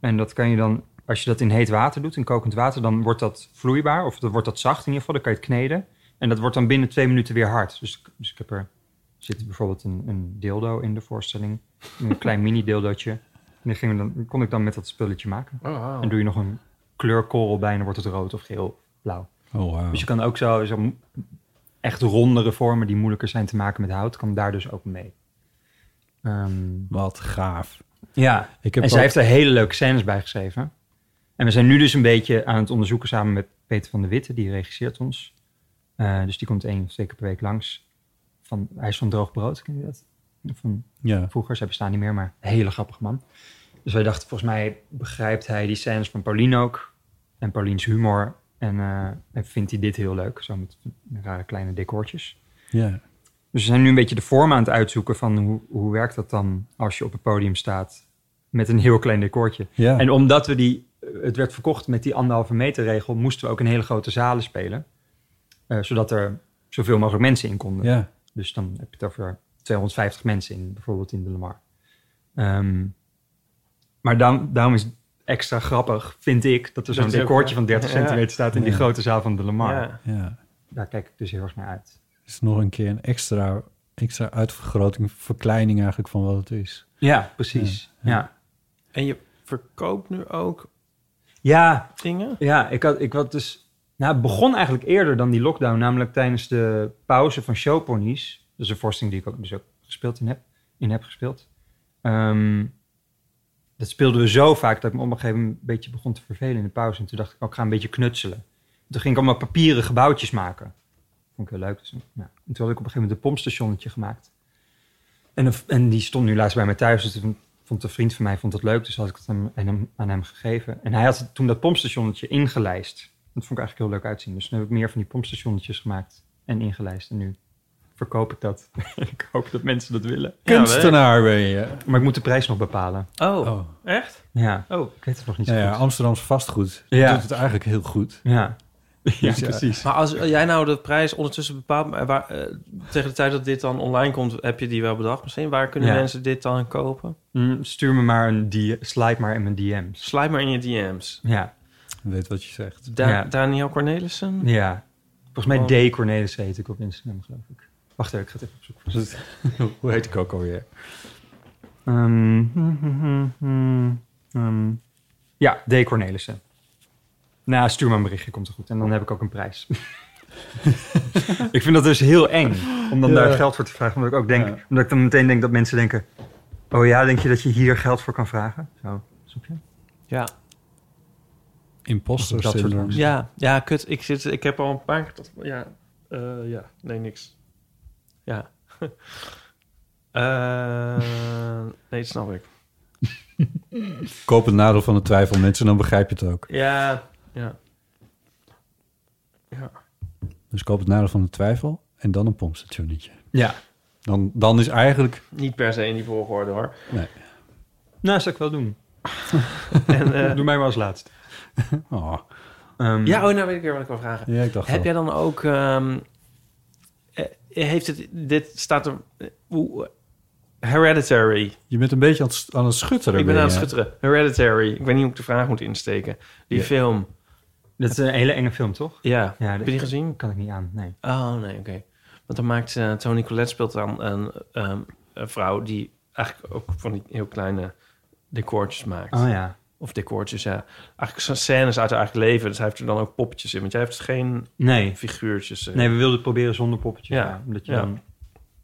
En dat kan je dan, als je dat in heet water doet, in kokend water, dan wordt dat vloeibaar. Of dan wordt dat zacht in ieder geval, dan kan je het kneden. En dat wordt dan binnen twee minuten weer hard. Dus, dus ik heb er, zit bijvoorbeeld een, een dildo in de voorstelling. Een klein mini-deildotje. En die gingen we dan, kon ik dan met dat spulletje maken. Oh, En doe je nog een kleurkorrel bij en dan wordt het rood of geel, blauw. Oh, wow. Dus je kan ook zo, zo m- echt rondere vormen die moeilijker zijn te maken met hout, kan daar dus ook mee. Ehm, Wat gaaf. ja, Ik heb en zij ook- heeft er hele leuke scènes bij geschreven. En we zijn nu dus een beetje aan het onderzoeken samen met Peter van der Witte, die regisseert ons. Eh, dus die komt één of twee keer per week langs. Van, hij is van Droog Brood, ken je dat? Van Ja. vroeger. Zij bestaan niet meer, maar een hele grappige man. Dus wij dachten, volgens mij begrijpt hij die scènes van Paulien ook. En Paulien's humor. En, eh, en vindt hij dit heel leuk. Zo met rare kleine decoortjes. ja. Dus we zijn nu een beetje de vorm aan het uitzoeken van hoe, hoe werkt dat dan als je op het podium staat met een heel klein decoortje. Ja. En omdat we die, eh, het werd verkocht met die anderhalve meter regel, moesten we ook in hele grote zalen spelen. Eh, zodat er zoveel mogelijk mensen in konden. ja. Dus dan heb je het over 250 mensen in, bijvoorbeeld in de Lamar. Ehm, maar daarom, daarom is het extra grappig, vind ik, dat er zo'n Dat is ook- decoortje van 30 Ja. centimeter staat in die Ja. grote zaal van de Lamar. Ja. ja. Daar kijk ik dus heel erg naar uit. is nog een keer een extra, extra uitvergroting, verkleining eigenlijk van wat het is. Ja, precies. Ja, ja. En je verkoopt nu ook ja dingen? Ja, ik had, ik had dus... Nou, het begon eigenlijk eerder dan die lockdown. Namelijk tijdens de pauze van Showponies. Dat is een voorstelling die ik ook, dus ook gespeeld in heb, in heb gespeeld. Ehm, dat speelden we zo vaak dat ik me op een gegeven moment een beetje begon te vervelen in de pauze. En toen dacht ik, oh, ik ga een beetje knutselen. Toen ging ik allemaal papieren gebouwtjes maken. Vond vond ik heel leuk. Dus, nou, en toen had ik op een gegeven moment een pompstationnetje gemaakt. En, een- en die stond nu laatst bij mij thuis. Dus toen vond een vriend van mij vond het leuk. Dus had ik het hem, aan hem- aan hem gegeven. En hij had toen dat pompstationnetje ingelijst. Dat vond ik eigenlijk heel leuk uitzien. Dus nu heb ik meer van die pompstationnetjes gemaakt en ingelijst. En nu verkoop ik dat. ik hoop dat mensen dat willen. Kunstenaar ben je. Maar ik moet de prijs nog bepalen. Oh, Oh. echt? Ja, Oh. ik weet het nog niet zo Ja, ja, goed. Amsterdams vastgoed Ja. doet het eigenlijk heel goed. Ja. eh, Ja, Dus ja. precies. Maar als jij nou de prijs ondertussen bepaalt, maar waar, eh, tegen de tijd dat dit dan online komt, heb je die wel bedacht misschien? Waar kunnen Ja. mensen dit dan kopen? Mm, Stuur me maar een die slide maar in mijn DM's. Slijt maar in je DM's. Ja, Weet wat je zegt. Da Ja. Daniel Cornelissen? ja. Volgens mij Oh. D. Cornelis heet ik op Instagram, geloof ik. Wacht even, ik ga het even opzoeken. Hoe heet ik ook alweer? Ehm, hmm, hmm, hmm, hmm, ehm, ja, D. Cornelissen. Nou, stuur me een berichtje, komt er goed. En dan heb ik ook een prijs. ik vind dat dus heel eng om dan Ja. daar geld voor te vragen. Omdat ik ook denk, Ja. omdat ik dan meteen denk dat mensen denken: Oh ja, denk je dat je hier geld voor kan vragen? Zo, snap je? Ja. Imposter Dat soort syndrome. angst. ja, ja, kut. Ik, zit, ik heb al een paar keer... tot- ja, Eh, ja, nee, niks. Ja. Eh, nee, dat snap ik. Koop het nadeel van de twijfel, mensen, dan begrijp je het ook. Ja, ja. Dus koop het nadeel van de twijfel en dan een pompstationnetje. Ja. Dan, dan is eigenlijk... Niet per se in die volgorde, hoor. Nee. Nou, zou ik wel doen. En, eh, Doe mij maar als laatst. Oh, Ehm, ja, oh, nou weet ik weer wat ik wil vragen. ja, ik dacht Heb wel. jij dan ook... ehm, eh, heeft het... Dit staat er... eh, hoe- Hereditary. Je bent een beetje aan het, aan het schutteren. Ik ben je. aan het schutteren. Hereditary. Ik weet niet hoe ik de vraag moet insteken. Die Ja. film. Dat is een hele enge film, toch? Ja. Ja, Heb je die gezien? kan ik niet aan, nee. Oh, nee, oké. Want dan maakt eh, Tony Collette speelt dan een, ehm, een vrouw die eigenlijk ook van die heel kleine decoortjes maakt. Oh ja. Of decoortjes, ja. Eigenlijk zijn scènes uit haar eigen leven. Dus hij heeft er dan ook poppetjes in. Want jij heeft geen Nee. figuurtjes. eh. Nee, we wilden het proberen zonder poppetjes. Ja. Ja. omdat je Ja. dan...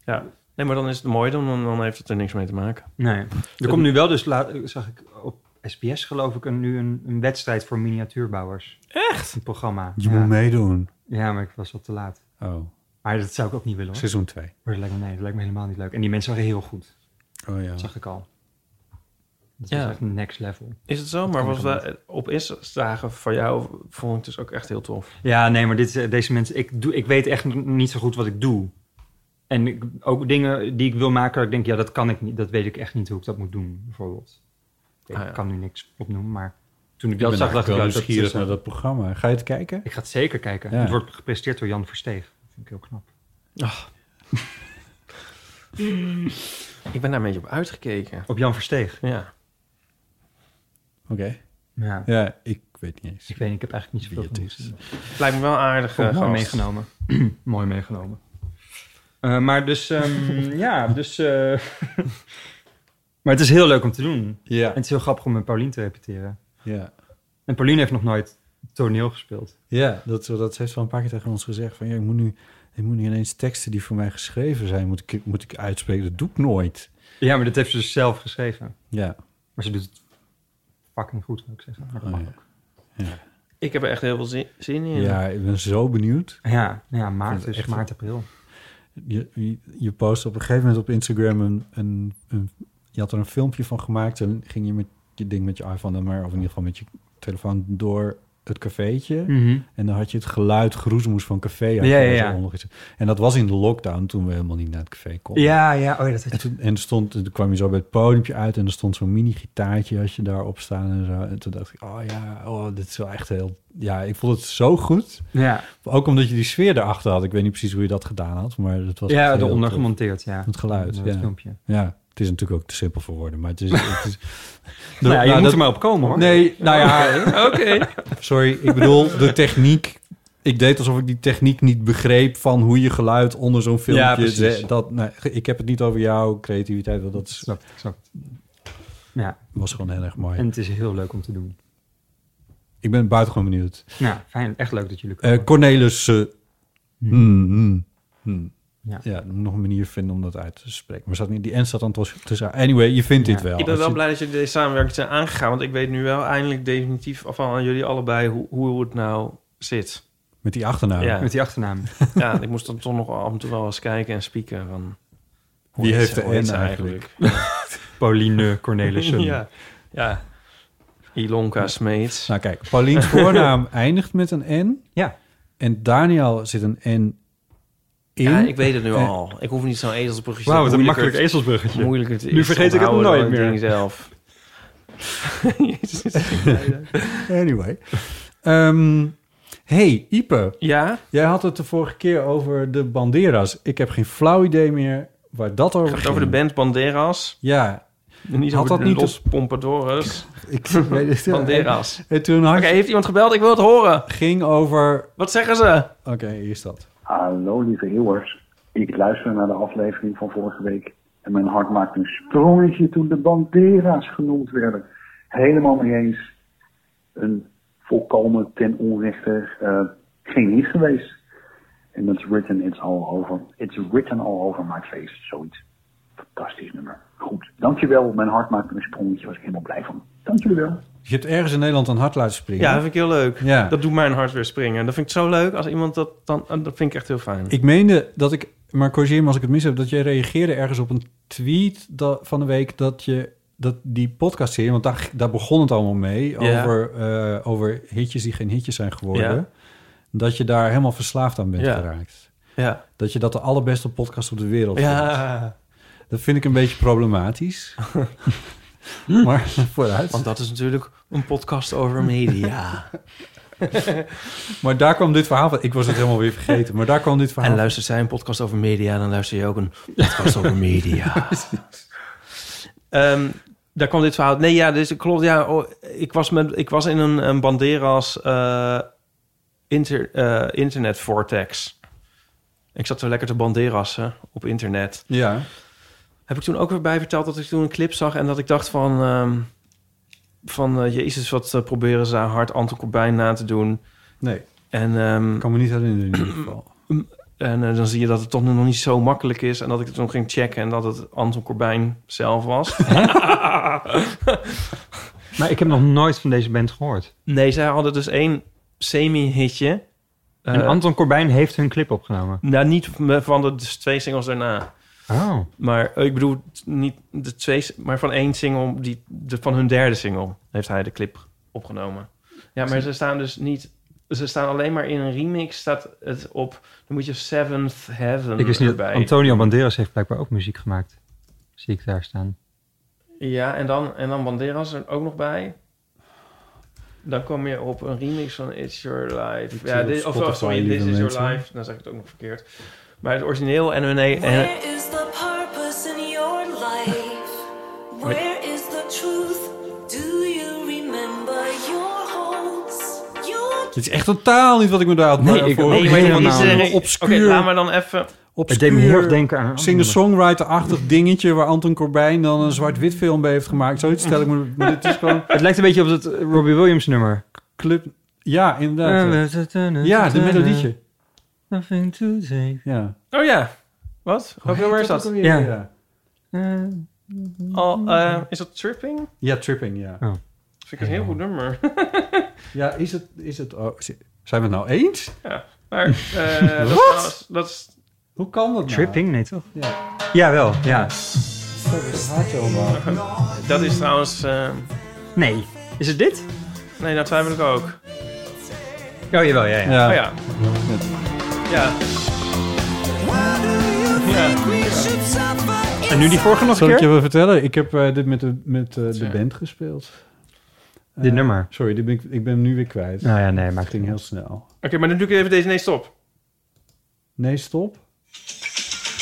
Ja. Nee, maar dan is het mooi. Dan, dan- dan heeft het er niks mee te maken. Nee. Er komt nu wel dus, laat, zag ik op SBS geloof ik, een, nu een, een wedstrijd voor miniatuurbouwers. Echt? Een programma. Je ja. moet meedoen. ja, maar ik was al te laat. Oh, Maar dat zou ik ook niet willen hoor. seizoen 2. Maar dat lijkt me, nee, dat lijkt me helemaal niet leuk. En die mensen waren heel goed. Oh ja. Dat zag ik al. Dat Ja. is echt next level. Is het zo? Maar kan wat we op is zagen van jou vond ik dus ook echt heel tof. Ja, nee, maar dit, is, eh, deze mensen, ik, doe, ik weet echt n- niet zo goed wat ik doe. En ik, ook dingen die ik wil maken, waar ik denk, ja, dat kan ik niet. Dat weet ik echt niet hoe ik dat moet doen, bijvoorbeeld. Ik Ah, ja. kan nu niks opnoemen, maar toen ik Ik ben dat zag, eigenlijk dacht ik, wel ja, dat is, nieuwsgierig eh, naar dat programma. Ga je het kijken? ik ga het zeker kijken. Ja. Het wordt gepresteerd door Jan Versteeg. Dat vind ik heel knap. Ik ben daar een beetje op uitgekeken. Op Jan Versteeg? Ja. Oké. Ja. Ja, ik weet niet eens. Ik weet niet, ik heb eigenlijk niet zoveel Wie het van is. gezien. Lijkt me wel aardig. eh, Goed, mooi gast. meegenomen. mooi meegenomen. Eh, maar dus, ehm, ja, dus... eh, maar het is heel leuk om te doen. Ja. En het is heel grappig om met Paulien te repeteren. Ja. En Pauline heeft nog nooit toneel gespeeld. Ja, dat, dat heeft wel een paar keer tegen ons gezegd. Van, ja, ik, moet nu, ik moet nu ineens teksten die voor mij geschreven zijn, moet ik, moet ik uitspreken. Dat doe ik nooit. Ja, maar dat heeft ze dus zelf geschreven. Ja. Maar ze doet het fucking goed, wil ik zeggen. Maar dat Oh, mag ja. ook. Ik heb er echt heel veel zin, zin in. ja, ik ben zo benieuwd. Ja, ja, maart, vind het dus echt maart, april. Je, je- je post op een gegeven moment op Instagram een, een, een- Je had er een filmpje van gemaakt en ging je met je ding met je iPhone dan maar... of in ieder geval met je telefoon door het cafeetje. Mhm. En dan had je het geluid geroezemoes van café. had je Hm. Ja, ja, er ja. zo nog iets. En dat was in de lockdown toen we helemaal niet naar het café konden. Ja, ja, oh ja, dat En heeft... toen, en er stond, toen kwam je zo bij het podiumpje uit en er stond zo'n mini-gitaartje als je daarop staan en zo. En toen dacht ik, oh ja, oh, dit is wel echt heel... Ja, ik vond het zo goed. Ja, Ook omdat je die sfeer erachter had. Ik weet niet precies hoe je dat gedaan had, maar het was... echt ja heel eronder tof. gemonteerd, ja. Het geluid, Dat ja. filmpje. Ja, het is natuurlijk ook te simpel voor woorden, maar het is... Het is De- nou, ja, je nou, moet dat- er maar op komen, hoor. Nee, nou ja, Oké. sorry, ik bedoel de techniek. Ik deed alsof ik die techniek niet begreep van hoe je geluid onder zo'n filmpje... Ja, precies. dat, nou, ik heb het niet over jouw creativiteit, want dat is- Snap, ik, snap. ik. Ja, was gewoon heel erg mooi. en het is heel leuk om te doen. Ik ben buitengewoon benieuwd. Ja, fijn. Echt leuk dat jullie Eh komen. Cornelis. eh, hmm, hmm, hmm. Ja. Ja. ik moet nog een manier vinden om dat uit te spreken. Maar zat niet, die N staat dan tussen- tussen. Anyway, je vindt Ja. dit wel. Ik ben Als wel je- blij dat jullie deze samenwerking zijn aangegaan. Want ik weet nu wel eindelijk definitief van aan jullie allebei hoe, hoe het nou zit. Met die achternaam. Ja. Met die achternaam. Ja, ik moest dan toch nog af en toe wel eens kijken en spieken van... hoe Wie heet heeft ze- de hoe heet N ze eigenlijk? Pauline Cornelissen. ja. ja. Ilonka Smeets. Nou kijk, Paulien's voornaam eindigt met een N. Ja. En Daniel zit een N in. Ja, ik weet het nu Eh. al. Ik hoef niet zo'n ezelsbrugje Wauw, wat een makkelijk moeilijker- ezelsbruggetje. moeilijker te- Nu vergeet te ik het onthouden dan nooit het meer. ding zelf. Jezus. Anyway. Ehm, hey, Ipe. Ja? Jij had het de vorige keer over de Banderas. Ik heb geen flauw idee meer waar dat over Gaat het ging. over de band Banderas. Ja. Niet Had over dat de niet Los Pompadoras. Ik weet het Banderas. En toen had Oké, heeft iemand gebeld? Ik wil het horen. ging over... Wat zeggen ze? Oké, hier is dat. Hallo lieve eeuwers. Ik luister naar de aflevering van vorige week. En mijn hart maakt een sprongetje toen de Bandera's genoemd werden. Helemaal mee eens. Een volkomen ten onrechte eh, geen hit geweest. En dat is written it's all over. It's written all over my face. Zoiets. Fantastisch nummer. Goed. Dankjewel. Mijn hart maakt een sprongetje. Was ik helemaal blij van. Dank jullie wel. Je hebt ergens in Nederland een hart laten springen. Ja, dat vind ik heel leuk. Ja. Dat doet mijn hart weer springen. Dat vind ik zo leuk als iemand dat dan... eh, Dat vind ik echt heel fijn. Ik meende dat ik, maar corrigeer me als ik het mis heb, dat jij reageerde ergens op een tweet da- van de week dat je dat die podcast serie, want daar, daar begon het allemaal mee, Ja. over, eh, over hitjes die geen hitjes zijn geworden, Ja. dat je daar helemaal verslaafd aan bent Ja. geraakt. Ja. Dat je dat de allerbeste podcast op de wereld vindt. Ja, Dat vind ik een beetje problematisch. maar vooruit. want dat is natuurlijk een podcast over media. Maar daar kwam dit verhaal van. Ik was het helemaal weer vergeten. Maar daar kwam dit verhaal En van. luistert zij een podcast over media, dan luister je ook een podcast over media. Ehm, daar kwam dit verhaal. Nee, ja, dus klopt. Ja, oh, ik, was met, ik was in een, een Banderas eh, inter, eh, internet vortex. Ik zat zo lekker te banderassen op internet. Ja. Heb ik toen ook weer bij verteld dat ik toen een clip zag en dat ik dacht van... ehm, van eh, Jezus, wat eh, proberen ze hard Anton Corbijn na te doen. Nee, En ehm, ik kan me niet herinneren in ieder geval. En eh, dan zie je dat het toch nog niet zo makkelijk is. En dat ik het toen ging checken en dat het Anton Corbijn zelf was. Maar ik heb nog nooit van deze band gehoord. nee, zij hadden dus één semi-hitje. Eh, en Anton Corbijn heeft hun clip opgenomen. Nou, niet me- van de dus twee singles daarna. Oh. Maar eh, ik bedoel, t- niet de twee, s- maar van één single, die, de, van hun derde single, heeft hij de clip opgenomen. Ja, maar ze staan dus niet. Ze staan alleen maar in een remix, staat het op. Dan moet je Seventh Heaven Ik wist niet dat erbij. Antonio Banderas heeft blijkbaar ook muziek gemaakt. Zie ik daar staan. Ja, en dan, en dan Banderas er ook nog bij. Dan kom je op een remix van It's Your Life. Ik ja, zie dit, of op Spotify, sorry, This lieve Is Your mensen. Life. Dan zeg ik het ook nog verkeerd. Maar het origineel en hun... En, Where is the purpose in your life? Where is the truth? Do you remember your hopes? Your Dit is echt totaal niet wat ik me daar had Nee, ik voor. ook nee, niet. maar helemaal die niet. zeggen... Oké, Obscuur. laat maar dan even... Het deed me heel erg denken aan een ander Singer-songwriter-achtig dingetje waar Anton Corbijn dan een zwart-wit film bij heeft gemaakt. Zoiets stel ik me. Maar dit is gewoon Het lijkt een beetje op dat eh, Robbie Williams nummer. Eh, club. Ja, inderdaad. ja. Ja, Ja, de melodietje. Nothing to say. Ja. Oh ja. Wat? Welk nummer is dat? Ja. Ja. ja. Eh, Al, eh, is dat Tripping? tripping, ja. Oh. Vind ik een heel goed nummer. Ja, is het... Is het oh, zi- zijn we het nou eens? Maar eh, dat, is, dat is... Hoe kan dat nou? Tripping? Nee, toch? Ja. Jawel, ja. Dat is trouwens... eh, Nee. Is het dit? nee, dat twijfel ik ook. Oh, jawel, ja, ja. Oh Ja. ja. Ja. Ja. En nu die vorige nog een Zal ik je keer? wel vertellen? Ik heb eh, dit met de, met, eh, de band gespeeld. Dit nummer. Sorry, dit ben ik, ik ben hem nu weer kwijt. Nou ja, nee, Het maakt het ging niet. heel snel. Oké, maar dan doe ik even deze... Nee, stop. Nee, stop. Where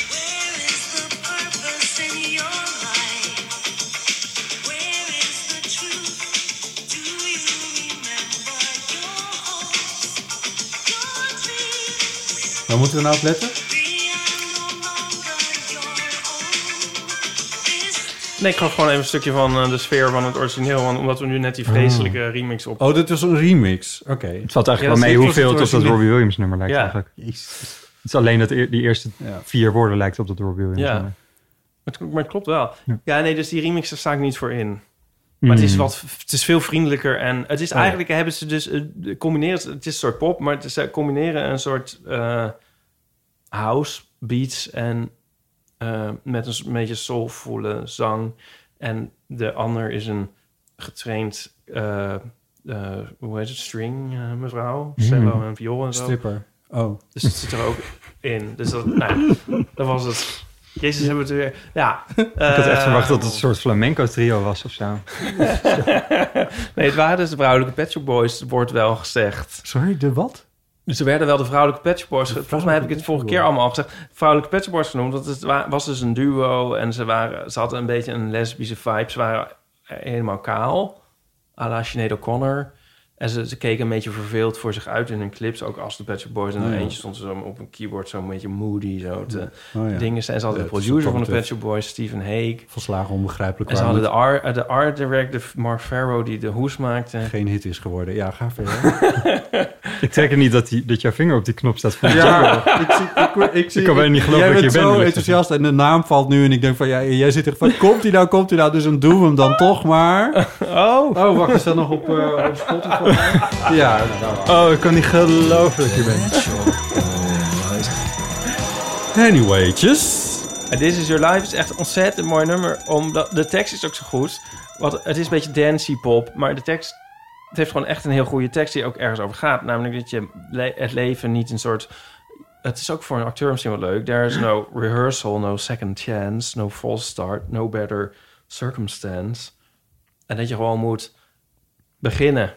is the purpose in your life? Where is the truth? Do you remember your hopes? Your dreams? Waar moeten we nou op letten? They are no longer your own. This Nee, ik gaf gewoon even een stukje van eh, de sfeer van het origineel. Want omdat we nu net die vreselijke remix op... Oh, dit was een remix. Oké. Het valt Ja, eigenlijk dat wel is mee niet hoeveel zoals het het op dat Robbie Williams nummer lijkt Ja. eigenlijk. Het is alleen dat eer- die eerste Ja. vier woorden lijkt op dat Robbie Williams Ja. nummer. Het- Maar het klopt wel. Ja. Ja. nee, dus die remix, daar sta ik niet voor in. Maar het is, Mm. wat, het is veel vriendelijker. En het is ja. eigenlijk, hebben ze dus, eh, combineren, het is een soort pop, maar het is- ze combineren een soort eh, house beats en eh, met een s- beetje soulvolle zang. En de ander is een getraind, eh, eh, hoe heet het, string eh, mevrouw, cello en viool en zo. Stripper. Oh, Dus het zit er ook in. Dus dat, nou, ja, dat was het. Jezus, hebben we het weer. Ja. eh, Ik had echt verwacht dat het een soort flamenco trio was of zo. Nee, het waren dus de vrouwelijke Pet Shop Boys, wordt wel gezegd. sorry, de wat? Dus er werden wel de vrouwelijke Pet Shop Boys... ge- Volgens mij heb ik het vorige keer allemaal al gezegd. Vrouwelijke Pet Shop Boys genoemd, want het wa- was dus een duo... en ze, waren, ze hadden een beetje een lesbische vibe. Ze waren helemaal kaal, à la Sinead O'Connor. En ze, ze keken een beetje verveeld voor zich uit in hun clips... ook als de Pet Shop Boys. En Oh, ja. eentje stond zo op een keyboard zo'n beetje moody... Zo te Oh ja. dingen. En ze hadden de Ja, het is producer van de supportive. Pet Shop Boys, Stephen Hague... Volslagen onbegrijpelijk. En ze waarom hadden de art, eh, de art director Mark Farrow die de hoes maakte. het geen hit is geworden. Ja, ga verder. Ik trek er niet dat, die, dat jouw vinger op die knop staat. Van, ja, ik, zie, ik, zie, Ik kan bijna niet geloven jij dat je bent bent, zo wil ik enthousiast en de naam valt nu en ik denk van, ja, jij zit echt van, komt hij nou, komt hij nou, dus dan doen we hem dan toch maar. Oh, Oh, wacht, is dat nog op, eh op Spotify? Ja, Oh, ik kan niet geloven dat je bent. Anywaytjes. En This Is Your Life is echt een ontzettend mooi nummer. Omdat de tekst is ook zo goed. Want het is een beetje dancey pop. Maar de tekst. Het heeft gewoon echt een heel goede tekst die ook ergens over gaat. Namelijk dat je le- het leven niet een soort. Het is ook voor een acteur misschien wel leuk. There is no rehearsal, no second chance, no false start, no better circumstance. En dat je gewoon moet beginnen.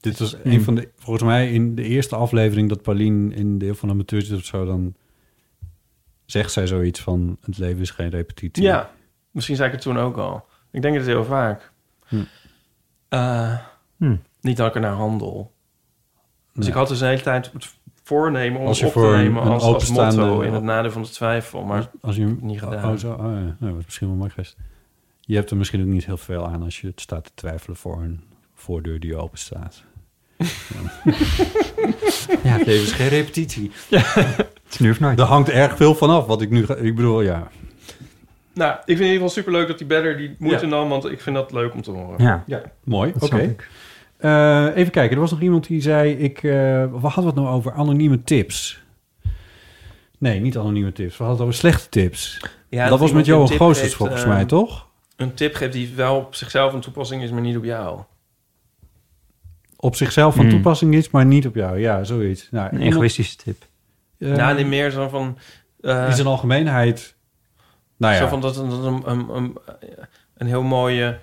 Dit was een van de, volgens mij in de eerste aflevering dat Pauline in deel van amateurtjes of zo, dan zegt zij zoiets van, het leven is geen repetitie. Ja, misschien zei ik het toen ook al. Ik denk het heel vaak. Hm. Eh, Hm. Niet dat ik er naar handel. Dus Nee. ik had dus de hele tijd het voornemen om Als je op te voor een- nemen een als, als openstaande- motto in het nadeel van de twijfel. Maar Als je niet gedaan. Oh, zo. Oh, ja. Nou, dat is misschien wel mooi geweest. Je hebt er misschien ook niet heel veel aan als je het staat te twijfelen voor een voordeur die open staat. ja, ja het is geen repetitie. Het is nu of nooit. Er hangt erg veel van af wat ik nu ga. Ik bedoel, ja. nou, ik vind in ieder geval superleuk dat die better die moeite nam, want ik vind dat leuk om te horen. Ja, Mooi. Oké. dat snap ik. Eh, even kijken, er was nog iemand die zei... Ik, eh, we hadden het nou over anonieme tips. Nee, niet anonieme tips. We hadden het over slechte tips. Ja, dat was iemand met een Johan tip Goosters geeft, volgens eh, mij, toch? Een tip geeft die wel op zichzelf een toepassing is, maar niet op jou. Op zichzelf van Mm. toepassing is, maar niet op jou. Ja, zoiets. Nou, Een iemand- egoïstische tip. eh, nou, die meer zo van... eh, in zijn algemeenheid... Nou ja, Zo van dat, een- dat een, een, een, een heel mooie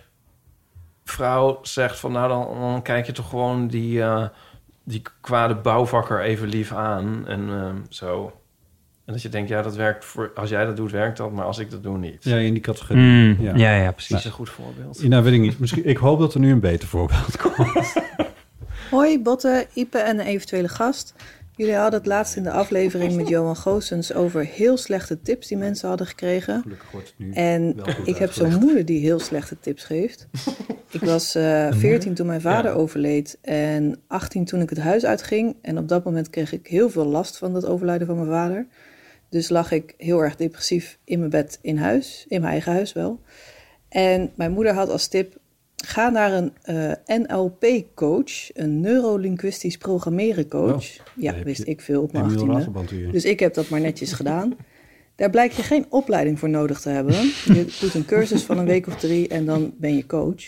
vrouw zegt van... nou, dan, dan kijk je toch gewoon die, eh, die kwade bouwvakker even lief aan en eh, zo. En dat je denkt, ja, dat werkt voor... als jij dat doet, werkt dat, maar als ik dat doe, niet. ja, in die categorie. Mm, Ja. ja. ja, precies. Dat is een goed voorbeeld. Nou, weet ik niet. Misschien, ik hoop dat er nu een beter voorbeeld komt. Hoi Botte, Ipe en een eventuele gast. Jullie hadden het laatst in de aflevering met Johan Goossens over heel slechte tips die mensen hadden gekregen. Gelukkig wordt het nu. En Wel goed ik heb zo'n uitgelegd. moeder die heel slechte tips geeft. Ik was eh 14 toen mijn vader overleed en 18 toen ik het huis uitging. En op dat moment kreeg ik heel veel last van dat overlijden van mijn vader. Dus lag ik heel erg depressief in mijn bed in huis, in mijn eigen huis wel. En mijn moeder had als tip: ga naar een eh, NLP-coach, een neurolinguistisch programmeren Wow. coach. Daar ja, heb wist je ik veel op mijn Emiel 18e. Raterband hier. Dus ik heb dat maar netjes gedaan. Daar blijkt je geen opleiding voor nodig te hebben. Je doet een cursus van een week of drie en dan ben je coach.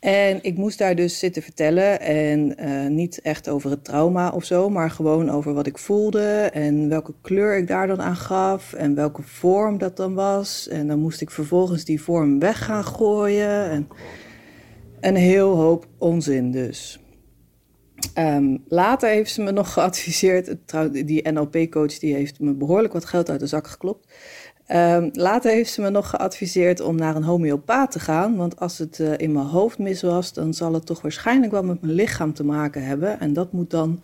En ik moest daar dus zitten vertellen. En eh, niet echt over het trauma of zo, maar gewoon over wat ik voelde. En welke kleur ik daar dan aan gaf. En welke vorm dat dan was. En dan moest ik vervolgens die vorm weg gaan gooien. En een heel hoop onzin dus. Ehm, later heeft ze me nog geadviseerd. het- trouw- Die NLP-coach die heeft me behoorlijk wat geld uit de zak geklopt. Ehm, later heeft ze me nog geadviseerd om naar een homeopaat te gaan. Want als het eh, in mijn hoofd mis was, dan zal het toch waarschijnlijk wel met mijn lichaam te maken hebben. En dat moet dan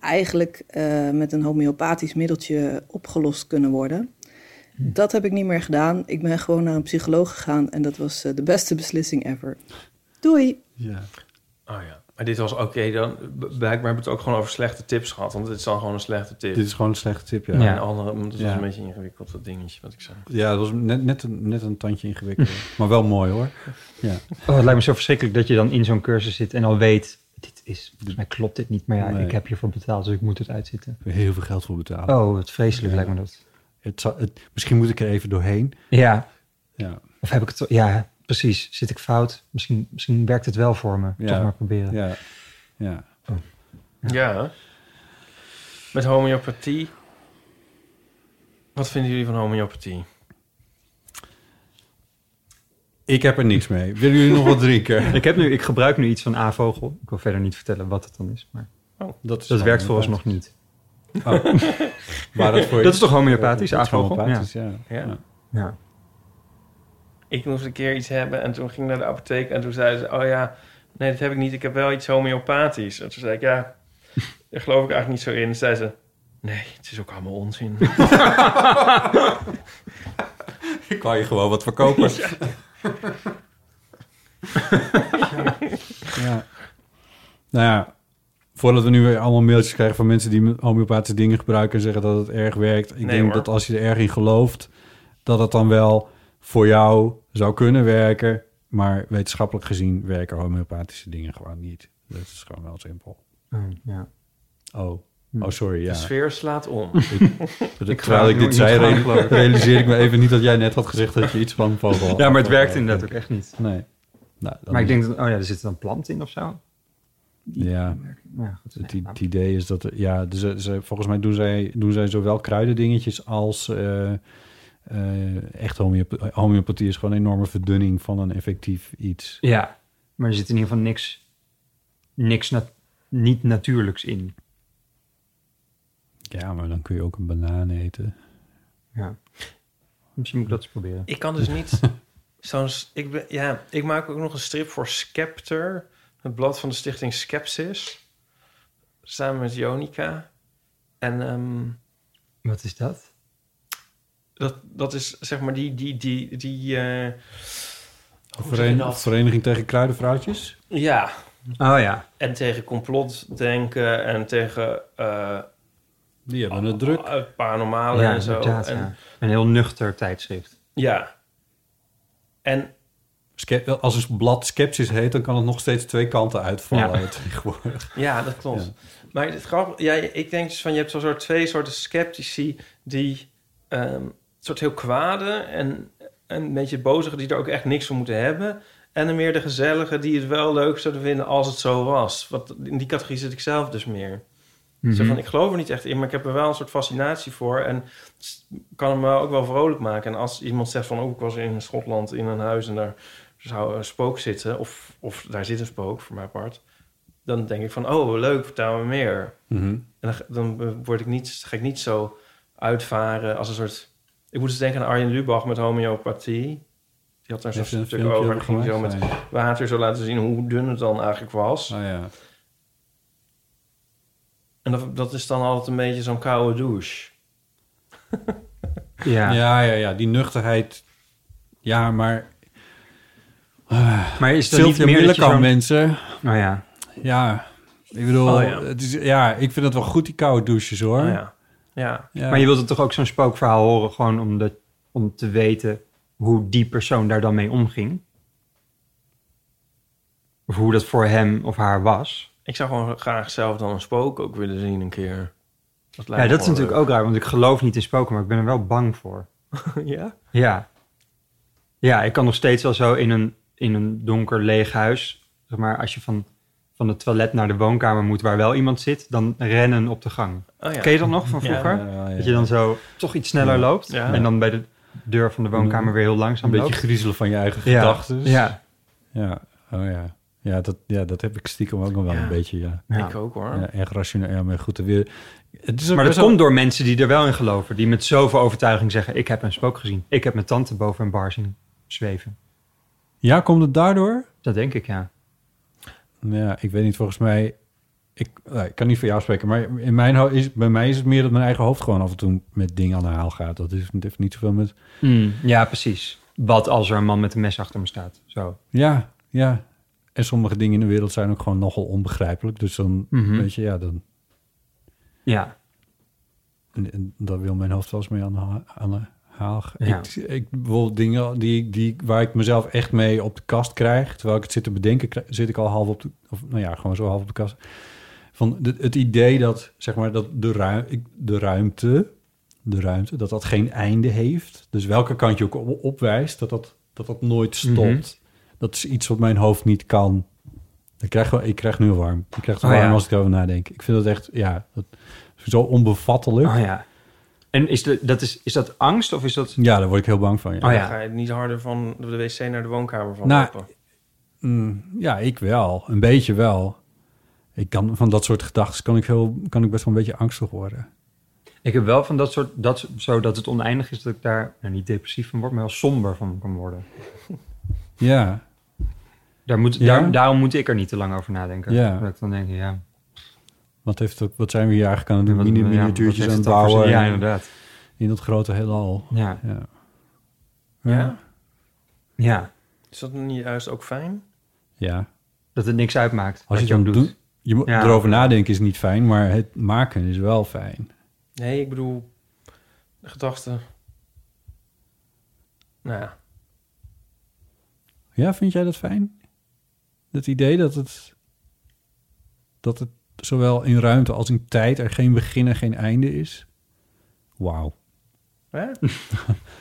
eigenlijk eh, met een homeopathisch middeltje opgelost kunnen worden. Dat heb ik niet meer gedaan. Ik ben gewoon naar een psycholoog gegaan en dat was eh, de beste beslissing ever. Doei! Ja. Oh ja. Maar dit was oké, dan b- blijkbaar hebben we het ook gewoon over slechte tips gehad. Want dit is dan gewoon een slechte tip. Dit is gewoon een slechte tip, ja. ja. Ja, En andere, want het Ja. was een beetje een ingewikkeld, dat dingetje wat ik zei. het was net, net, een, net een tandje ingewikkeld. maar wel mooi hoor. Ja. Oh, het lijkt me zo verschrikkelijk dat je dan in zo'n cursus zit en al weet... Dit is, volgens mij klopt dit niet, maar ja, Nee. ik heb hiervoor betaald, dus ik moet het uitzitten. Heel veel geld voor betalen. Oh, wat vreselijk lijkt me dat. Het zou- het, misschien moet ik er even doorheen. Ja, Ja. of heb ik het... Ja, precies. Zit ik fout? Misschien, misschien werkt het wel voor me. Ja. Toch maar proberen. Ja. ja. Ja. Met homeopathie. Wat vinden jullie van homeopathie? Ik heb er niks mee. Willen jullie nog wat drinken? Ik, heb nu, ik gebruik nu iets van A-vogel. Ik wil verder niet vertellen wat het dan is, maar Dat, is dat werkt gewoon- vooralsnog niet. Maar dat, voor Dat is toch homeopathisch, A-vogel? Ja. homeopathisch, ja. Ja. Ja. Ik moest een keer iets hebben en toen ging ik naar de apotheek en toen zei ze... Oh ja, nee, dat heb ik niet. Ik heb wel iets homeopathisch. En toen zei ik, ja, daar geloof ik eigenlijk niet zo in. En zei ze, nee, het is ook allemaal onzin. Ik kan je gewoon wat verkopen. ja. Nou ja, voordat we nu weer allemaal mailtjes krijgen van mensen die homeopathische dingen gebruiken en zeggen dat het erg werkt. Ik Nee, denk hoor. dat als je er erg in gelooft, dat het dan wel voor jou zou kunnen werken. Maar wetenschappelijk gezien werken homeopathische dingen gewoon niet. Dat is gewoon wel simpel. Oh, ja. Oh, Hm. oh sorry, ja. De sfeer slaat om. Terwijl ik dit zei, re- realiseer ik me even niet dat jij net had gezegd dat je iets van vogel had. ja, maar het werkt inderdaad ook echt niet. Nee. Nou, dan- Maar ik denk dat, oh ja, er zit dan plant in of zo. Ja, Ja, goed. het, i- het idee is dat... er- Ja, dus, eh, ze- volgens mij doen zij, doen zij zowel kruidendingetjes als... eh, eh, echt homeop- homeopathie is gewoon een enorme verdunning van een effectief iets. Ja, maar er zit in ieder geval niks, niks nat- niet natuurlijks in. Ja, maar dan kun je ook een banaan eten. Ja. Misschien moet ik dat eens proberen. Ik kan dus niet zo'n... s- Ik, ben, ja, ik maak ook nog een strip voor Scepter. Het blad van de stichting Skepsis. Samen met Jonica. En ehm, Wat is dat? dat, dat is zeg maar die... die, die, die eh, hoe zeg je Veren- dat? Vereniging tegen kruidenvrouwtjes? Ja, Oh ja. en tegen complotdenken en tegen eh Die hebben het druk. eh, paranormale Oh ja en zo. inderdaad, en, ja. ja. Een heel nuchter tijdschrift. En Ske- Als een blad sceptisch heet, dan kan het nog steeds twee kanten uitvallen Ja. tegenwoordig. ja, dat klopt. Maar het grappige, ja, ik denk dus van je hebt zo'n soort twee soorten sceptici die ehm, een soort heel kwade en, en een beetje bozige die er ook echt niks van moeten hebben. En dan meer de gezellige die het wel leuk zouden vinden als het zo was. Want in die categorie zit ik zelf dus meer. Zo Mhm. van, ik geloof er niet echt in, maar ik heb er wel een soort fascinatie voor. En s- kan hem wel ook wel vrolijk maken. En als iemand zegt van, oh, ik was in Schotland in een huis... en daar zou een spook zitten, of, of daar zit een spook, voor mijn part... dan denk ik van, oh, leuk, vertel me meer. Mhm. En dan, ga- dan word ik niet, ga ik niet zo uitvaren als een soort... Ik moet eens denken aan Arjen Lubach met homeopathie. Die had daar Heeft zo'n een stuk filmpje over. over en ging zo met gemaakt? water zo laten zien hoe dun het dan eigenlijk was. Oh, Nou ja. En dat, dat is dan altijd een beetje zo'n koude douche. Ja. Ja, ja, ja. Die nuchterheid. Ja, maar Maar is dat Sylvia niet meer dat je Millekamp, zo'n- mensen. Oh ja. Ja, ik bedoel, Oh, ja. Het is, ja, ik vind het wel goed, die koude douches, hoor. Oh, ja. ja. Ja. Maar je wilt het toch ook zo'n spookverhaal horen, gewoon om, dat, om te weten hoe die persoon daar dan mee omging? Of hoe dat voor hem of haar was? Ik zou gewoon graag zelf dan een spook ook willen zien een keer. Dat Ja, dat is natuurlijk ook raar, want ik geloof niet in spoken, maar ik ben er wel bang voor. ook... ja? Ja. Ja, ik kan nog steeds wel zo in een, in een donker leeg huis, zeg maar, als je van, van het toilet naar de woonkamer moet waar wel iemand zit, dan rennen op de gang. Oh, ja. Ken je dat nog van vroeger? Ja, ja. Dat je dan zo toch iets sneller loopt Ja. en dan bij de deur van de woonkamer weer heel Een langzaam beetje loopt. griezelen van je eigen ja. gedachten. Ja. ja. Oh ja. Ja dat, ja, dat heb ik stiekem ook nog wel Ja. een beetje, ja. Ja. Ik ook hoor. ja erg rationeel. Ja, maar goed, weer... Het is ook Maar dat best wel- komt door mensen die er wel in geloven. Die met zoveel overtuiging zeggen, ik heb een spook gezien. Ik heb mijn tante boven een bar zien zweven. Ja, komt het daardoor? Dat denk ik, ja. Ja, ik weet niet, volgens mij... Ik, nou, ik kan niet voor jou spreken, maar in mijn, ho- is, bij mij is het meer dat mijn eigen hoofd gewoon af en toe met dingen aan de haal gaat. Dat is, heeft niet zoveel met... Hmm. Ja, precies. Wat als er een man met een mes achter me staat? Zo. Ja, ja. En sommige dingen in de wereld zijn ook gewoon nogal onbegrijpelijk. Dus dan, Mhm. weet je, ja, dan, Ja, en, en daar wil mijn hoofd wel eens mee aan de, ha- aan de haal. gaan. Ja. Ik, ik bijvoorbeeld dingen die, die, waar ik mezelf echt mee op de kast krijg, terwijl ik het zit te bedenken, kri- zit ik al half op de, of nou ja, gewoon zo half op de kast. Van de- het idee dat, zeg maar, dat de, ruim, ik- de ruimte, de ruimte, dat dat geen einde heeft. Dus welke kant je ook op- opwijst, dat dat, dat dat nooit Mhm. stopt. Dat is iets wat mijn hoofd niet kan. Ik krijg, wel- ik krijg nu warm. Ik krijg het Oh, warm ja. als ik erover nadenk. Ik vind dat echt, ja, dat, zo onbevattelijk. oh ja. En is, de, dat is, is dat angst of is dat... Ja, daar word ik heel bang van. Ja, Oh Ga ja, je niet harder van de wc naar de woonkamer van Nou, lopen? Mm, ja ik wel. Een beetje wel. Ik kan, van dat soort gedachten kan ik, heel, kan ik best wel een beetje angstig worden. ik heb wel van dat soort, dat, soort- zo dat het oneindig is dat ik daar nou, niet depressief van word, maar wel somber van kan worden. Ja, Daar moet, Ja? daar, daarom moet ik er niet te lang over nadenken. Ja. Dat ik dan denk, ja, wat, heeft het, wat zijn we hier eigenlijk aan het wat- doen? Mini- ja, wat miniatuurtjes heeft aan het dan voor bouwen zin? Ja, en- inderdaad. in dat grote heelal. Ja, Ja. Ja. ja. Is dat niet juist ook fijn? ja. dat het niks uitmaakt Als wat je het ook dan doet, je moet Ja. erover nadenken is niet fijn, maar het maken is wel fijn. Nee, ik bedoel, de gedachte. Nou ja, Ja, vind jij dat fijn? Het idee dat het, dat het zowel in ruimte als in tijd er geen begin en geen einde is? Wauw. Hè?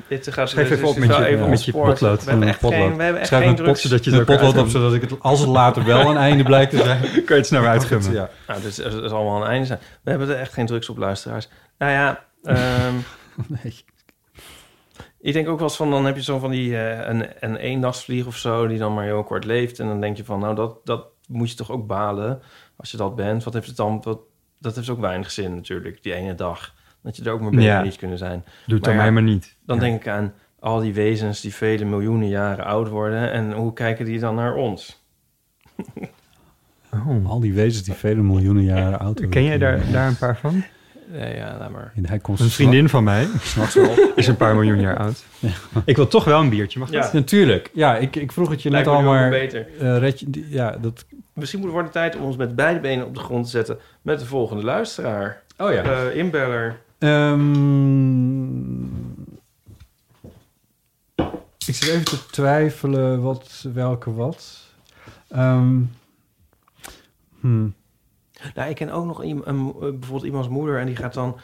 Dit gaat Schrijf dit even is op met wel je- even met je ontspoord. potlood. We hebben echt Potlood. geen, we hebben echt Schrijf geen een potje dat drugs. je Een het ook potlood op, uit- zodat ik het, als het later wel een einde blijkt te zijn. Kan je het sneller uitgummen. Ja. Nou, dit is, het is allemaal een einde zijn. We hebben er echt geen drugs op, luisteraars. Nou ja, ehm, Nee. ik denk ook wel eens van... dan heb je zo van die eh, een, een eendachtsvlieg of zo... die dan maar heel kort leeft. En dan denk je van, nou, dat, dat moet je toch ook balen... als je dat bent. Wat heeft het dan... Wat, dat heeft ook weinig zin natuurlijk, die ene dag. Dat je er ook maar beter Ja. niet kunnen zijn. Doe het Maar aan mij ja, maar niet. Dan Ja. denk ik aan al die wezens die vele miljoenen jaren oud worden... en hoe kijken die dan naar ons? Al die wezens die vele miljoenen jaren oud worden. Ken jij daar, daar een paar van? Nee, ja, laat maar. En hij komt Een vriendin van mij s'nachts wel op. is een paar miljoen jaar oud. Ik wil toch wel een biertje, mag Ja, dat? Natuurlijk. Ja, ik, ik vroeg het je net lijkt me al, nu ook maar... beter. eh, red je, die- ja, dat... Misschien moet het worden tijd om ons met beide benen op de grond te zetten... met de volgende luisteraar... Oh ja. Eh, inbeller. Ehm, ik zit even te twijfelen wat, welke wat. Ehm, hmm. Nou, ik ken ook nog iem- een, eh, bijvoorbeeld iemands moeder en die gaat dan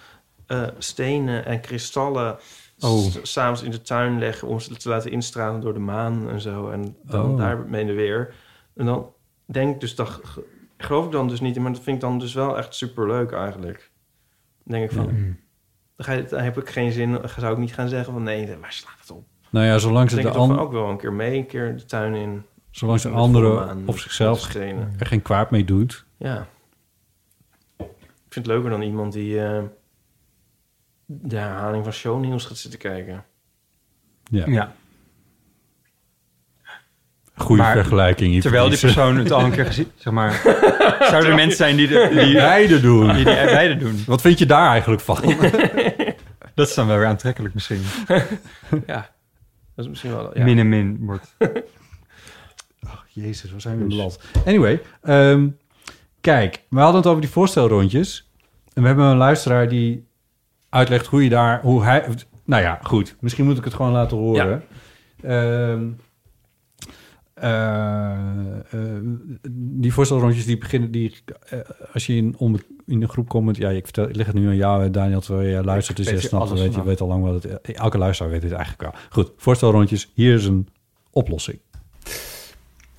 eh, stenen en kristallen Oh. s- s'avonds in de tuin leggen om ze te laten instralen door de maan en zo. En dan Oh. daarmee de weer. En dan denk ik dus, dat ge- geloof ik dan dus niet, in, maar dat vind ik dan dus wel echt superleuk eigenlijk. Dan denk ik van, Mm-hmm. dan, ga je, dan heb ik geen zin, dan zou ik niet gaan zeggen van nee, waar slaat het op? Nou ja, zolang Dan ze, denk de ik toch van an- ook wel een keer mee, een keer de tuin in. zolang ze Met volle anderen maan, op zichzelf stenen. er geen kwaad mee doet. Ja. Ik vind het leuker dan iemand die eh, de herhaling van shownieuws gaat zitten kijken. Ja, Ja. goede Maar vergelijking. Iep. Terwijl die persoon het al een keer gezien... Zeg maar, zouden er mensen zijn die, de, die, die, Beide doen. die beide doen? Wat vind je daar eigenlijk van? Dat is dan wel weer aantrekkelijk misschien. Ja. Dat is misschien wel... Ja. Min en min wordt... Jezus, waar zijn we blad. Anyway, ehm, kijk, we hadden het over die voorstelrondjes. En we hebben een luisteraar die uitlegt hoe je daar, hoe hij. Nou ja, goed. Misschien moet ik het gewoon laten horen. Ehm, eh, eh, die voorstelrondjes die beginnen, die, eh, als je in, onbe- in een groep komt, ja, ik, vertel, ik leg het nu aan jou, eh, Daniel, terwijl jij luistert, dus weet jij hier snapt, alles weet, je van. weet al lang wat het, elke luisteraar weet dit eigenlijk wel. Goed, voorstelrondjes, hier is een oplossing.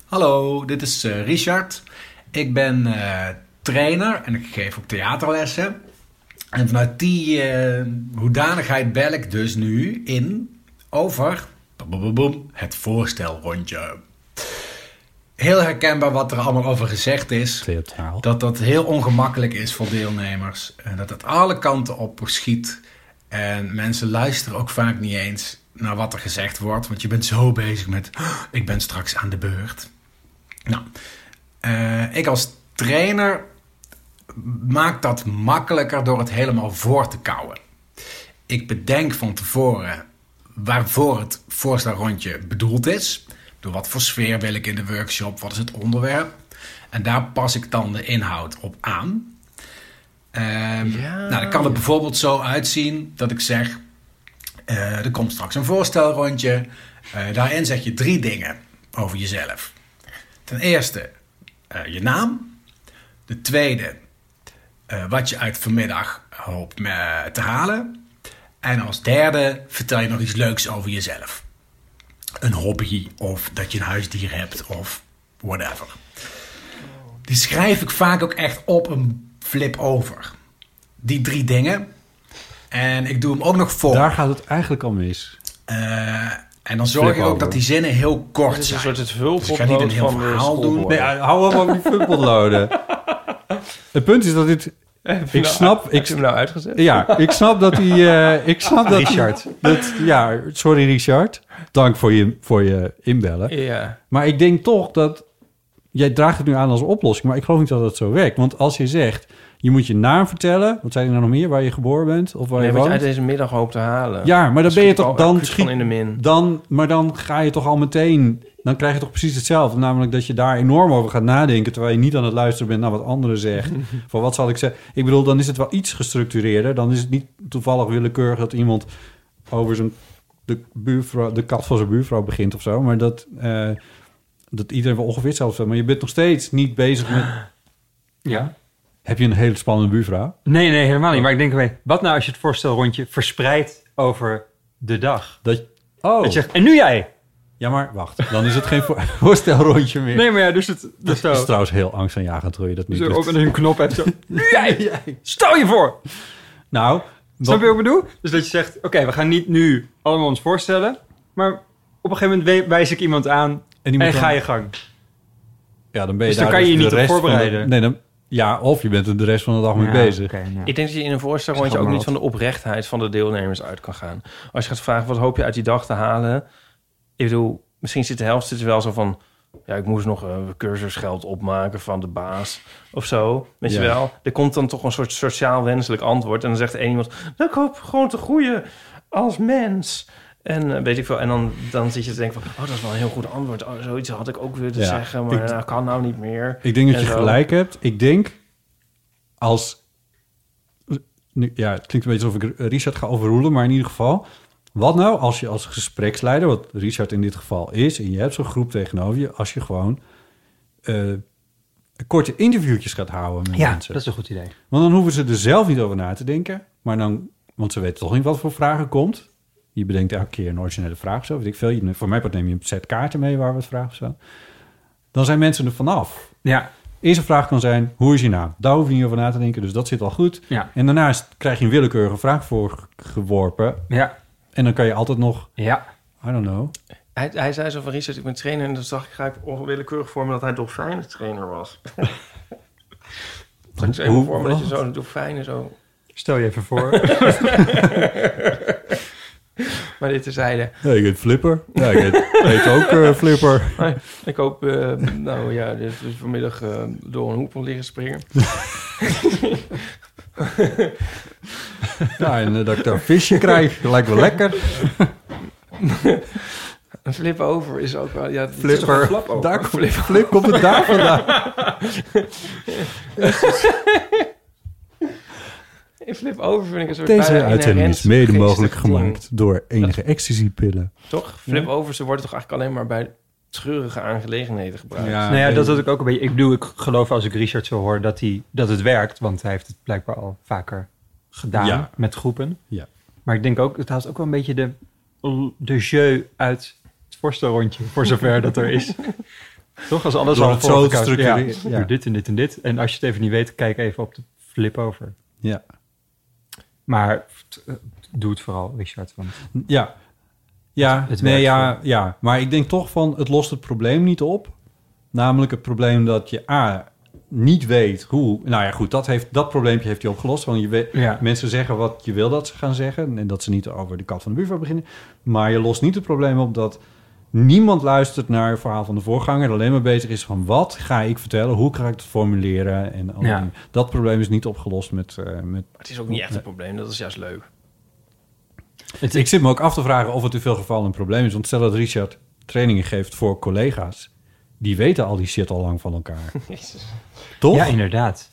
Hallo, dit is eh, Richard. Ik ben eh, trainer en ik geef ook theaterlessen. En vanuit die eh, hoedanigheid bel ik dus nu in over boem, boem, boem, boem, het voorstelrondje. Heel herkenbaar wat er allemaal over gezegd is. Theatraal. Dat dat heel ongemakkelijk is voor deelnemers. En dat het alle kanten op schiet. En mensen luisteren ook vaak niet eens naar wat er gezegd wordt. Want je bent zo bezig met, "Oh, ik ben straks aan de beurt. Nou, eh, ik als trainer maak dat makkelijker door het helemaal voor te kouwen. Ik bedenk van tevoren waarvoor het voorstelrondje bedoeld is. Door wat voor sfeer wil ik in de workshop? Wat is het onderwerp? En daar pas ik dan de inhoud op aan. Ehm, Nou, dan kan het bijvoorbeeld zo uitzien dat ik zeg: eh, er komt straks een voorstelrondje. Eh, daarin zeg je drie dingen over jezelf. Ten eerste eh, je naam. De tweede, eh, wat je uit vanmiddag hoopt eh, te halen. En als derde vertel je nog iets leuks over jezelf. Een hobby of dat je een huisdier hebt of whatever. Die schrijf ik vaak ook echt op een flip over. Die drie dingen. En ik doe hem ook nog vol. Daar gaat het eigenlijk al mis. Eh, en dan zorg ik Flip ook over. dat die zinnen heel Dit kort is een zijn. soort het Dus ik ga niet hulpoplood een heel van de verhaal doen. schoolborden. Nee, hou hem ook niet fumpelloden. Het punt is dat dit... Heb je Ik nou- snap- heb ik- je hem nou uitgezet? Ja, ik snap dat hij... eh, ik snap dat Richard. Dat, ja, sorry Richard. Dank voor je, voor je inbellen. Ja. Maar ik denk toch dat... Jij draagt het nu aan als oplossing, maar ik geloof niet dat dat zo werkt. Want als je zegt, je moet je naam vertellen... Wat zijn er nou nog meer? Waar je geboren bent of waar Nee, je wat je woont? uit deze middag hoopt te halen. Ja, maar dan ben je schiet toch... al Dan acuut van schiet, in de min. dan, maar dan ga je toch al meteen... Dan krijg je toch precies hetzelfde. Namelijk dat je daar enorm over gaat nadenken... terwijl je niet aan het luisteren bent naar wat anderen zeggen. van wat zal ik zeggen? Ik bedoel, dan is het wel iets gestructureerder. Dan is het niet toevallig willekeurig dat iemand over zijn, de, buurvrouw, de kat van zijn buurvrouw begint of zo. Maar dat, eh, dat iedereen wel ongeveer hetzelfde vindt. Maar je bent nog steeds niet bezig met... Ja. Heb je een hele spannende buurvrouw? Nee, nee, helemaal niet. Maar ik denk, weet, wat nou als je het voorstelrondje verspreidt over de dag? Dat, oh, Dat je zegt, en nu jij! ja maar wacht. Dan is het geen voor- voorstelrondje meer. Nee, maar ja, dus het dus Dat is zo. trouwens heel angstaanjagend hoe je dat nu Zo doet. op een knop hebt zo. Nu jij! Stel je voor! Nou, Snap wat, je wat ik bedoel? Dus dat je zegt, oké, we gaan niet nu allemaal ons voorstellen. Maar op een gegeven moment we- wijs ik iemand aan En en, die moet dan- ga je gang. ja, dan ben je Dus dan daar kan je je de niet op rest van de- voorbereiden. nee, dan, ja, of je bent er de rest van de dag mee Ja, bezig. oké, ja. Ik denk dat je in een voorstelrondje Schat ook maar niet van de oprechtheid van de deelnemers uit kan gaan. Als je gaat vragen, wat hoop je uit die dag te halen? Ik bedoel, misschien zit de helft zit er wel zo van... Ja, ik moest nog een cursusgeld opmaken van de baas of zo. Weet Ja. je wel? Er komt dan toch een soort sociaal wenselijk antwoord. En dan zegt één iemand, nou, ik hoop gewoon te groeien als mens. En eh, weet ik veel. En dan, dan zit je te denken van, oh, dat is wel een heel goed antwoord. Oh, zoiets had ik ook willen Ja, zeggen, maar ik- dat kan nou niet meer. Ik denk dat En je zo. gelijk hebt. Ik denk als... nu- Ja, het klinkt een beetje alsof ik Richard ga overroelen, maar in ieder geval... Wat nou als je als gespreksleider, wat Richard in dit geval is... en je hebt zo'n groep tegenover je, als je gewoon... eh, korte interviewtjes gaat houden met Ja, mensen. dat is een goed idee. Want dan hoeven ze er zelf niet over na te denken. Maar dan, want ze weten toch niet wat voor vragen komt. Je bedenkt elke keer een originele vraag of zo. Weet ik veel. Je, voor mij part neem je een set kaarten mee waar wat vragen staan. Dan zijn mensen er vanaf. Ja, Eerste vraag kan zijn, hoe is je naam? Daar hoef je niet over na te denken, dus dat zit al goed. ja, En daarnaast krijg je een willekeurige vraag voor geworpen. ja, En dan kan je altijd nog, ja. I don't know. Hij, hij zei zo van Richard, ik ben trainer. En dan zag ik gelijk onwillekeurig voor me dat hij dolfijnen-trainer was. Zag ik zo even Hoe- voor me dat je wat? zo'n dolfijnen zo... Stel je even voor. Maar dit terzijde. Ja, ik heet Flipper. Ja, ik heet, heet ook eh, Flipper. Ik hoop, eh, nou ja, dit is vanmiddag eh, door een hoepel liggen springen. Ja, en eh, dat ik daar een visje krijg, lijkt wel lekker. Een flip over is ook wel... Ja, het is toch een Flipper, flap over? daar komt, flip komt het daar vandaan. Een flip over vind ik een soort... Deze bijna uitzending inherent is mede mogelijk geestig ding. gemaakt door enige ecstasy-pillen. Toch? Flip over, ze worden toch eigenlijk alleen maar bij treurige aangelegenheden gebruikt. nou ja, dat had ik ook een beetje. Ik bedoel, ik geloof als ik Richard zo hoor dat, hij, dat het werkt. Want hij heeft het blijkbaar al vaker gedaan Ja. met groepen. Ja. Maar ik denk ook, het haalt ook wel een beetje de, de jeu uit het voorstelrondje. Voor zover dat er is. Toch? Als alles Door al het voor zo elkaar- te Ja, structureren, ja. Doe dit en dit en dit. En als je het even niet weet, kijk even op de flip over. Ja. Maar t- eh, doe het vooral, Richard. Want Ja. Ja, Het nee, werkt ja, ja, maar ik denk toch van het lost het probleem niet op. Namelijk het probleem dat je A niet weet hoe. Nou ja, goed, dat, heeft, dat probleempje heeft hij opgelost. Want je weet, Ja. mensen zeggen wat je wil dat ze gaan zeggen. En dat ze niet over de kat van de buurvrouw beginnen. Maar je lost niet het probleem op dat niemand luistert naar het verhaal van de voorganger. en Alleen maar bezig is van wat ga ik vertellen? Hoe ga ik het formuleren? En al die Ja. dingen. dat probleem is niet opgelost met, eh, met Maar het is ook niet echt een probleem, dat is juist leuk. Ik zit me ook af te vragen of het in veel gevallen een probleem is. Want stel dat Richard trainingen geeft voor collega's, die weten al die shit al lang van elkaar. Jezus. Toch? Ja, inderdaad.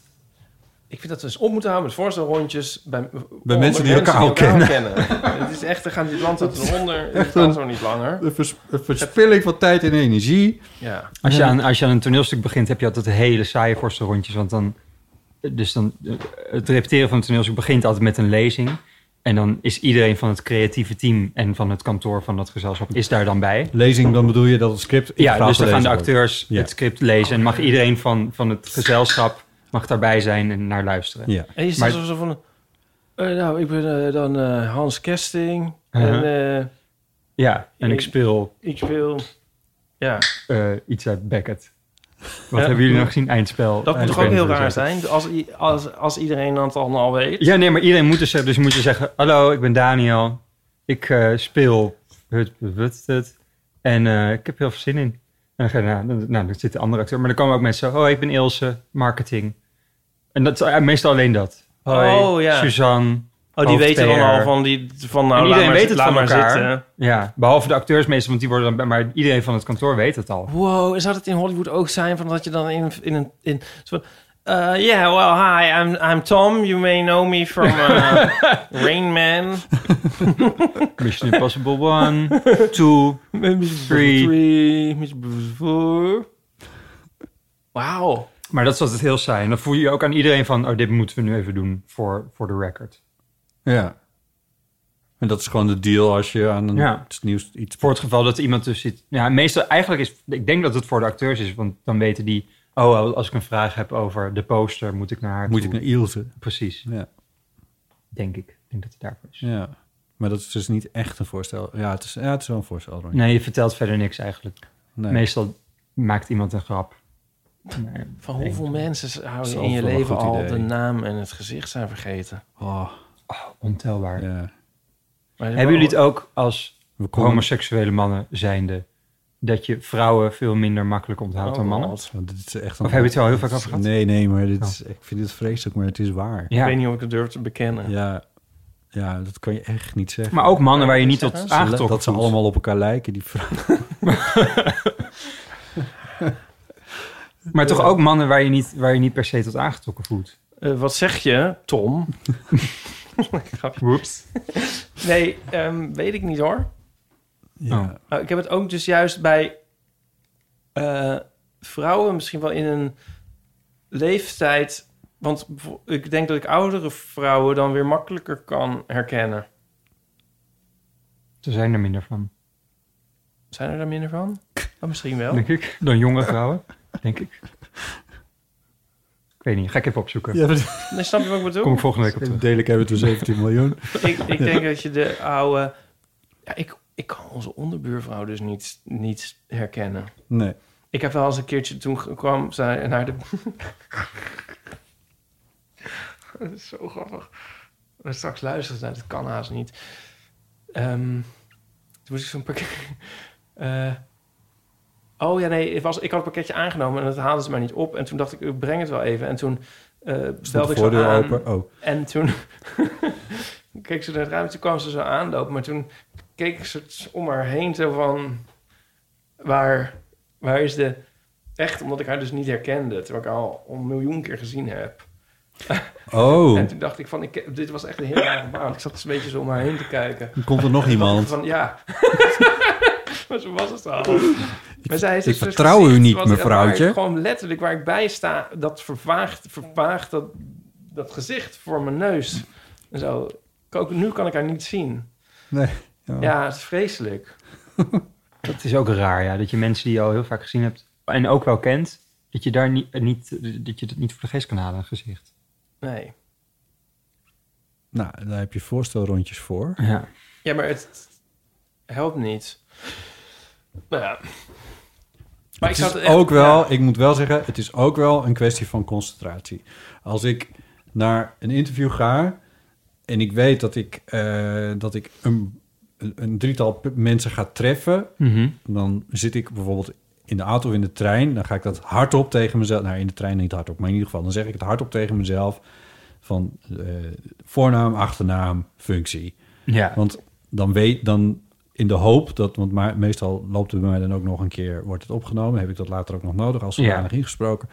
Ik vind dat we eens op moeten houden met voorstelrondjes bij, onder mensen die elkaar al kennen. het is echt, dan gaan die land tot eronder. echt Het kan een- zo niet langer. Een, vers- een verspilling van tijd en energie. Ja. Als je, aan, als je aan een toneelstuk begint, heb je altijd hele saaie voorste rondjes. Want dan, dus dan, eh, het repeteren van een toneelstuk begint altijd met een lezing. En dan is iedereen van het creatieve team en van het kantoor van dat gezelschap is daar dan bij. Lezing, dan bedoel je dat het script... Ja, dus dan dan gaan de acteurs Ja. het script lezen. En mag iedereen van, van het gezelschap mag daarbij zijn en naar luisteren. Ja. En je zit Maar- zo van... eh, nou, ik ben eh, dan eh, Hans Kesting. En eh, Ja, en ik speel ik speel... Ja, eh, iets uit Beckett. Wat Ja. hebben jullie nog gezien? Eindspel. dat moet toch ook Eindspel. heel raar zijn? Als, i- als, als iedereen dat dan al weet. Ja, nee, maar iedereen moet dus, dus moet je zeggen... Hallo, ik ben Daniel. Ik eh, speel het, het, het. En eh, ik heb heel veel zin in. En dan, ga je, nou, dan- nou, dan zit de andere acteur. Maar dan komen ook mensen zo... Oh, ik ben Ilse, marketing. En dat is eh, meestal alleen dat. Hoi, Oh, ja. Suzanne. Oh, die Hoofd weten dan PR. al van die... Van, nou, En laat iedereen maar, weet zit- het laat van maar elkaar. zitten. Ja, behalve de acteurs meestal, want die worden dan... bij- Maar iedereen van het kantoor weet het al. Wow, zou het in Hollywood ook zijn van dat je dan in, in een... In, zo van, eh, yeah, well, hi, I'm, I'm Tom. You may know me from eh, Rain Man. Mission Impossible 1, 2... Three. Three. Wauw. Maar dat is altijd heel saai. En dan voel je je ook aan iedereen van... Oh, dit moeten we nu even doen voor, voor de record. Ja. En dat is gewoon de deal als je aan een Ja. iets nieuws iets... Voor het geval dat iemand dus zit... Ja, meestal eigenlijk is... Ik denk dat het voor de acteurs is. Want dan weten die... Oh, als ik een vraag heb over de poster... moet ik naar haar Moet toe. ik naar Ilse? Precies, Ja. denk ik. Ik denk dat het daarvoor is. ja. Maar dat is dus niet echt een voorstel. Ja, het is, ja, het is wel een voorstel. denk ik. Nee, je vertelt verder niks eigenlijk. Nee. Meestal maakt iemand een grap. Maar- Van hoeveel mensen hou je Zelf in je wel een leven goed al idee. de naam en het gezicht zijn vergeten? Oh, oh, ontelbaar. ja. Maar Hebben jullie het ook als We komen- homoseksuele mannen zijnde... dat je vrouwen veel minder makkelijk onthoudt dan mannen? God. Want dit is echt Of heb je het er al heel vaak dit is- over gehad? Oh. Nee, nee, maar dit is, ik vind dit vreselijk, maar het is waar. Ik Ja. weet niet of ik het durf te bekennen. Ja, ja dat kan je echt niet zeggen. Maar ook mannen waar je niet Zeggen tot ze aangetrokken dat ze voelt. allemaal op elkaar lijken, die vrouwen. Maar toch ook mannen waar je, niet, waar je niet per se tot aangetrokken voelt. Eh, wat zeg je, Tom? Grapje. Whoops. nee, ehm, weet ik niet hoor. Ja. Oh. Maar ik heb het ook dus juist bij eh, vrouwen misschien wel in een leeftijd... Want bijvo- ik denk dat ik oudere vrouwen dan weer makkelijker kan herkennen. Ze zijn er minder van, Zijn er daar minder van? Oh, misschien wel. denk ik, dan jonge vrouwen, denk ik. Ik weet niet, ga ik even opzoeken. Ja, maar Nee, snap je wat ik bedoel? Kom ik volgende week op terug. Uiteindelijk hebben we toen 17 miljoen. ik, ik denk dat je de oude... Ja, ik, ik kan onze onderbuurvrouw dus niet, niet herkennen. Nee. Ik heb wel eens een keertje toen kwam zij naar de... dat is zo grappig. Maar straks luisteren ze naar, dat kan haast niet. Ehm, toen moest ik zo'n pakket... Eh, oh ja, nee, het was, ik had het pakketje aangenomen en dat haalden ze maar niet op. En toen dacht ik, ik breng het wel even. En toen eh Stond belde de ik zo voordeur aan. open. Oh, En toen keek ze naar het ruimte, toen kwam ze zo aanlopen. Maar toen keek ze het om haar heen zo van... Waar, waar is de... Echt, omdat ik haar dus niet herkende. Terwijl ik haar al een miljoen keer gezien heb. En oh toen dacht ik van, ik, dit was echt een heel raar gebaar. want Ik zat dus een beetje zo om haar heen te kijken. dan komt er nog iemand. Van, ja. maar zo was het al. Maar zij heeft ik dus een vertrouw u gezicht niet, wat- waar ik mevrouwtje. Gewoon letterlijk waar ik bij sta, dat vervaagt, vervaagt dat, dat gezicht voor mijn neus. En zo. Ik Ook nu kan ik haar niet zien. Oh. Nee. Ja, het is vreselijk. Dat is ook raar, ja, dat je mensen die je al heel vaak gezien hebt en ook wel kent, dat je daar niet, eh, niet, dat je dat niet voor de geest kan halen, een gezicht. Nee. Nou, daar heb je voorstelrondjes voor. Ja. Ja, maar het helpt niet. Nou ja. Maar het zou is echt- ook wel, ja. ik moet wel zeggen, het is ook wel een kwestie van concentratie. Als ik naar een interview ga en ik weet dat ik, eh, dat ik een, een- een drietal p- mensen ga treffen, Mhm. dan zit ik bijvoorbeeld in de auto of in de trein, dan ga ik dat hardop tegen mezelf, nou in de trein niet hardop, maar in ieder geval, dan zeg ik het hardop tegen mezelf van eh, voornaam, achternaam, functie. ja. Want dan weet dan in de hoop dat, want maar, meestal loopt het bij mij dan ook nog een keer, wordt het opgenomen, heb ik dat later ook nog nodig als zodanig ingesproken.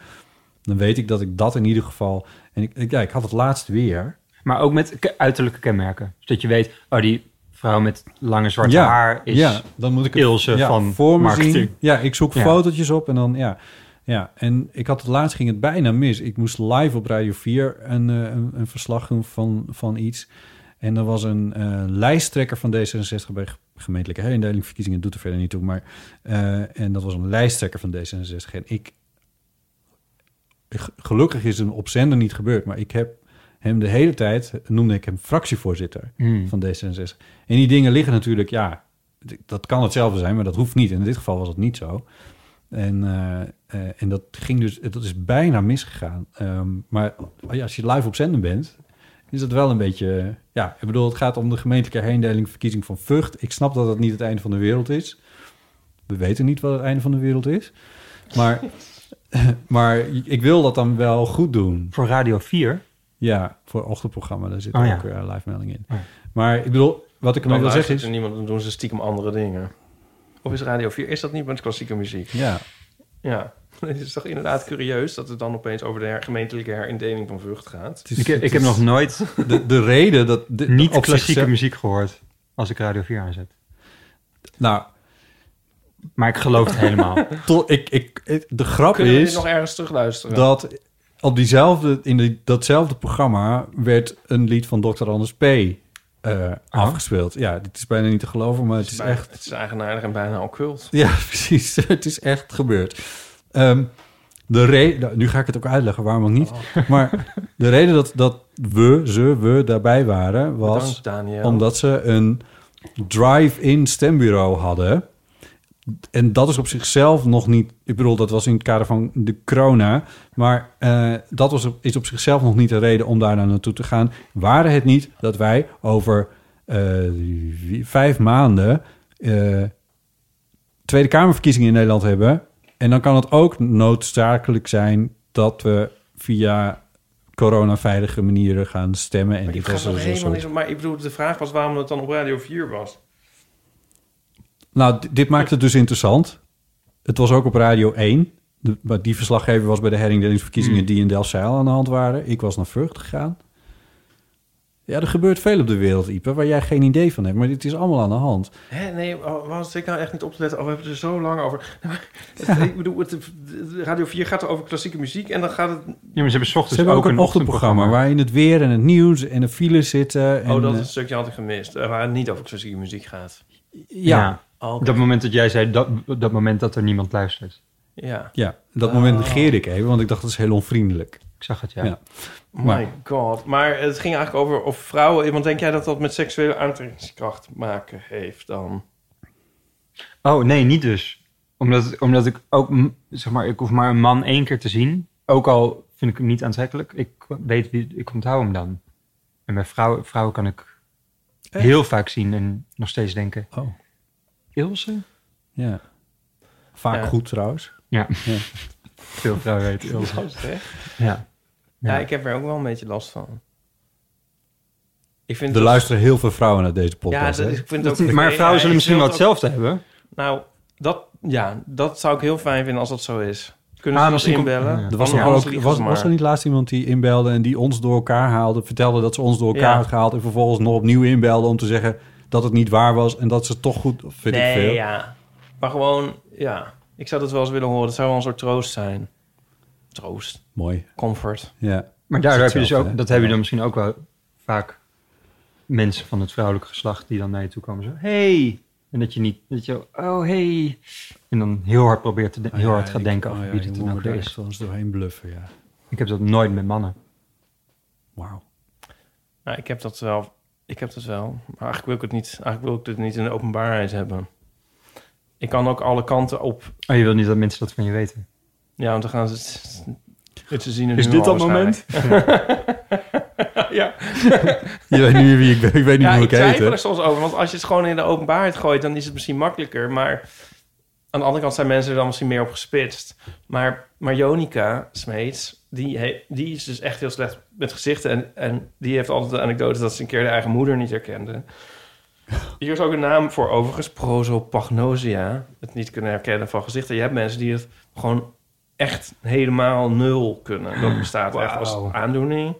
Dan weet ik dat ik dat in ieder geval. En ik, ik, ja, ik had het laatst weer. Maar ook met ke- uiterlijke kenmerken. Zodat je weet, oh, die vrouw met lange zwarte ja, haar is... ja, dan moet ik het Ilse ja, van voor me marketing. zien. Ja, ik zoek Ja. fotootjes op en dan ja. Ja, en ik had het laatst ging het bijna mis. Ik moest live op Radio 4 een, eh, een, een verslag doen van, van iets. En er was een eh, lijsttrekker van D66 bij ge- gemeentelijke herindeling. Verkiezingen doet er verder niet toe, maar... eh, en dat was een lijsttrekker van D66. En ik... g- Gelukkig is het op zender niet gebeurd, maar ik heb hem de hele tijd... noemde ik hem fractievoorzitter Hmm. van D66. En die dingen liggen natuurlijk, ja, d- dat kan hetzelfde zijn, maar dat hoeft niet. En in dit geval was het niet zo. En, eh, eh, en dat ging dus, dat is bijna misgegaan. Ehm, maar ja, als je live op zender bent, is dat wel een beetje. eh, Ja, ik bedoel, het gaat om de gemeentelijke herindeling, verkiezing van Vught. Ik snap dat dat niet het einde van de wereld is. We weten niet wat het einde van de wereld is. Maar, maar ik wil dat dan wel goed doen. Voor Radio 4. Ja, voor het ochtendprogramma, daar zit Oh, ja. ook eh, live melding in. Oh, ja. Maar ik bedoel, wat ik ermee Dan wil zeggen luistert is... er niemand, dan doen ze stiekem andere dingen. Of is Radio 4, is dat niet met klassieke muziek? Ja, Ja. Het is toch inderdaad curieus dat het dan opeens over de her- gemeentelijke herindeling van Vught gaat. het is- Ik, heb- het ik heb is nog nooit De, de reden dat... De, niet op klassieke zichzelf- muziek gehoord als ik Radio 4 aanzet. Nou, Maar ik geloof het helemaal. to- ik, ik, ik- de grap Kunnen we dit is nog ergens terugluisteren? dat op diezelfde, in die, datzelfde programma werd een lied van Dr. Anders P. eh, Oh. afgespeeld. Ja, dit is bijna niet te geloven, maar het is Bij- echt... Het is eigenaardig en bijna occult. Ja, precies. Het is echt gebeurd. Ehm, de re- nou, nu ga ik het ook uitleggen, waarom ook niet. Maar de reden dat, dat we, ze, we daarbij waren, was... Bedankt, Daniel. Omdat ze een drive-in stembureau hadden. En dat is op zichzelf nog niet... Ik bedoel, dat was in het kader van de corona. Maar eh, dat was, op- is op zichzelf nog niet de reden om daar naar naartoe te gaan. Waren het niet dat wij over eh, wie- vijf maanden... eh, Tweede Kamerverkiezingen in Nederland hebben... en dan kan het ook noodzakelijk zijn dat we via coronaveilige manieren gaan stemmen. En Maar, dit ik was vraag me dus een helemaal soort... niks op. maar ik bedoel, de vraag was waarom het dan op Radio 4 was. Nou, d- dit maakt het dus interessant. Het was ook op Radio 1. De- maar die verslaggever was bij de herinddelingsverkiezingen... Mm. die in Delfzijl aan de hand waren. Ik was naar Vught gegaan. Ja, er gebeurt veel op de wereld, Ipe... waar jij geen idee van hebt. Maar dit is allemaal aan de hand. Hè, nee, oh, was ik nou echt niet op te letten? Oh, we hebben het er zo lang over. Het- Ik bedoel, het, de- Radio 4 gaat over klassieke muziek en dan gaat het... Ja, maar ze hebben 's ochtends Ze hebben ook een ochtendprogramma. ochtendprogramma... waarin het weer en het nieuws en de files zitten. En, oh, dat is eh, een stukje had ik gemist. eh, Waar het niet over klassieke muziek gaat. ja, ja. Ja. Oh, Op dat moment dat jij zei, dat, dat moment dat er niemand luistert. Ja. dat moment negeerde ik even... want ik dacht, dat is heel onvriendelijk. Ik zag het, ja. Ja. Maar- My god. Maar het ging eigenlijk over of vrouwen... Want denk jij dat dat met seksuele aantrekkingskracht maken heeft dan? Oh, nee, niet dus. Omdat, omdat ik ook, mm, zeg maar, ik hoef maar een man één keer te zien. Ook al vind ik hem niet aantrekkelijk. Ik weet wie, ik onthoud hem dan. En bij vrouwen, vrouwen kan ik heel vaak zien en nog steeds denken, Oh, Ilse? ja. Vaak Ja. goed trouwens. Ja. Ja. Veel vrouwen weten Ilse. Ja. Ja. ja, Ja. ik heb er ook wel een beetje last van. Ik vind Er het- luisteren heel veel vrouwen naar deze Ja, podcast. dat, hè? ik vind het ook... Maar nee, vrouwen ja, zullen ik misschien wil wel het ook- hetzelfde hebben. Nou, dat, ja, dat zou ik heel fijn vinden als dat zo is. Kunnen Ah, ze ons misschien komt- inbellen? ja. Er was, Van nog wel ons ook, liegen was, ze maar. was er niet laatst iemand die inbelde en die ons door elkaar haalde, vertelde dat ze ons door elkaar Ja. had gehaald en vervolgens nog opnieuw inbelde om te zeggen dat het niet waar was en dat ze toch goed, of vind ik Nee, veel. ja. Maar gewoon, ja. Ik zou dat wel eens willen horen. Dat zou wel een soort troost zijn. Troost. Mooi, Comfort. ja. Maar daardoor heb je dus hetzelfde, ook, hè? dat heb je dan misschien ook wel vaak mensen van het vrouwelijke geslacht die dan naar je toe komen zo, hey, en dat je niet, dat je, oh hey, en dan heel hard probeert te, de- Ah, heel hard gaat denken oh over wie dit dan ook weer is. Wel eens doorheen bluffen, ja. Ik heb dat nooit met mannen. Wauw. Nou, ik heb dat wel. Ik heb dat wel. Maar eigenlijk wil ik het niet. Eigenlijk wil ik dit niet in de openbaarheid hebben. Ik kan ook alle kanten op. Oh, je wil niet dat mensen dat van je weten. Ja, want dan gaan ze het ze zien. Is dit dat moment? ja, Je weet nu wie ik ben, ik weet niet ja hoe ik ik heet. twijfel er hè? soms over. Want als je het gewoon in de openbaarheid gooit, dan is het misschien makkelijker. Maar aan de andere kant zijn mensen er dan misschien meer op gespitst. Maar, maar Jonica Smeets, die, he- die is dus echt heel slecht met gezichten. En, en die heeft altijd de anekdote dat ze een keer de eigen moeder niet herkende. Hier is ook een naam voor overigens, prosopagnosia. Het niet kunnen herkennen van gezichten. Je hebt mensen die het gewoon echt helemaal nul kunnen. Dat bestaat echt als aandoening.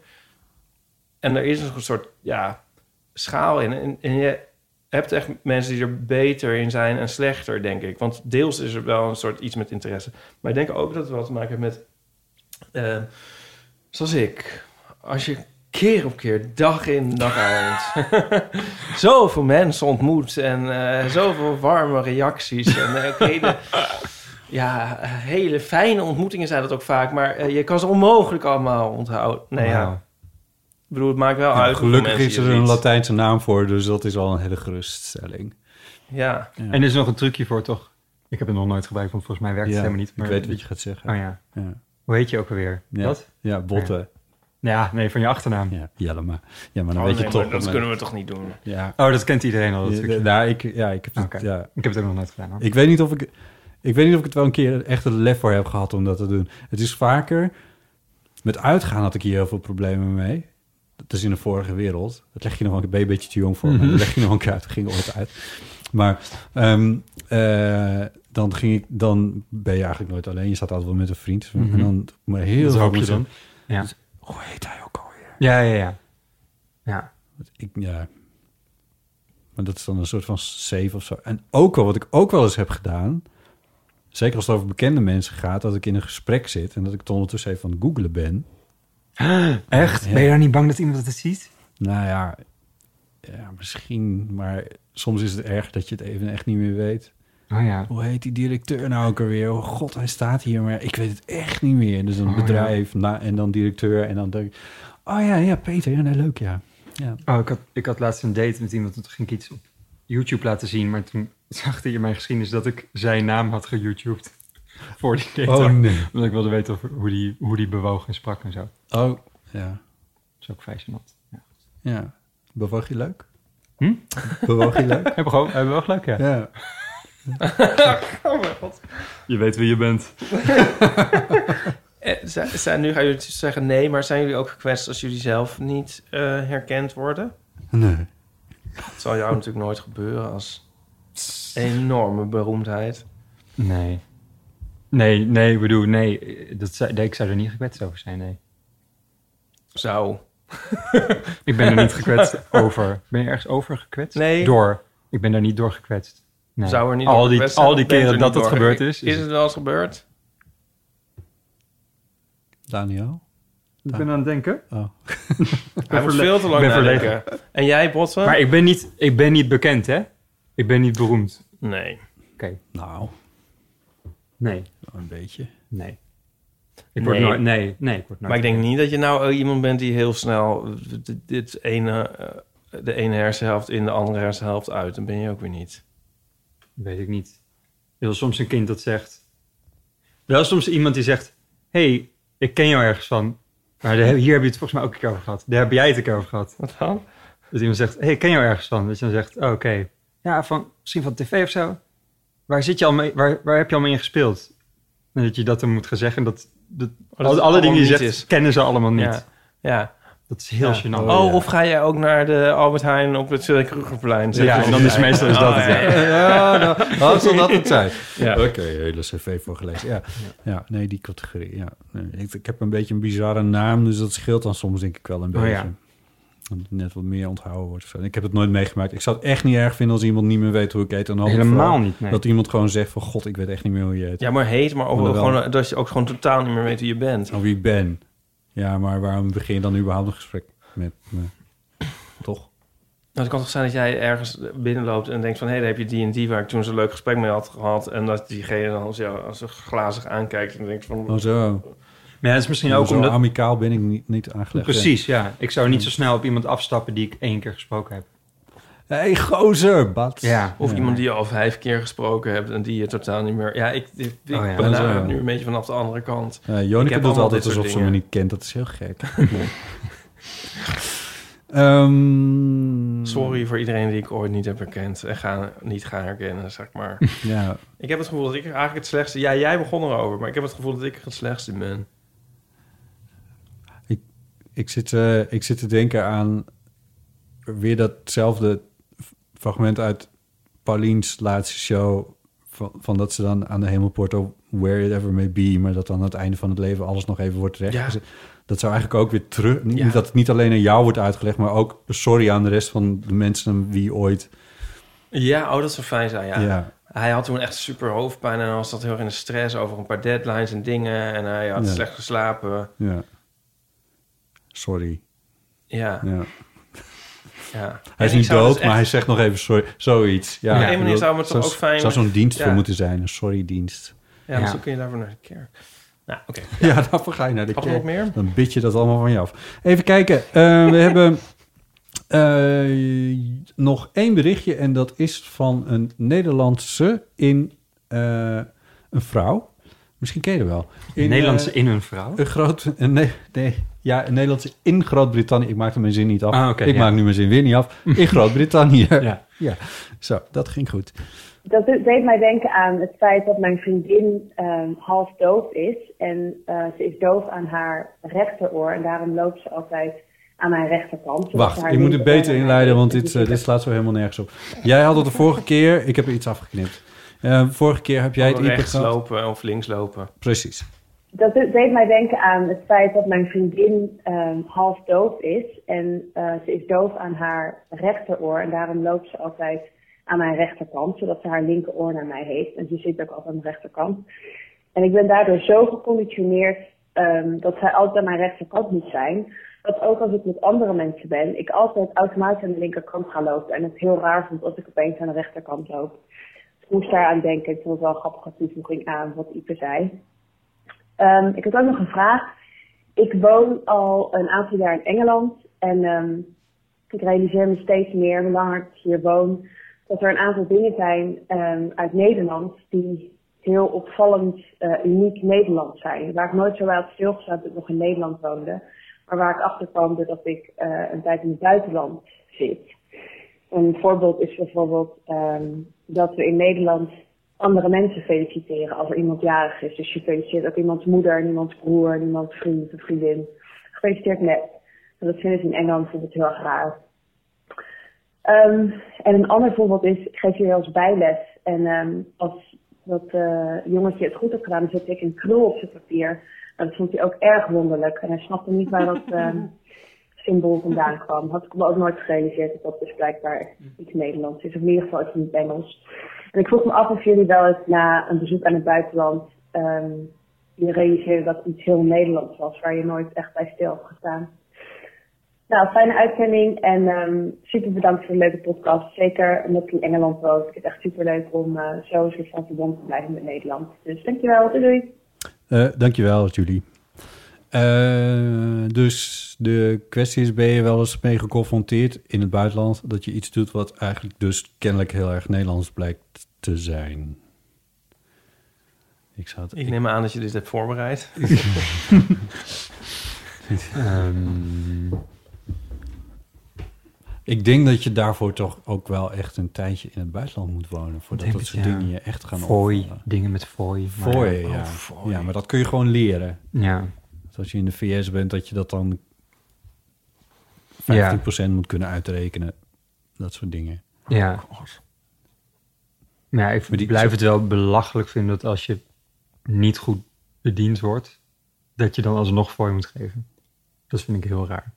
En er is een soort ja, schaal in. En, en je hebt echt mensen die er beter in zijn en slechter, denk ik. Want deels is er wel een soort iets met interesse. Maar ik denk ook dat het wel te maken heeft met... eh, zoals ik. Als je keer op keer, dag in, dag uit... zoveel mensen ontmoet en eh, zoveel warme reacties. En eh, ook hele, ja, eh, hele fijne ontmoetingen zijn dat ook vaak. Maar eh, je kan ze onmogelijk allemaal onthouden. Nee, ja. Wauw. Ik bedoel, het maakt wel Ja, uit hoeveel gelukkig mensen is je er een ziet. Latijnse naam voor, dus dat is al een hele geruststelling. Ja, En er is nog een trucje voor, toch? Ik heb het nog nooit gebruikt, want volgens mij werkt Ja, het helemaal niet. ik weet wat je gaat zeggen. Oh ja. Ja. Hoe heet je ook alweer? Ja. Wat? Ja, botten. Ja, nee, van je achternaam. Ja, Jelle, maar, ja, maar dan Oh, weet nee, je maar toch. dat maar- kunnen we toch niet doen. Ja, Oh, dat kent iedereen al, dat Ja, trucje. nou, ik, ja, ik, heb het, Oké. ja, Ik heb het ook nog nooit gedaan, hoor. ik weet niet of ik... Ik weet niet of ik het wel een keer echt het lef voor heb gehad om dat te doen. Het is vaker... Met uitgaan had ik hier heel veel problemen mee. Dat is in de vorige wereld. Dat leg je nog wel een ben je een beetje te jong voor. Mhm. Maar dat leg je nog wel een keer uit. Dat ging ooit uit. Maar ehm, eh, dan, ging ik, dan ben je eigenlijk nooit alleen. Je staat altijd wel met een vriend. En dan maar heel Mhm. Dat veel hoop je mensen- dan. Ja. Hoe heet hij ook alweer? ja, ja, ja. Ja, Want Ik, ja. Maar dat is dan een soort van save of zo. En ook wel, wat ik ook wel eens heb gedaan... zeker als het over bekende mensen gaat... dat ik in een gesprek zit en dat ik het ondertussen even aan het googelen ben. Echt? Ben je daar niet bang dat iemand het ziet? Nou ja, ja, misschien. Maar soms is het erg dat je het even echt niet meer weet. Oh ja. Hoe heet die directeur nou ook alweer? Oh god, hij staat hier, maar ik weet het echt niet meer. Dus een bedrijf na, en dan directeur en dan denk ik... Oh ja, ja, Peter, ja, nee, leuk, ja. ja. Oh, ik had, ik had laatst een date met iemand. Toen ging ik iets op YouTube laten zien. Maar toen zag hij in mijn geschiedenis dat ik zijn naam had geYouTubed. Voor die date. Oh nee. Omdat ik wilde weten of, hoe, die, hoe die bewoog en sprak en zo. Dat Oh, ja. is ook vrij gênant. Ja. Ja. Bewoog je leuk? Hm? Bewoog je leuk? Hebben we gewoon, hebben we wel gelijk, ja. Ja. Je weet wie je bent. Eh, zijn, zijn- nu gaan jullie zeggen nee, maar zijn jullie ook gekwetst als jullie zelf niet eh, herkend worden? Nee. Dat zal jou natuurlijk nooit gebeuren als enorme beroemdheid. Nee. Nee, nee, ik bedoel, nee. Dat, zou- nee, ik zou er niet gekwetst over zijn, nee. Zou. Ik ben er niet gekwetst over. Ben je ergens over gekwetst? Nee. Door. Ik ben daar niet door gekwetst. Nee. Zou er niet al door die, gekwetst zijn? al die Bent keren er dat niet dat door gebeurd gek- is. Is het wel eens gebeurd? Daniel? Ik ben aan het denken. Hij was verle- veel te lang ik ben nadenken. En jij, Botten? Maar ik ben niet, ik ben niet bekend, hè? Ik ben niet beroemd. Nee. Oké. Nou, Nee. Oh, een beetje. Nee. Ik word Nee. nooit... Nee, nee, ik word nooit... Maar ik denk niet dat je nou eh, iemand bent die heel snel eh, dit- dit ene, eh, de ene hersenhelft in de andere hersenhelft uit. Dan ben je ook weer niet. Weet ik niet. Heel soms een kind dat zegt... Wel soms iemand die zegt... hey, ik ken jou ergens van. Maar daar heb- hier heb je het volgens mij ook een keer over gehad. Daar heb jij het een keer over gehad. Wat dan? Dat Dus iemand zegt, hey, ik ken jou ergens van? Dat je dan zegt, oh, oké. Ja, van, misschien van tv of zo. Waar, zit je al mee, waar, waar heb je al mee in gespeeld? En dat je dat dan moet gaan zeggen. Dat, dat, Oh, dat alle, het alle dingen die je allemaal zegt, niet is. kennen ze allemaal niet. Ja. ja. Dat is heel Ja. gênant. Oh, of ga jij ook naar de Albert Heijn op het eh, Krugerplein? Ja, en dan is meestal is dat Oh, het. ja. Ja. Ja, nou, wat zal dat het zijn? Ja. Oké, hele cv voorgelezen. Ja. Ja. nee, die categorie. Ja. Nee, ik, ik heb een beetje een bizarre naam, dus dat scheelt dan soms denk ik wel een Oh, beetje. ja. Dat het net wat meer onthouden wordt. of zo. Ik heb het nooit meegemaakt. Ik zou het echt niet erg vinden als iemand niet meer weet hoe ik eet. En dan Helemaal vooral niet, nee. Dat iemand gewoon zegt van... God, ik weet echt niet meer hoe je eet. Ja, maar heet, maar ook Maar wel. gewoon, eh, dat je ook gewoon totaal niet meer weet wie je bent. Of wie ik ben. Ja, maar waarom begin je dan überhaupt een gesprek met me? Toch? Nou, het kan toch zijn dat jij ergens binnenloopt en denkt van... hé, hey, daar heb je die en die waar ik toen zo'n leuk gesprek mee had gehad... en dat diegene dan als, jou, als ze glazig aankijkt en denkt van... Oh zo. Maar ja, dat is misschien ook zo omdat... amicaal ben ik niet, niet aangelegd. Precies, ja. Ik zou niet zo snel op iemand afstappen die ik één keer gesproken heb. Hé, hey, gozer, bats. Ja. Of Ja. iemand die je al vijf keer gesproken hebt en die je totaal niet meer... Ja, ik, ik, ik Oh ja. ben Dat is, daar eh, nu een beetje vanaf de andere kant. Uh, Ik Jonica heb doet allemaal altijd dit soort alsof ze me dingen. niet kent. Dat is heel gek. Ehm, Sorry voor iedereen die ik ooit niet heb herkend en ga, niet ga herkennen, zeg maar. Ja, ik heb het gevoel dat ik eigenlijk het slechtste... Ja, jij begon erover, maar ik heb het gevoel dat ik het slechtste ben. ik, zit, eh, ik zit te denken aan weer datzelfde fragment uit Paulien's laatste show... Van, van dat ze dan aan de hemelpoort op Where It Ever May Be... maar dat dan aan het einde van het leven alles nog even wordt rechtgezet. Dat zou eigenlijk ook weer terug... niet- Ja. Dat het niet alleen aan jou wordt uitgelegd... maar ook sorry aan de rest van de mensen aan wie ooit... Ja, oh, dat zou fijn zijn, ja. Ja. Hij had toen echt super hoofdpijn en was dat heel erg in de stress over een paar deadlines en dingen. En hij had Ja. slecht geslapen. ja. Sorry. Ja, ja. Ja. Hij is En ik niet zou dood, dus maar hij echt- zegt nog even sorry. Zoiets. Op Ja, een ik manier bedoel, zou het toch zo'n- ook fijn- zou zo'n dienst Ja. voor moeten zijn, een sorry-dienst. Ja, dus dan kun je daarvoor naar de kerk. Nou, oké. Ja, daarvoor ga je naar de Had er nog meer? Dan bid je dat allemaal van je af. Even kijken. Eh, we hebben eh, nog één berichtje. En dat is van een Nederlandse in eh, een vrouw. Misschien ken je er wel. In, Nederlandse eh, in hun vrouw. een groot... een ne- nee, ja, een Nederlandse in Groot-Brittannië. Ik maakte mijn zin niet af. Ah, oké, ik ja. maak nu mijn zin weer niet af. In Groot-Brittannië. Ja. ja. Zo, dat ging goed. Dat de- deed mij denken aan het feit dat mijn vriendin ehm, half doof is. En eh, ze is doof aan haar rechteroor. En daarom loopt ze altijd aan haar rechterkant. zodat ze Wacht, haar ik eh, moet het linkeroor beter naar inleiden, haar want dit, linker- eh, dit slaat zo helemaal nergens op. Jij had het de vorige keer, ik heb er iets afgeknipt. Eh, vorige keer heb jij het Gewoon Oh, rechts iPad gehad. lopen of links lopen. Precies. Dat de- deed mij denken aan het feit dat mijn vriendin ehm, half doof is. En eh, ze is doof aan haar rechteroor. En daarom loopt ze altijd aan mijn rechterkant. Zodat ze haar linkeroor naar mij heeft. En ze zit ook altijd aan de rechterkant. En ik ben daardoor zo geconditioneerd ehm, dat zij altijd aan mijn rechterkant moet zijn. Dat ook als ik met andere mensen ben, ik altijd automatisch aan de linkerkant ga lopen. En het heel raar vond als ik opeens aan de rechterkant loop. Dus ik moest daar aan denken. Ik vond het wel een grappige toevoeging aan wat Ipe zei. Ehm, ik had ook nog een vraag. Ik woon al een aantal jaar in Engeland en ehm, ik realiseer me steeds meer, hoe langer ik hier woon, dat er een aantal dingen zijn ehm, uit Nederland die heel opvallend eh, uniek Nederlands zijn. Waar ik nooit zo bij had stilgestaan dat ik nog in Nederland woonde, maar waar ik achter kwam doordat ik eh, een tijd in het buitenland zit. Een voorbeeld is bijvoorbeeld ehm, dat we in Nederland andere mensen feliciteren als er iemand jarig is. Dus je feliciteert ook iemands moeder, en iemands broer, en iemands vriend of vriendin. Gefeliciteerd met. En dat vinden ze in Engeland bijvoorbeeld heel erg raar. Ehm, en een ander voorbeeld is, ik geef jullie als bijles. En ehm, als dat eh, jongetje het goed had gedaan, dan zette ik een krul op zijn papier. En dat vond hij ook erg wonderlijk. En hij snapte niet waar dat ehm, symbool vandaan kwam. Had ik me ook nooit gerealiseerd dat dat dus blijkbaar iets Nederlands is. Of in ieder geval iets niet Engels. En ik vroeg me af of jullie wel eens na een bezoek aan het buitenland... ehm, je realiseerde dat het iets heel Nederlands was... waar je nooit echt bij stil had gestaan. Nou, fijne uitzending en ehm, super bedankt voor de leuke podcast. Zeker omdat ik in Engeland woon. Ik vind het echt super leuk om eh, zo een soort van verbond te blijven met Nederland. Dus dankjewel, doei doei! Eh, dankjewel, Julie. Eh, dus de kwestie is, ben je wel eens mee geconfronteerd in het buitenland... dat je iets doet wat eigenlijk dus kennelijk heel erg Nederlands blijkt te zijn? Ik zou het... Ik neem aan dat je dit hebt voorbereid. Ehm, Ik denk dat je daarvoor toch ook wel echt een tijdje in het buitenland moet wonen... voordat Denk dat het, soort ja. dingen je echt gaan fooi, opvallen. dingen met fooi. maar- Fooi, Oh, ja. fooi. ja, maar dat kun je gewoon leren. Ja. Dus als je in de VS bent, dat je dat dan 15% Ja. moet kunnen uitrekenen. Dat soort dingen. Ja. Maar ja, ik Maar die- blijf het wel belachelijk vinden dat als je niet goed bediend wordt, dat je dan alsnog voor je moet geven. Dat vind ik heel raar.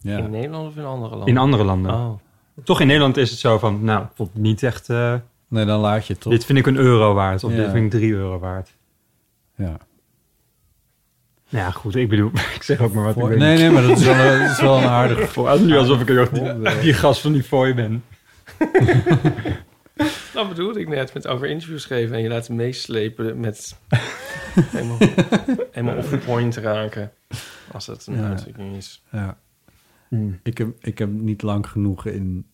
Ja. In Nederland of in andere landen? In andere landen. Oh, Toch in Nederland is het zo van, nou, ik vond het niet echt, eh, Nee, dan laat je het toch. dit vind ik een euro waard of Ja. dit vind ik drie euro waard. Ja. Nou ja, goed, ik bedoel, ik zeg ook maar wat ik Voor- weet Nee, niet. nee, maar dat is wel, een- dat is wel een aardig. Voor- als- Nu alsof ik ook die, die gast van die fooi ben. dat bedoelde ik net met over interviews geven en je laten meeslepen met helemaal, helemaal off the point raken. Als dat een Ja. uitdrukking is. Ja. Ik, heb, ik heb niet lang genoeg in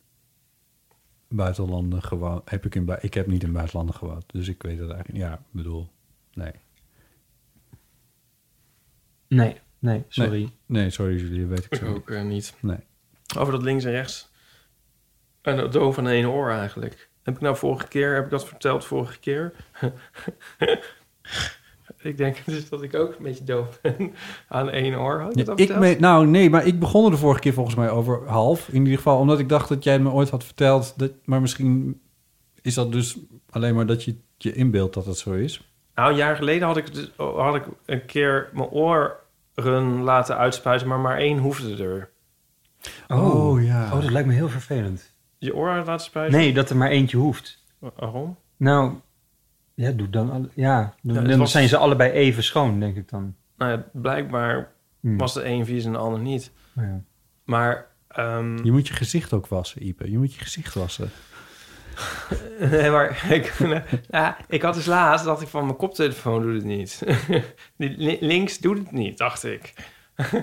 buitenlanden gewoond. Heb ik, in, bui- ik heb niet in buitenlanden gewoond, dus ik weet het eigenlijk niet. Ja, ik bedoel, nee. Nee, nee, sorry. Nee, sorry jullie, dat weet ik Ik zo. niet. ook eh, niet. Nee. Over dat links en rechts. En dat doof aan één oor eigenlijk. Heb ik nou vorige keer, heb ik dat verteld vorige keer? Ik denk dus dat ik ook een beetje doof ben aan één oor. Had ik Ja, dat al ik verteld? me- nou, nee, maar ik begon er de vorige keer volgens mij over half. In ieder geval, omdat ik dacht dat jij het me ooit had verteld. Dat, maar misschien is dat dus alleen maar dat je het je inbeeldt dat dat zo is. Nou, een jaar geleden had ik, dus, had ik een keer mijn oren laten uitspuiten, maar maar één hoefde er. Oh, ja. Oh, dat lijkt me heel vervelend. Je oren laten spuiten? Nee, dat er maar eentje hoeft. Waarom? Nou, ja, doe dan... alle- ja, dan, Ja, het dan was- zijn ze allebei even schoon, denk ik dan. Nou ja, blijkbaar Hmm. was de een vies en de ander niet. Oh ja. Maar ehm, Je moet je gezicht ook wassen, Ipe. Je moet je gezicht wassen. Nee, maar ik, ja, ik had dus laatst, dacht ik van mijn koptelefoon doet het niet. Die li- links doet het niet, dacht ik. ik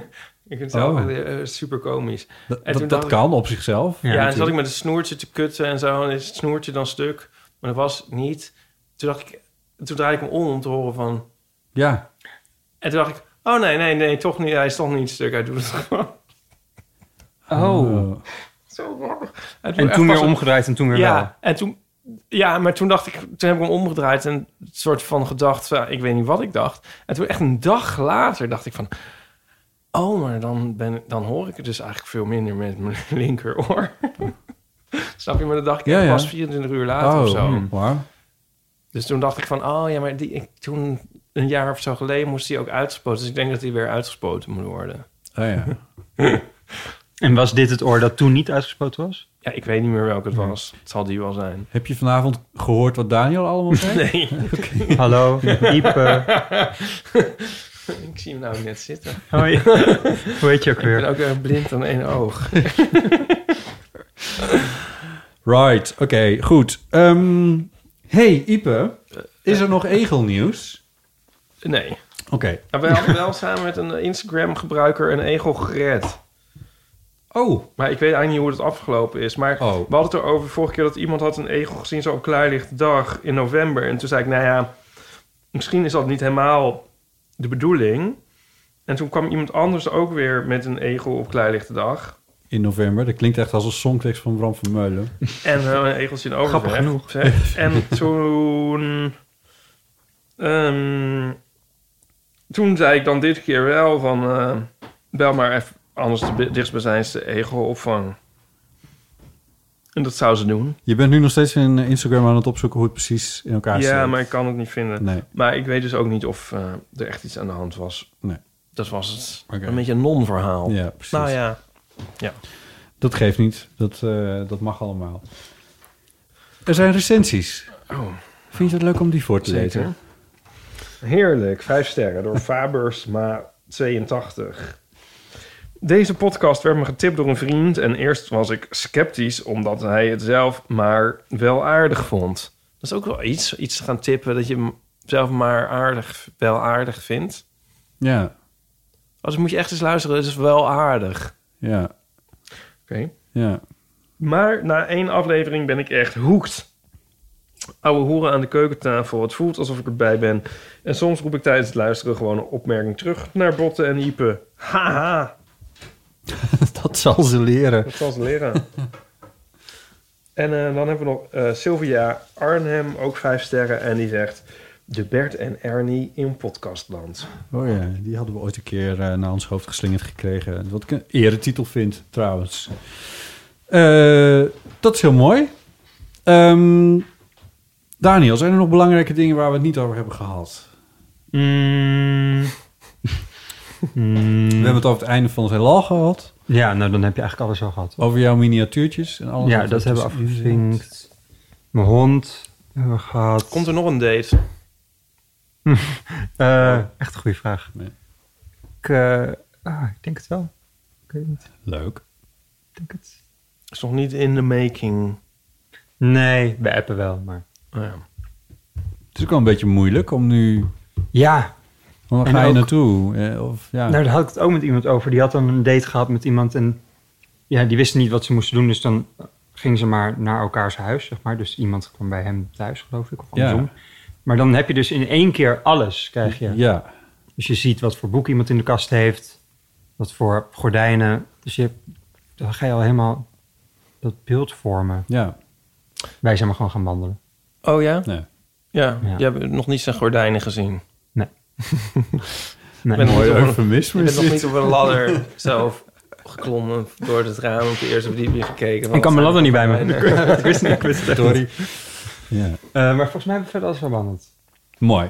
vind het zelf Oh. echt, eh, super komisch. Dat, toen dat, dat dacht ik- kan op zichzelf. Ja, Ja, en toen zat ik met een snoertje te kutten en zo. En is het snoertje dan stuk. Maar dat was niet. Toen dacht ik, toen draaide ik hem om om te horen van... Ja. En toen dacht ik, oh nee, nee, nee, toch niet. Hij is toch niet stuk. Hij doet het gewoon. Oh. Zo grappig. Hij doet En echt toen pas weer een- omgedraaid en toen weer wel. Ja, en toen, ja, maar toen dacht ik, toen heb ik hem omgedraaid en een soort van gedacht, van, ik weet niet wat ik dacht. En toen echt een dag later dacht ik van, oh, maar dan, ben, dan hoor ik het dus eigenlijk veel minder met mijn linkeroor. Snap je? Maar dat dacht ik Ja, ja. pas 24 uur later Oh, of zo. hmm, wauw. Dus toen dacht ik van, oh ja, maar die, ik, toen een jaar of zo geleden moest die ook uitgespoten. Dus ik denk dat die weer uitgespoten moet worden. Oh, ja. En was dit het oor dat toen niet uitgespoten was? Ja, ik weet niet meer welke het was. Het zal die wel zijn. Heb je vanavond gehoord wat Daniel allemaal zei? Nee, Hallo, Ipe. ik zie hem nou net zitten. Hoi. Hoe heet je ook Ik ben weer? ook eh, blind aan één oog. Right, oké, goed. Ehm, hey, Ipe, is er nog egelnieuws? Nee. Oké. Maar we hadden wel samen met een Instagram-gebruiker een egel gered. Oh, Maar ik weet eigenlijk niet hoe het afgelopen is. Maar Oh. we hadden het erover vorige keer dat iemand had een egel gezien... zo op klaarlichte dag in november. En toen zei ik, nou ja, misschien is dat niet helemaal de bedoeling. En toen kwam iemand anders ook weer met een egel op klaarlichte dag. in november. Dat klinkt echt als een songtekst van Bram van Meulen. En eh, een egeltje in overweg. Grappig genoeg. zeg. En toen... ehm, toen zei ik dan dit keer wel van... eh, bel maar even anders de bi- dichtstbijzijnde egel opvang. En dat zou ze doen. Je bent nu nog steeds in eh, Instagram aan het opzoeken hoe het precies in elkaar zit. ja, maar ik kan het niet vinden. Nee. Maar ik weet dus ook niet of eh, er echt iets aan de hand was. Nee. Dat was het. Oké. Een beetje een non-verhaal. Ja, precies. nou ja. Dat geeft niet. Dat, eh, dat mag allemaal. Er zijn recensies. Oh. Vind je het leuk om die voor te Zeker. lezen? Heerlijk, vijf sterren door Fabersma 82. Deze podcast werd me getipt door een vriend en eerst was ik sceptisch omdat hij het zelf maar wel aardig vond. Dat is ook wel iets, iets te gaan tippen dat je hem zelf maar aardig, wel aardig vindt. Ja, Als moet je echt eens luisteren, het is wel aardig. ja, Oké. ja. Maar na één aflevering ben ik echt hoekt. Oude hoeren aan de keukentafel. Het voelt alsof ik erbij ben. En soms roep ik tijdens het luisteren gewoon een opmerking terug naar Botten en Ipe. Haha, Dat zal ze leren. dat zal ze leren. en eh, dan hebben we nog eh, Sylvia Arnhem, ook vijf sterren. En die zegt... De Bert en Ernie in podcastland. Oh ja, die hadden we ooit een keer eh, naar ons hoofd geslingerd gekregen. Wat ik een eretitel vind, trouwens. Eh, dat is heel mooi. Ehm, Daniel, zijn er nog belangrijke dingen waar we het niet over hebben gehad? Mm. Mm. We hebben het over het einde van het heelal gehad. Ja, nou dan heb je eigenlijk alles al gehad. Over jouw miniatuurtjes en alles. ja, wat dat hebben we ertussen in zit. afgevinkt. Mijn hond hebben we gehad. Komt er nog een date? Eh, echt een goede vraag. Nee. Ik, eh, ah, ik denk het wel. Ik weet het niet. Leuk. Ik denk het. Is nog niet in de making. Nee, we appen wel, maar... Nou ja. Het is ook wel een beetje moeilijk om nu... Ja, Waar En ga je ook- naartoe? Eh, Of, ja. Nou, daar had ik het ook met iemand over. Die had dan een date gehad met iemand en ja, die wist niet wat ze moesten doen. Dus dan gingen ze maar naar elkaars huis, zeg maar. Dus iemand kwam bij hem thuis, geloof ik, of Ja. andersom. Maar dan heb je dus in één keer alles, krijg je. ja. Dus je ziet wat voor boek iemand in de kast heeft, wat voor gordijnen. Dus je, dan ga je al helemaal dat beeld vormen. Ja. Wij zijn maar gewoon gaan wandelen. Oh ja? Nee. Ja, Ja. je hebt nog niet zijn gordijnen gezien. Nee. Eh, Nee. Ik ben Mooi nog niet op- eufemisme Ik ben is nog dit. niet op een ladder zelf geklommen door het raam op de eerste verdieping gekeken. want eh, Ik kan mijn het ladder niet bij zijn me. ik wist niet, ik wist het echt Sorry. niet. Ja. Eh, maar volgens mij hebben we verder alles verwandeld. Mooi.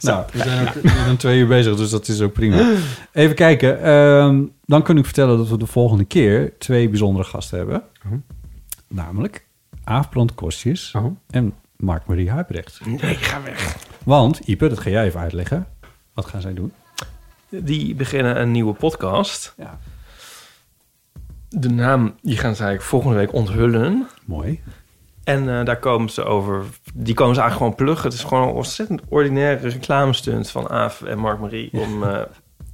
nou, we zijn ook meer dan twee uur bezig, dus dat is ook prima. Even kijken. ehm, dan kun ik vertellen dat we de volgende keer twee bijzondere gasten hebben. Oh. Namelijk Aafbrand Kostjes Oh. en Mark-Marie Huibrecht. Nee, ga weg. Want, Ipe, dat ga jij even uitleggen. Wat gaan zij doen? Die beginnen een nieuwe podcast. Ja. De naam die gaan ze eigenlijk volgende week onthullen. Mooi. En eh, daar komen ze over. Die komen ze eigenlijk gewoon pluggen. Het is gewoon een ontzettend ordinaire reclamestunt van Aaf en Mark Marie om eh,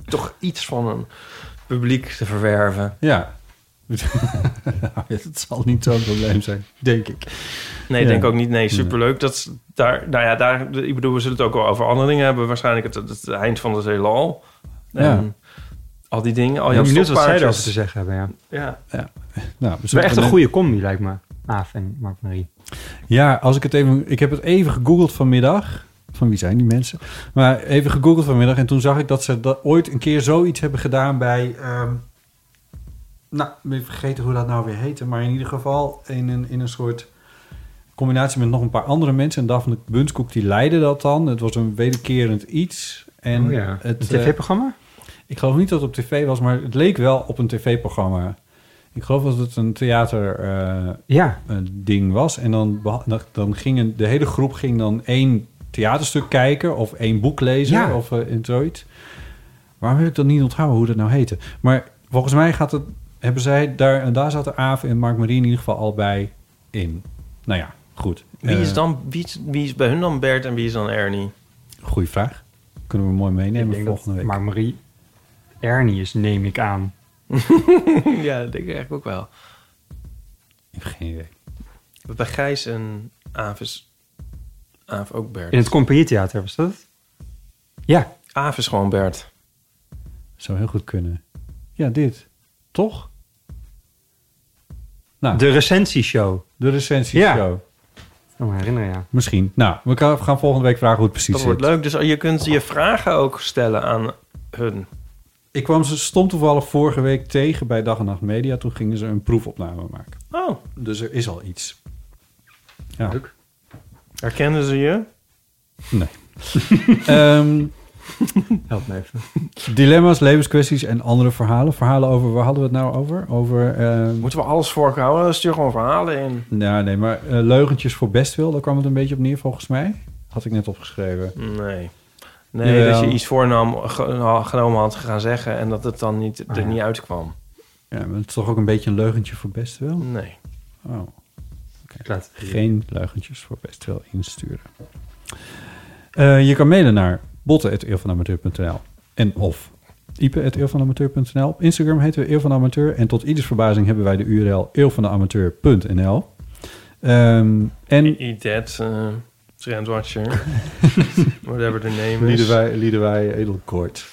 toch iets van een publiek te verwerven. Ja. het zal niet zo'n probleem zijn, denk ik. Nee, Ja. denk ook niet. Nee, superleuk. Dat is daar, nou ja, daar, ik bedoel, we zullen het ook wel over andere dingen hebben. Waarschijnlijk het, het eind van de zeelal. En al die dingen. Al ik ben Jan benieuwd wat zij Stokpaardjes. erover te zeggen hebben, ja. Ja. Ja. Nou, Het is wel echt een goede combi, lijkt me. Aaf en Mark-Marie. Ja, als ik het even. Ik heb het even gegoogeld vanmiddag. Van wie zijn die mensen? Maar even gegoogeld vanmiddag. En toen zag ik dat ze dat ooit een keer zoiets hebben gedaan bij. ehm, nou, ik ben vergeten hoe dat nou weer heette. Maar in ieder geval in een, in een soort combinatie met nog een paar andere mensen. En Daphne Bunskoek die leidde dat dan. Het was een wederkerend iets. En Oh ja, het, een tv-programma? eh, ik geloof niet dat het op tv was, maar het leek wel op een tv-programma. Ik geloof dat het een theater eh, Ja. een ding was. En dan, beha- dan- dan gingen de hele groep ging dan één theaterstuk kijken of één boek lezen Ja. of eh, en zoiets. Waarom heb ik dat niet onthouden hoe dat nou heette? Maar volgens mij gaat het, hebben zij daar, en daar zaten Aave en Mark Marie in ieder geval al bij in. Nou ja, goed. Wie is, Eh, dan, wie, is- wie is bij hun dan Bert en wie is dan Ernie? Goeie vraag. Kunnen we mooi meenemen denk volgende week. Maar Marie Ernie is, neem ik aan. ja, dat denk ik eigenlijk ook wel. Ik heb geen idee. Bij Gijs en Aaf is Aaf ook Bert. In het compagnietheater was dat het? Ja. Aaf is gewoon Bert. Zou heel goed kunnen. Ja, dit. Toch? Nou, De recensieshow. de recensieshow. Ik kan me herinneren, ja. Misschien. Nou, we gaan we gaan volgende week vragen hoe het precies Dat zit. wordt leuk. Dus je kunt je vragen ook stellen aan hun. Ik kwam ze stom toevallig vorige week tegen bij Dag en Nacht Media. Toen gingen ze een proefopname maken. Oh, Dus er is al iets. Ja. Leuk. herkennen ze je? Nee. Ehm, Help me even. dilemma's, levenskwesties en andere verhalen. Verhalen over, waar hadden we het nou over? Over, ehm, Moeten we alles voorhouden? Stuur gewoon verhalen in. nou nee, maar eh, leugentjes voor bestwil. Daar kwam het een beetje op neer volgens mij. Had ik net opgeschreven. Nee. Nee, Jawel. dat je iets voornam, ge- nou, genomen had gaan zeggen en dat het dan niet, Ah, er niet uitkwam. Ja, maar het is toch ook een beetje een leugentje voor bestwil? Nee. Oh. Ik laat het geen leugentjes voor best wel insturen. Eh, je kan mailen naar botten.eeuwvanamateur.nl en of ipe.eeuwvanamateur.nl. Op Instagram heten we Eeuw van de Amateur en tot ieders verbazing hebben wij de URL eeuwvanamateur.nl. Ehm en Eat that, eh, Trendwatcher. Whatever the name is. lieden wij, lieden wij edelkort.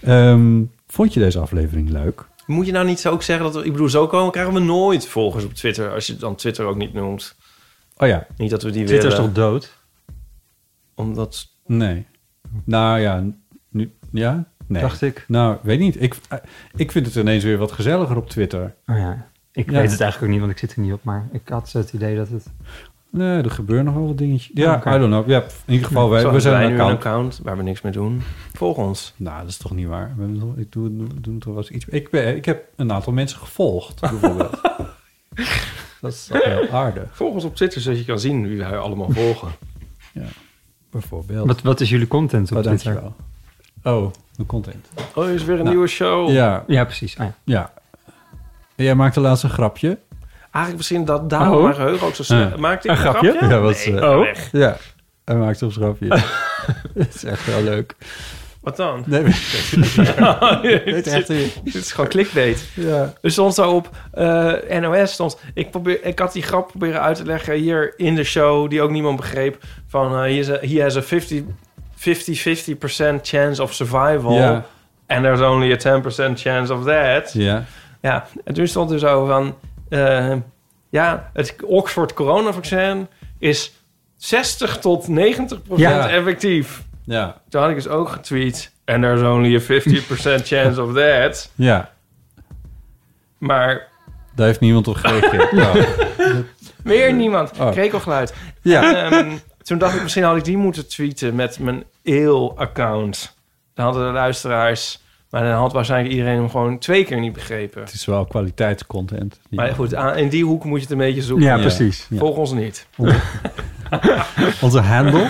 Ehm, vond je deze aflevering leuk? Moet je nou niet zo ook zeggen dat... we- Ik bedoel, zo komen krijgen we nooit volgers op Twitter... als je dan Twitter ook niet noemt. Oh ja, Niet dat we die Twitter is willen. toch dood? Omdat... nee. Nou ja, nu, ja? Nee. Dacht ik. Nou, weet niet. Ik, ik vind het ineens weer wat gezelliger op Twitter. Oh ja. Ik Ja. weet het eigenlijk ook niet, want ik zit er niet op. Maar ik had zo het idee dat het... Nee, er gebeuren nog wel wat dingetjes. Ja, Oké. I don't know. Ja, in ieder geval, wij, zo we hebben zijn wij een nu een account. account waar we niks mee doen. Volg ons. Nou, dat is toch niet waar. We hebben nog- ik doe, doe, doe toch wel eens iets. Ik, ben, ik heb een aantal mensen gevolgd, bijvoorbeeld. dat is toch heel aardig, Volg ons op Twitter, zodat je kan zien wie wij allemaal volgen. bijvoorbeeld. Wat, wat is jullie content op oh, Twitter? dankjewel. Oh, de content. Oh, er is weer een nieuwe show. Nou, Ja, Oh. Ja, precies. Ah, ja. ja. Jij maakte laatst een grapje. Eigenlijk misschien dat daarom mijn geheugen ook zo snel... Oh. Ja. Maakte ik een grapje? Ja, was, Nee, eh, Oh. ga weg. ja. Hij maakte een grapje. dat is echt wel leuk. Wat dan? Nee, maar- Dit echt niet. dit is gewoon clickbait. ja. Er stond zo op eh, NOS stond. Ik, probeer, ik had die grap proberen uit te leggen hier in de show, die ook niemand begreep. Van eh, he, is a, he has a 50, 50, 50% chance of survival. Ja. And there's only a 10% chance of that. ja. Ja, en toen stond er zo van... eh, ja, het Oxford coronavaccin is 60 tot 90% Ja. effectief. Ja. Toen had ik dus ook getweet. And there's only a 50% chance of that. Ja, Maar daar heeft niemand op gereageerd. Nou, meer niemand. Oh. Krekelgeluid. Ja. Ehm, toen dacht ik, misschien had ik die moeten tweeten met mijn eeuw-account. Dan hadden de luisteraars... Maar dan had waarschijnlijk iedereen hem gewoon twee keer niet begrepen. het is wel kwaliteitscontent. Ja. Maar goed, aan, in die hoek moet je het een beetje zoeken. Ja, Ja. precies. Ja. Volg ons niet. Onze handle,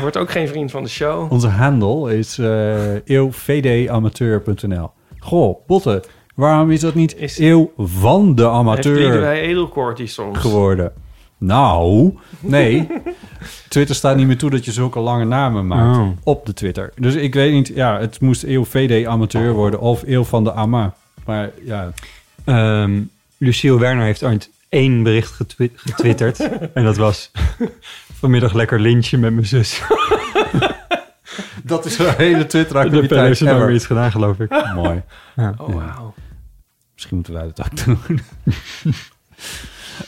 Wordt ook geen vriend van de show. onze handle is eh eeuwvdamateur.nl. Goh, Botte, waarom is dat niet Is- eeuw van de amateur? Heeft wij edelkortie soms. geworden. Nou, nee. Twitter staat niet meer toe dat je zulke lange namen maakt Oh. op de Twitter. Dus ik weet niet, ja, het moest E eeuw VD amateur worden of eeuw van de AMA. Maar ja, Ehm, Lucille Werner heeft ooit één bericht getwi- getwitterd. en dat was vanmiddag lekker lintje met mijn zus. dat is De haar hele pen heeft Twitter-activiteit ze nooit meer ever. iets gedaan, geloof ik. Mooi. Oh, wauw. Misschien moeten wij dat ook doen.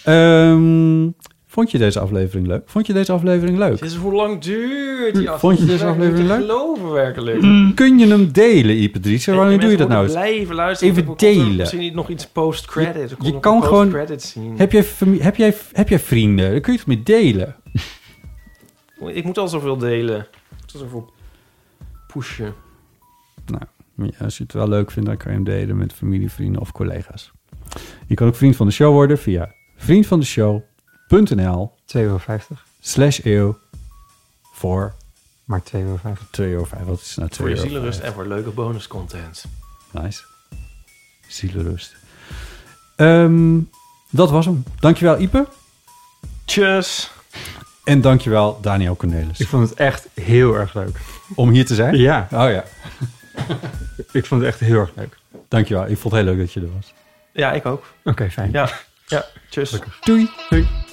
Ehm, vond je deze aflevering leuk? Vond je deze aflevering leuk? Dit is hoe lang duurt die aflevering? Hm, Vond je deze Ik moet aflevering leuk? Hm. het geloven werkelijk. Kun je hem delen, Ipe Driessen? Wanneer En doe je dat mensen nou? moeten Blijven luisteren. Even want er komt er delen. Misschien niet nog iets post-credit. Er komt je nog kan een gewoon- post-credit zien. Heb jij, fami- heb, jij, heb jij vrienden? Dan kun je het mee delen. Ik moet al zoveel delen. Ik moet al zoveel pushen. Nou, Ja, als je het wel leuk vindt, dan kan je hem delen met familie, vrienden of collega's. Je kan ook vriend van de show worden via vriendvandeshow.nl 2,50 euro. slash eeuw voor Maar 2,50 euro. 2,5 euro. Wat is nou 2,50 Voor je zielenrust en voor leuke bonuscontent. Nice. Zielenrust. Ehm, dat was hem. Dankjewel Ipe. Tjus. En dankjewel Daniel Ik Cornelis vond het echt heel erg leuk. om hier te zijn. Ja, Oh ja, ik vond het echt heel erg leuk. dankjewel. Ik vond het heel leuk dat je er was. Ja, ik ook. Oké, fijn. Ja, ja tjus. Doei. Doei.